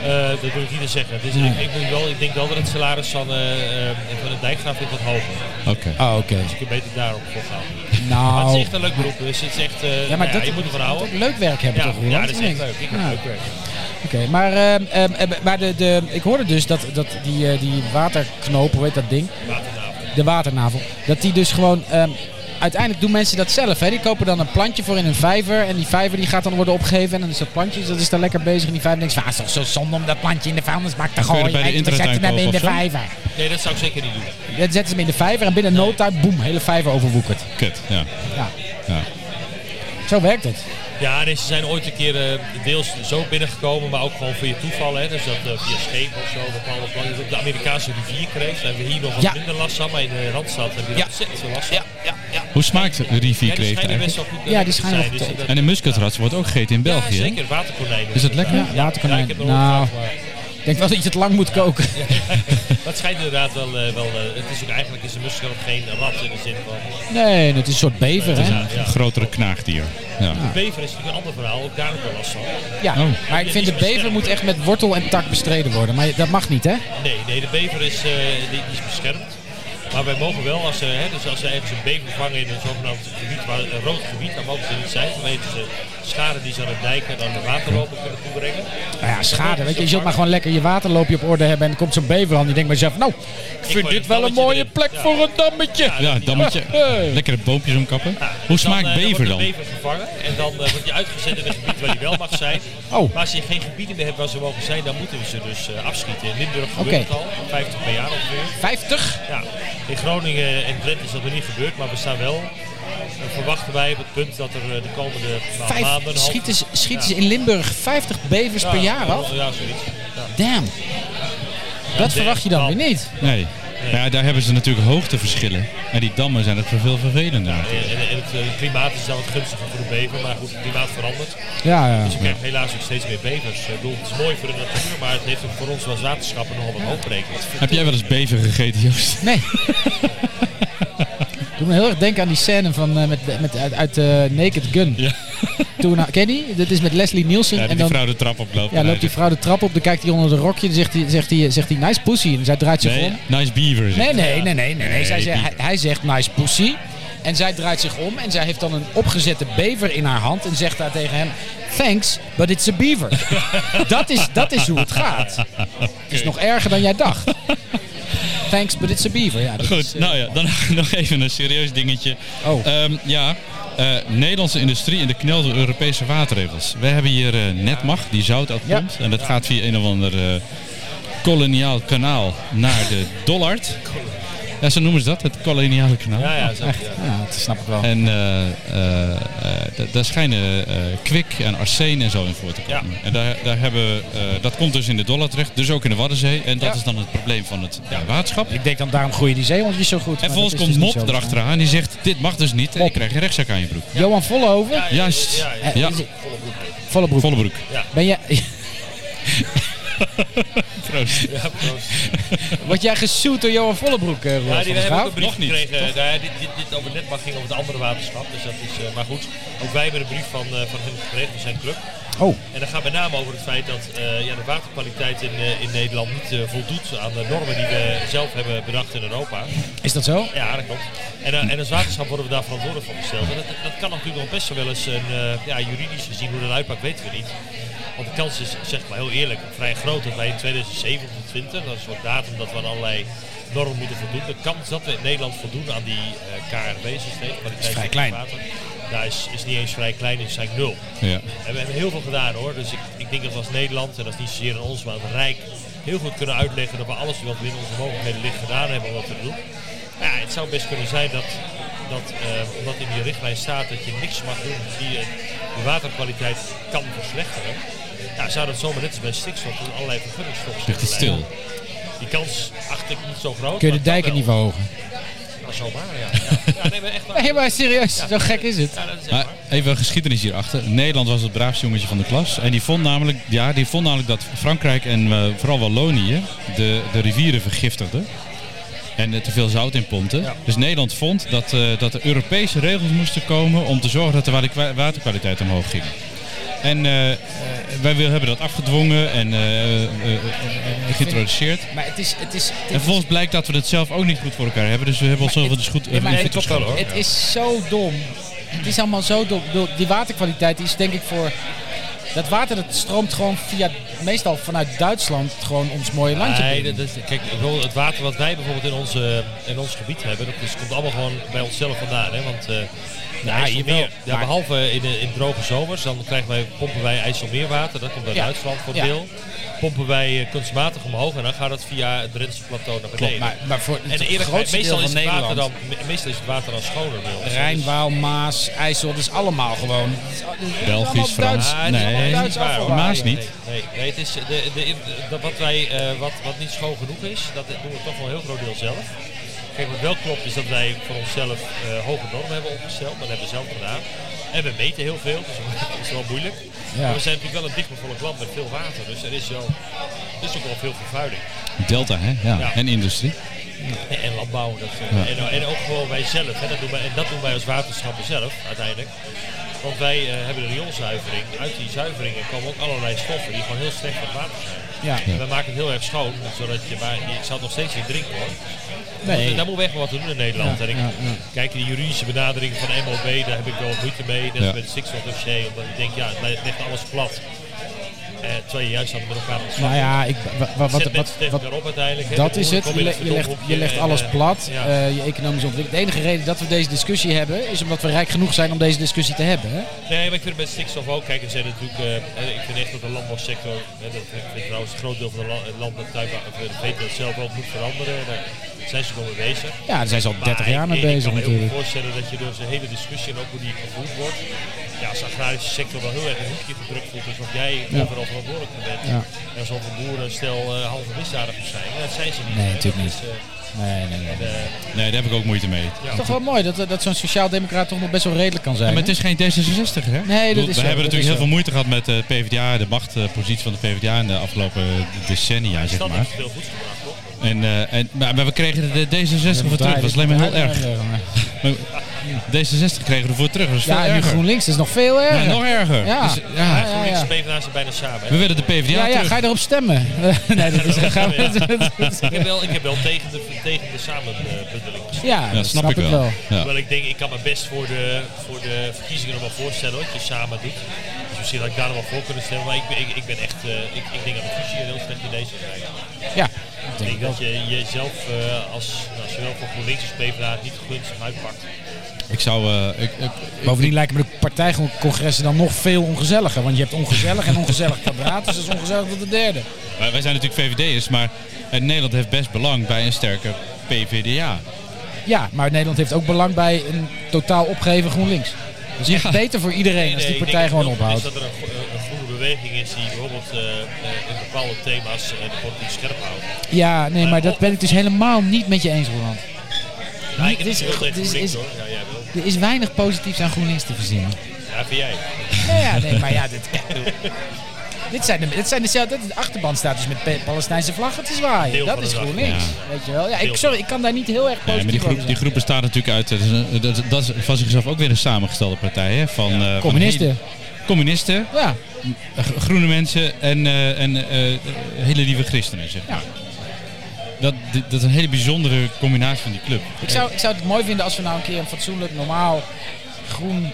Speaker 3: Eh, dat wil ik niet te zeggen. Dus
Speaker 1: Nee.
Speaker 3: ik, ik, moet wel, ik denk wel dat het salaris van, eh eh, van een dijkgraaf is wat hoger.
Speaker 2: Oké.
Speaker 1: Oh, oké.
Speaker 3: Dus ik kan beter daarop voor gaan. Maar het is
Speaker 1: Nou.
Speaker 3: echt een leuk beroep. Dus het is echt, eh,
Speaker 1: Ja, maar
Speaker 3: nou
Speaker 1: dat,
Speaker 3: je moet ervan
Speaker 1: dat
Speaker 3: houden.
Speaker 1: ook leuk werk hebben
Speaker 3: Ja,
Speaker 1: toch,
Speaker 3: ja,
Speaker 1: Roland?
Speaker 3: dat is
Speaker 1: Of
Speaker 3: echt
Speaker 1: niet?
Speaker 3: leuk. Ik vind
Speaker 1: Ja.
Speaker 3: het leuk werk.
Speaker 1: Oké, maar, ehm, ehm, eh, maar de, de, ik hoorde dus dat, dat die, eh, die waterknoop, hoe heet dat ding?
Speaker 3: Waternavel.
Speaker 1: De waternavel. Dat die dus gewoon... ehm, uiteindelijk doen mensen dat zelf. Hè? Die kopen dan een plantje voor in een vijver. En die vijver die gaat dan worden opgegeven. En dan is dat plantje dus dat is daar lekker bezig. En die vijver denkt van... Ah, is toch zo zonde om dat plantje in de vuilnisbak te
Speaker 2: Kun je
Speaker 5: Oh,
Speaker 1: gooien.
Speaker 2: er bij de
Speaker 1: Weet je, we zetten hem
Speaker 2: intratuin
Speaker 1: in de
Speaker 2: kopen
Speaker 1: vijver.
Speaker 3: Nee, dat zou ik zeker niet doen.
Speaker 1: Dan zetten ze hem in de vijver. En binnen no time, boem, hele vijver overwoekerd.
Speaker 2: Kut, ja.
Speaker 1: Ja.
Speaker 2: Ja.
Speaker 1: Zo werkt het.
Speaker 3: Ja, nee, ze zijn ooit een keer eh, deels zo binnengekomen, maar ook gewoon via toeval. Hè. Dus dat eh, via schepen of zo, bepaalde plannen. Dus op de Amerikaanse rivier kreeg. Daar hebben we hier nog wat
Speaker 1: Ja.
Speaker 3: minder last van, maar in de Randstad hebben we
Speaker 1: Ja.
Speaker 3: er ontzettend veel last van.
Speaker 1: Ja, ja, ja.
Speaker 2: Hoe smaakt de
Speaker 3: Ja,
Speaker 2: rivier
Speaker 3: die
Speaker 2: kreeft
Speaker 3: schijnen best
Speaker 2: eigenlijk?
Speaker 3: wel goed eh,
Speaker 1: Ja, die
Speaker 3: te
Speaker 1: schijnen
Speaker 3: zijn,
Speaker 1: wel
Speaker 3: dus
Speaker 1: goed
Speaker 3: dat-
Speaker 2: En de muskatrat wordt ook gegeten in
Speaker 3: Ja,
Speaker 2: België. hè?
Speaker 3: zeker. Waterkonijnen.
Speaker 2: Is dat lekker?
Speaker 3: Ja,
Speaker 1: waterkonijn.
Speaker 3: Ja, ik heb er
Speaker 1: Nou.
Speaker 3: nou. maar
Speaker 1: Ik denk wel dat je het lang moet koken.
Speaker 3: dat schijnt inderdaad wel... eh, wel eh, het is ook eigenlijk is een muskrat geen rat in de zin van...
Speaker 1: Nee, het is een soort bever,
Speaker 2: Het is
Speaker 1: hè?
Speaker 2: een grotere knaagdier. Ja.
Speaker 3: Bever is natuurlijk een ander verhaal, ook daar ook wel last van.
Speaker 1: Ja,
Speaker 2: Oh.
Speaker 1: maar ik vind de bever moet echt met wortel en tak bestreden worden. Maar dat mag niet, hè?
Speaker 3: Nee, nee de bever is, eh, die, die is beschermd. Maar wij mogen wel, als, ze, hè, dus als ze ergens een bever vangen in een zogenaamd gebied, waar, een rood gebied, dan mogen ze niet zijn. Dan weten ze scharen die ze aan het dijk en aan de waterlopen kunnen toebrengen.
Speaker 1: Nou ja, schade. Weet je, je zult maar gewoon lekker je waterloopje op orde hebben. En dan komt zo'n bever aan. Die denkt bij zichzelf, nou, ik vind
Speaker 3: gooi
Speaker 1: dit
Speaker 3: een
Speaker 1: wel een
Speaker 3: dammetje
Speaker 1: mooie
Speaker 3: erin.
Speaker 1: plek
Speaker 3: Ja.
Speaker 1: voor een dammetje.
Speaker 2: Ja, dammetje. Lekkere boompjes omkappen.
Speaker 3: Ja,
Speaker 2: Hoe
Speaker 3: dus dan,
Speaker 2: smaakt
Speaker 3: eh,
Speaker 2: bever
Speaker 3: Dan
Speaker 2: dan?
Speaker 3: wordt de bever gevangen en dan eh, wordt je uitgezet in een gebied waar die wel mag zijn.
Speaker 1: Oh.
Speaker 3: Maar als je geen gebieden meer hebt waar ze mogen zijn, dan moeten we ze dus eh, afschieten. In Limburg gebeurt
Speaker 1: Oké.
Speaker 3: het al, 50 per jaar ongeveer.
Speaker 1: 50?
Speaker 3: Ja, in Groningen en Drenthe is dat nog niet gebeurd, maar we staan wel. eh, verwachten wij op het punt dat er eh, de komende nou, maanden...
Speaker 1: Vijf,
Speaker 3: een half-
Speaker 1: schieten ze, schieten ze
Speaker 3: Ja.
Speaker 1: in Limburg 50 bevers per jaar
Speaker 3: ja,
Speaker 1: af?
Speaker 3: Ja, zoiets. Ja.
Speaker 1: Damn. Dat
Speaker 3: damn,
Speaker 1: verwacht je dan
Speaker 3: man.
Speaker 1: weer niet.
Speaker 2: Nee. Nou ja, daar hebben ze natuurlijk hoogteverschillen. En die dammen zijn het voor veel vervelender.
Speaker 3: En, en- en het eh, klimaat is dan wat gunstiger voor de bever, maar goed, het klimaat verandert.
Speaker 1: Ja, ja.
Speaker 3: Dus je krijgt helaas ook steeds meer bevers. Ik bedoel, het is mooi voor de natuur, maar het heeft ook voor ons als waterschappen nogal wat hoopbrekend.
Speaker 2: Heb jij wel eens bever gegeten, Joost?
Speaker 1: Nee. Doe me heel erg denken aan die scène van, eh, met, met, uit, uit eh, Naked Gun.
Speaker 2: Ja.
Speaker 1: Toen, nou, ken je die? Dat is met Leslie Nielsen.
Speaker 2: Ja,
Speaker 1: en
Speaker 2: die
Speaker 1: dan
Speaker 2: vrouw de trap oploopt.
Speaker 1: ja, loopt die vrouw de trap op, dan kijkt hij onder de rokje en zegt hij, zegt hij, zegt hij nice pussy. En zij draait zich
Speaker 2: Nee,
Speaker 1: om.
Speaker 2: nice beaver. zeg.
Speaker 1: Nee, nee, nee, nee. nee, nee. Zij
Speaker 2: Nee,
Speaker 1: zegt,
Speaker 2: die-
Speaker 1: hij, hij zegt nice pussy. En zij draait zich om en zij heeft dan een opgezette bever in haar hand en zegt daar tegen hem... Thanks, but it's a beaver. dat, is, dat is hoe het gaat. Het is nog erger dan jij dacht. Thanks, but it's a beaver. Ja, dat
Speaker 2: Goed,
Speaker 1: is, eh,
Speaker 2: nou ja, dan nog even een serieus dingetje.
Speaker 1: Oh.
Speaker 2: Ehm, ja, eh, Nederlandse industrie in de knel door Europese waterregels. We hebben hier eh, Netmag, die zout uitpompt. En dat gaat via een of ander eh, koloniaal kanaal naar de Dollard. Ja, zo noemen ze dat, het koloniale kanaal.
Speaker 3: Ja, ja, zo, ja.
Speaker 1: Ja, dat snap ik wel.
Speaker 2: En eh, eh, eh, da- daar schijnen eh kwik en arsen en zo in voor te komen. En daar, daar hebben, we, eh, dat komt dus in de dollar terecht, dus ook in de Waddenzee. En dat
Speaker 1: Ja.
Speaker 2: is dan het probleem van het ja, waterschap.
Speaker 1: Ik denk dan, daarom groeien die zeehondjes zo goed.
Speaker 2: En volgens
Speaker 1: dus
Speaker 2: komt Mop erachteraan en die zegt, dit mag dus niet. En ik krijg een rechtszaak aan je broek.
Speaker 1: Johan Vollenhoven?
Speaker 3: Ja,
Speaker 2: Juist.
Speaker 3: Ja, ja,
Speaker 1: Eh,
Speaker 2: Ja,
Speaker 1: is het- Vollebroek.
Speaker 2: volle broek.
Speaker 1: Ben jij,
Speaker 2: Proost.
Speaker 3: ja, proost.
Speaker 1: word jij gesuwd door Johan Vollebroek, eh, Roel
Speaker 3: Ja,
Speaker 1: van
Speaker 3: die
Speaker 1: der
Speaker 3: hebben
Speaker 1: Graaf?
Speaker 3: ook een brief
Speaker 2: Nog niet,
Speaker 3: gekregen. Nou ja, dit, dit, dit over net mag ging over het andere waterschap. Dus dat is, eh, maar goed, ook wij hebben een brief van, eh, van hem gekregen, van zijn club.
Speaker 1: Oh,
Speaker 3: En dat gaat met name over het feit dat eh, ja, de waterkwaliteit in, eh, in Nederland niet eh, voldoet aan de normen die we zelf hebben bedacht in Europa.
Speaker 1: is dat zo?
Speaker 3: Ja, dat klopt. En, eh, en als waterschap worden we daar verantwoordelijk voor gesteld. En dat, dat kan natuurlijk nog best wel eens een, eh, ja, juridisch gezien, hoe dat uitpakt weten we niet. Want de kans is, zeg maar heel eerlijk, vrij groot dat wij in 2027, dat is een soort datum dat we aan allerlei normen moeten voldoen. De kans dat we in Nederland voldoen aan die eh KRW-systeem,
Speaker 1: Is vrij klein.
Speaker 3: Water, daar is, is niet eens vrij klein, is eigenlijk nul.
Speaker 2: Ja.
Speaker 3: En we hebben heel veel gedaan hoor. Dus ik, ik denk dat we als Nederland, en dat is niet zozeer aan ons, maar aan het Rijk, heel goed kunnen uitleggen dat we alles wat binnen onze mogelijkheden ligt gedaan hebben om dat te doen. Maar ja, het zou best kunnen zijn dat, dat eh, omdat in die richtlijn staat dat je niks mag doen die eh, de waterkwaliteit kan verslechteren. Ja, zou dat zomaar net als bij stikstof en allerlei vergunningsstoffen
Speaker 2: Ligt het stil.
Speaker 3: Die kans acht ik niet zo groot.
Speaker 1: Kun je
Speaker 3: maar
Speaker 1: de
Speaker 3: kan
Speaker 1: dijken
Speaker 3: wel.
Speaker 1: niet verhogen?
Speaker 3: Ja, zomaar, ja. ja. ja nee, maar echt waar.
Speaker 1: Nee, maar serieus, zo gek is het.
Speaker 3: Ja, dat is echt
Speaker 2: Maar
Speaker 3: waar.
Speaker 2: even geschiedenis hierachter. Nederland was het braafste jongetje van de klas. En die vond namelijk, ja, die vond namelijk dat Frankrijk en eh, vooral Wallonië de, de rivieren vergiftigden. En eh, te veel zout in pompen.
Speaker 3: Ja.
Speaker 2: Dus Nederland vond dat, eh, dat er Europese regels moesten komen om te zorgen dat de wa- kwa- waterkwaliteit omhoog ging. En eh, eh, wij wil- hebben dat afgedwongen en eh, eh, eh, eh, geïntroduceerd.
Speaker 1: Maar het is... Het is, het is
Speaker 2: En volgens blijkt dat we het zelf ook niet goed voor elkaar hebben. Dus we hebben onszelf wel dus goed...
Speaker 1: Nee, maar
Speaker 2: eh,
Speaker 1: het,
Speaker 2: goed geschoten.
Speaker 1: het is zo dom. Het is allemaal zo dom. Ik bedoel, Die waterkwaliteit die is denk ik voor Dat water dat stroomt gewoon via, meestal vanuit Duitsland, gewoon ons mooie landje.
Speaker 3: Nee,
Speaker 1: binnen.
Speaker 3: dat is- kijk, ik bedoel, het water wat wij bijvoorbeeld in, onze, in ons gebied hebben, dat is, komt allemaal gewoon bij onszelf vandaan. Hè? Want eh de IJsselmeer,
Speaker 1: jawel,
Speaker 3: ja,
Speaker 1: maar-
Speaker 3: behalve in, de, in droge zomers, dan krijgen wij, pompen wij IJsselmeerwater, dat komt uit
Speaker 1: Ja,
Speaker 3: Duitsland voor een
Speaker 1: ja.
Speaker 3: deel. Pompen wij eh, kunstmatig omhoog en dan gaat dat via het Drentse plateau naar beneden.
Speaker 1: Klopt, maar, maar voor het
Speaker 3: en eerlijk,
Speaker 1: grootste deel
Speaker 3: meestal
Speaker 1: van
Speaker 3: is, het water
Speaker 1: Nederland,
Speaker 3: dan, me- meestal is het water dan schoner bij ons.
Speaker 1: Rijn, Waal, Maas, IJssel, dat is allemaal gewoon...
Speaker 2: Belgisch, Frans.
Speaker 3: Ah,
Speaker 2: Nee.
Speaker 3: het
Speaker 1: Duits
Speaker 3: is allemaal niet waar, hoor.
Speaker 1: afvalwater.
Speaker 2: Maas niet.
Speaker 3: Nee, nee, nee, het is de, de, de- dat wat, wij, eh, wat, wat niet schoon genoeg is, dat doen we toch wel een heel groot deel zelf. Kijk, wat wel klopt is dat wij voor onszelf eh, hoge normen hebben opgesteld, maar dat hebben we zelf gedaan. En we meten heel veel, dus dat is wel moeilijk. Maar we zijn natuurlijk wel een dichtbevolkt land met veel water, dus er is, wel, er is ook wel veel vervuiling.
Speaker 2: Delta, hè? Ja.
Speaker 3: Ja.
Speaker 2: En industrie.
Speaker 3: En, en landbouw, dat, eh, en, en ook gewoon wij zelf, hè, dat doen wij, en dat doen wij als waterschappen zelf uiteindelijk. Want wij eh, hebben de rioolzuivering. Uit die zuiveringen komen ook allerlei stoffen die gewoon heel slecht voor het water zijn.
Speaker 1: Ja.
Speaker 3: En We maken het heel erg schoon, zodat je, maar ik zou het nog steeds niet drinken hoor.
Speaker 1: Nee.
Speaker 3: Want Daar moeten we echt wel wat aan doen in Nederland.
Speaker 1: Ja,
Speaker 3: en ik,
Speaker 1: ja, ja.
Speaker 3: Kijk, de juridische benadering van MOB, daar heb ik wel wat moeite mee. Net als
Speaker 2: Ja.
Speaker 3: met het stikstofdossier, omdat ik denk, ja, het le- legt alles plat. Eh, terwijl je juist aan het met elkaar aan het
Speaker 1: Nou
Speaker 3: slapen
Speaker 1: ja, ik, wa- wa- wat,
Speaker 3: Zet
Speaker 1: wat,
Speaker 3: mensen
Speaker 1: wat,
Speaker 3: tegen elkaar op uiteindelijk. hè.
Speaker 1: dat
Speaker 3: Dan
Speaker 1: is het.
Speaker 3: kom
Speaker 1: Je, le-
Speaker 3: in
Speaker 1: je, legt, je
Speaker 3: verdomhoekje
Speaker 1: legt
Speaker 3: en,
Speaker 1: alles
Speaker 3: eh,
Speaker 1: plat,
Speaker 3: ja.
Speaker 1: eh, je economische ontwikkeling. De enige reden dat we deze discussie hebben, is omdat we rijk genoeg zijn om deze discussie te hebben. Hè?
Speaker 3: Nee, maar ik vind het met stikstof ook. Kijk, er zijn natuurlijk. eh, eh, ik vind echt dat de landbouwsector. hè, dat vind ik trouwens een groot deel van de la- het land dat tuinbouw. of, eh, de veeteelt zelf ook moet veranderen. Daar zijn ze wel mee bezig.
Speaker 1: Ja, daar zijn ze al 30
Speaker 3: Maar
Speaker 1: jaar mee
Speaker 3: ik- ik-
Speaker 1: bezig
Speaker 3: Ik kan me heel
Speaker 1: natuurlijk.
Speaker 3: goed voorstellen dat je door zo'n hele discussie en ook hoe die gevoerd wordt, ja, als de agrarische sector wel heel erg een hoekje gedrukt voelt, alsof jij overal verantwoordelijk voor bent.
Speaker 1: Ja.
Speaker 3: En alsof de boeren stel eh, halve misdadigers zijn. Ja, dat zijn ze niet.
Speaker 1: Nee,
Speaker 3: hè.
Speaker 1: natuurlijk
Speaker 3: Dat is,
Speaker 1: Nee, nee, nee.
Speaker 3: eh, eh,
Speaker 2: Nee, daar heb ik ook moeite mee.
Speaker 1: Het is toch wel mooi dat, dat zo'n sociaal-democraat toch nog best wel redelijk kan zijn.
Speaker 2: Ja,
Speaker 1: hè?
Speaker 2: maar het is geen D66, hè?
Speaker 1: Nee, dat
Speaker 2: Ik bedoel,
Speaker 1: is
Speaker 2: We
Speaker 1: zo, dat
Speaker 2: hebben natuurlijk
Speaker 1: is
Speaker 2: heel
Speaker 1: zo.
Speaker 2: veel moeite gehad met eh, de PvdA, de machtpositie van de PvdA in de afgelopen eh, decennia,
Speaker 3: de
Speaker 2: zeg
Speaker 3: stad
Speaker 2: maar.
Speaker 3: heeft veel goeds
Speaker 1: Ah,
Speaker 3: gebracht, toch?
Speaker 2: En, eh, en, maar, maar we kregen de D66 voor
Speaker 1: Daar-
Speaker 2: terug. Dat was alleen maar heel
Speaker 1: daar-
Speaker 2: erg. Maar D66 kregen we ervoor terug. Dat was veel
Speaker 1: Ja, en nu
Speaker 2: erger.
Speaker 1: GroenLinks is nog veel
Speaker 2: Ja,
Speaker 1: erger.
Speaker 2: nog erger.
Speaker 1: Ja.
Speaker 2: Dus, ja.
Speaker 1: Ja,
Speaker 3: GroenLinks
Speaker 1: ja.
Speaker 3: en PvdA zijn bijna samen. hè.
Speaker 2: We willen de PvdA
Speaker 1: Ja, ja,
Speaker 2: terug.
Speaker 1: ga je erop stemmen? nee, dat is gaan we-
Speaker 3: Ik heb wel, ik heb wel tegen, de, tegen de samenbundeling gestemd.
Speaker 1: Ja,
Speaker 2: Ja,
Speaker 1: dat snap ik wel.
Speaker 2: Ja.
Speaker 3: Terwijl ik denk, ik kan me best voor de, voor de verkiezingen nog wel voorstellen wat je samen doet. Dus misschien had ik daar nog wel voor kunnen stemmen. Maar ik, ben- ik, ik ben echt, eh, ik, ik denk dat de verkiezingen heel slecht in deze zijn.
Speaker 1: Ja,
Speaker 3: Ik denk dat je jezelf eh, als, als je wel voor GroenLinks als PvdA het niet gunstig uitpakt.
Speaker 2: Ik zou... eh, ik, ik,
Speaker 1: Bovendien lijken me de partijcongressen dan nog veel ongezelliger. Want je hebt ongezellig en ongezellig kwadraat. Dus dat is ongezellig tot de derde.
Speaker 2: wij wij zijn natuurlijk VVD'ers, maar eh, Nederland heeft best belang bij een sterke PvdA.
Speaker 1: Ja, maar Nederland heeft ook belang bij een totaal opgeheven GroenLinks. Dat is echt
Speaker 2: Ja.
Speaker 1: beter voor iedereen als die
Speaker 3: ik denk
Speaker 1: partij
Speaker 3: dat het
Speaker 1: gewoon
Speaker 3: heel goed
Speaker 1: ophoudt.
Speaker 3: is dat er een, gro- een- een groene beweging is die bijvoorbeeld eh, eh, in bepaalde thema's eh, de politiek scherp houdt.
Speaker 1: Ja, nee, maar dat ben ik dus helemaal niet met je eens, Roland.
Speaker 3: Ja, ik heb
Speaker 1: dit
Speaker 3: het
Speaker 1: is-
Speaker 3: heel tegen
Speaker 1: dit is-
Speaker 3: GroenLinks
Speaker 1: is-
Speaker 3: hoor. Ja, jij wel.
Speaker 1: Er is weinig positiefs aan GroenLinks te verzinnen.
Speaker 3: Ja, vind jij.
Speaker 1: Ja, ja, nee, maar ja, dit... Dit zijn, de, dit zijn dezelfde, de achterban staat dus met Pe- Palestijnse vlaggen te zwaaien.
Speaker 3: Deel
Speaker 1: dat
Speaker 3: van
Speaker 1: is
Speaker 3: de dag.
Speaker 1: GroenLinks, weet je wel. Ja,
Speaker 3: Deel
Speaker 1: ik, sorry, ik kan daar niet heel erg
Speaker 2: Nee,
Speaker 1: positief
Speaker 2: maar die groep,
Speaker 1: over
Speaker 2: die
Speaker 1: zijn.
Speaker 2: groep bestaat natuurlijk uit. Dat is, een- dat, dat is van zichzelf ook weer een samengestelde partij. Hè? Van, eh, van
Speaker 1: Communisten.
Speaker 2: hele- communisten,
Speaker 1: Ja,
Speaker 2: g- groene mensen en, eh, en eh, hele lieve christenen. Zeg. maar. Dat, dat is een hele bijzondere combinatie van die club.
Speaker 1: ik zou, ik zou het mooi vinden als we nou een keer een fatsoenlijk, normaal, groen,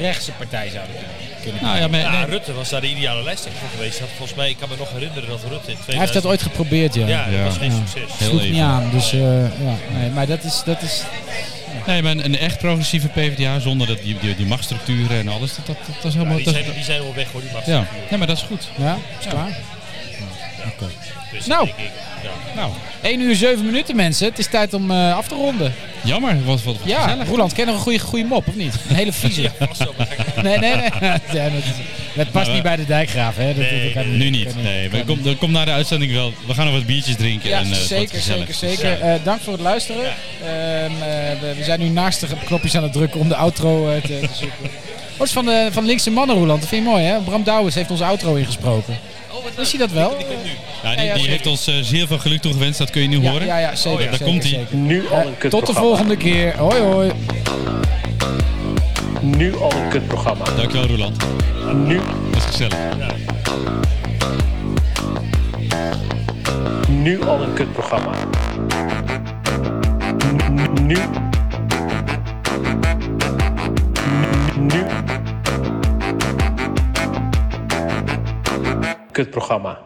Speaker 1: rechtse partij zouden kunnen.
Speaker 2: Nou ja, maar,
Speaker 3: Ja,
Speaker 2: nee,
Speaker 3: Ah, Rutte was daar de ideale lijsttrekker voor geweest. Dat volgens mij, ik kan me nog herinneren dat Rutte in 2000...
Speaker 1: Hij heeft dat ooit geprobeerd, ja.
Speaker 3: Ja, dat was
Speaker 2: Ja.
Speaker 3: geen
Speaker 1: Ja.
Speaker 3: succes.
Speaker 2: Heel
Speaker 1: Sloeg
Speaker 2: even.
Speaker 1: niet aan, dus eh, ja, nee, maar dat is, dat is...
Speaker 2: nee, maar een, een echt progressieve PvdA zonder dat, die, die, die machtsstructuren en alles. Dat, dat, dat is
Speaker 3: Ja,
Speaker 2: helemaal.
Speaker 3: die,
Speaker 2: dat-
Speaker 3: zijn, die zijn al weg voor die massa.
Speaker 2: ja. ja, maar dat is goed.
Speaker 1: Ja, is klaar.
Speaker 3: Dus
Speaker 1: Nou.
Speaker 3: denk ik, ja.
Speaker 2: Nou,
Speaker 1: 1 uur 7 minuten, mensen. Het is tijd om eh, af te ronden.
Speaker 2: jammer. Wat, wat,
Speaker 1: Ja,
Speaker 2: gezellig.
Speaker 1: Roland, ken je nog een goede, goede mop, of niet? Een hele vieze.
Speaker 3: Vast wel, maar ik-
Speaker 1: Nee, nee, nee. Ja, dat, is- dat past
Speaker 2: we-
Speaker 1: niet bij de dijkgraaf, hè? Dat,
Speaker 3: Nee,
Speaker 1: dat kan
Speaker 2: Nu
Speaker 1: kan
Speaker 2: niet. Nee, maar kom, dan kom na de uitzending wel. We gaan nog wat biertjes drinken.
Speaker 1: Ja,
Speaker 2: en, eh, het wordt
Speaker 1: zeker,
Speaker 2: gezellig.
Speaker 1: zeker, zeker. Eh, dank voor het luisteren. Ehm, eh, we, we zijn nu naast de knopjes aan het drukken om de outro eh, te, te zoeken. Oh, dat is van, de, van Linkse Mannen, Roland. Dat vind je mooi, hè? Bram Douwens heeft onze outro ingesproken.
Speaker 3: Oh, wat
Speaker 1: Wist je
Speaker 3: leuk.
Speaker 1: dat wel?
Speaker 3: Die komt nu.
Speaker 2: Ja, die
Speaker 1: Ja, ja,
Speaker 2: die
Speaker 1: zeker.
Speaker 2: heeft ons eh, zeer veel geluk toegewenst. Dat kun je nu
Speaker 1: Ja,
Speaker 2: horen.
Speaker 1: ja, ja, zeker.
Speaker 2: Oh ja, daar
Speaker 1: zeker,
Speaker 2: komt-ie.
Speaker 1: zeker.
Speaker 6: Nu al een
Speaker 1: Eh, Tot de
Speaker 6: kutprogramma.
Speaker 1: volgende keer. Hoi, hoi.
Speaker 6: Nu al een kutprogramma.
Speaker 2: Dankjewel, Roland.
Speaker 6: Nu,
Speaker 2: Dat is gezellig.
Speaker 6: nu al een kutprogramma. Nu. Nu. Nu. kutprogramma.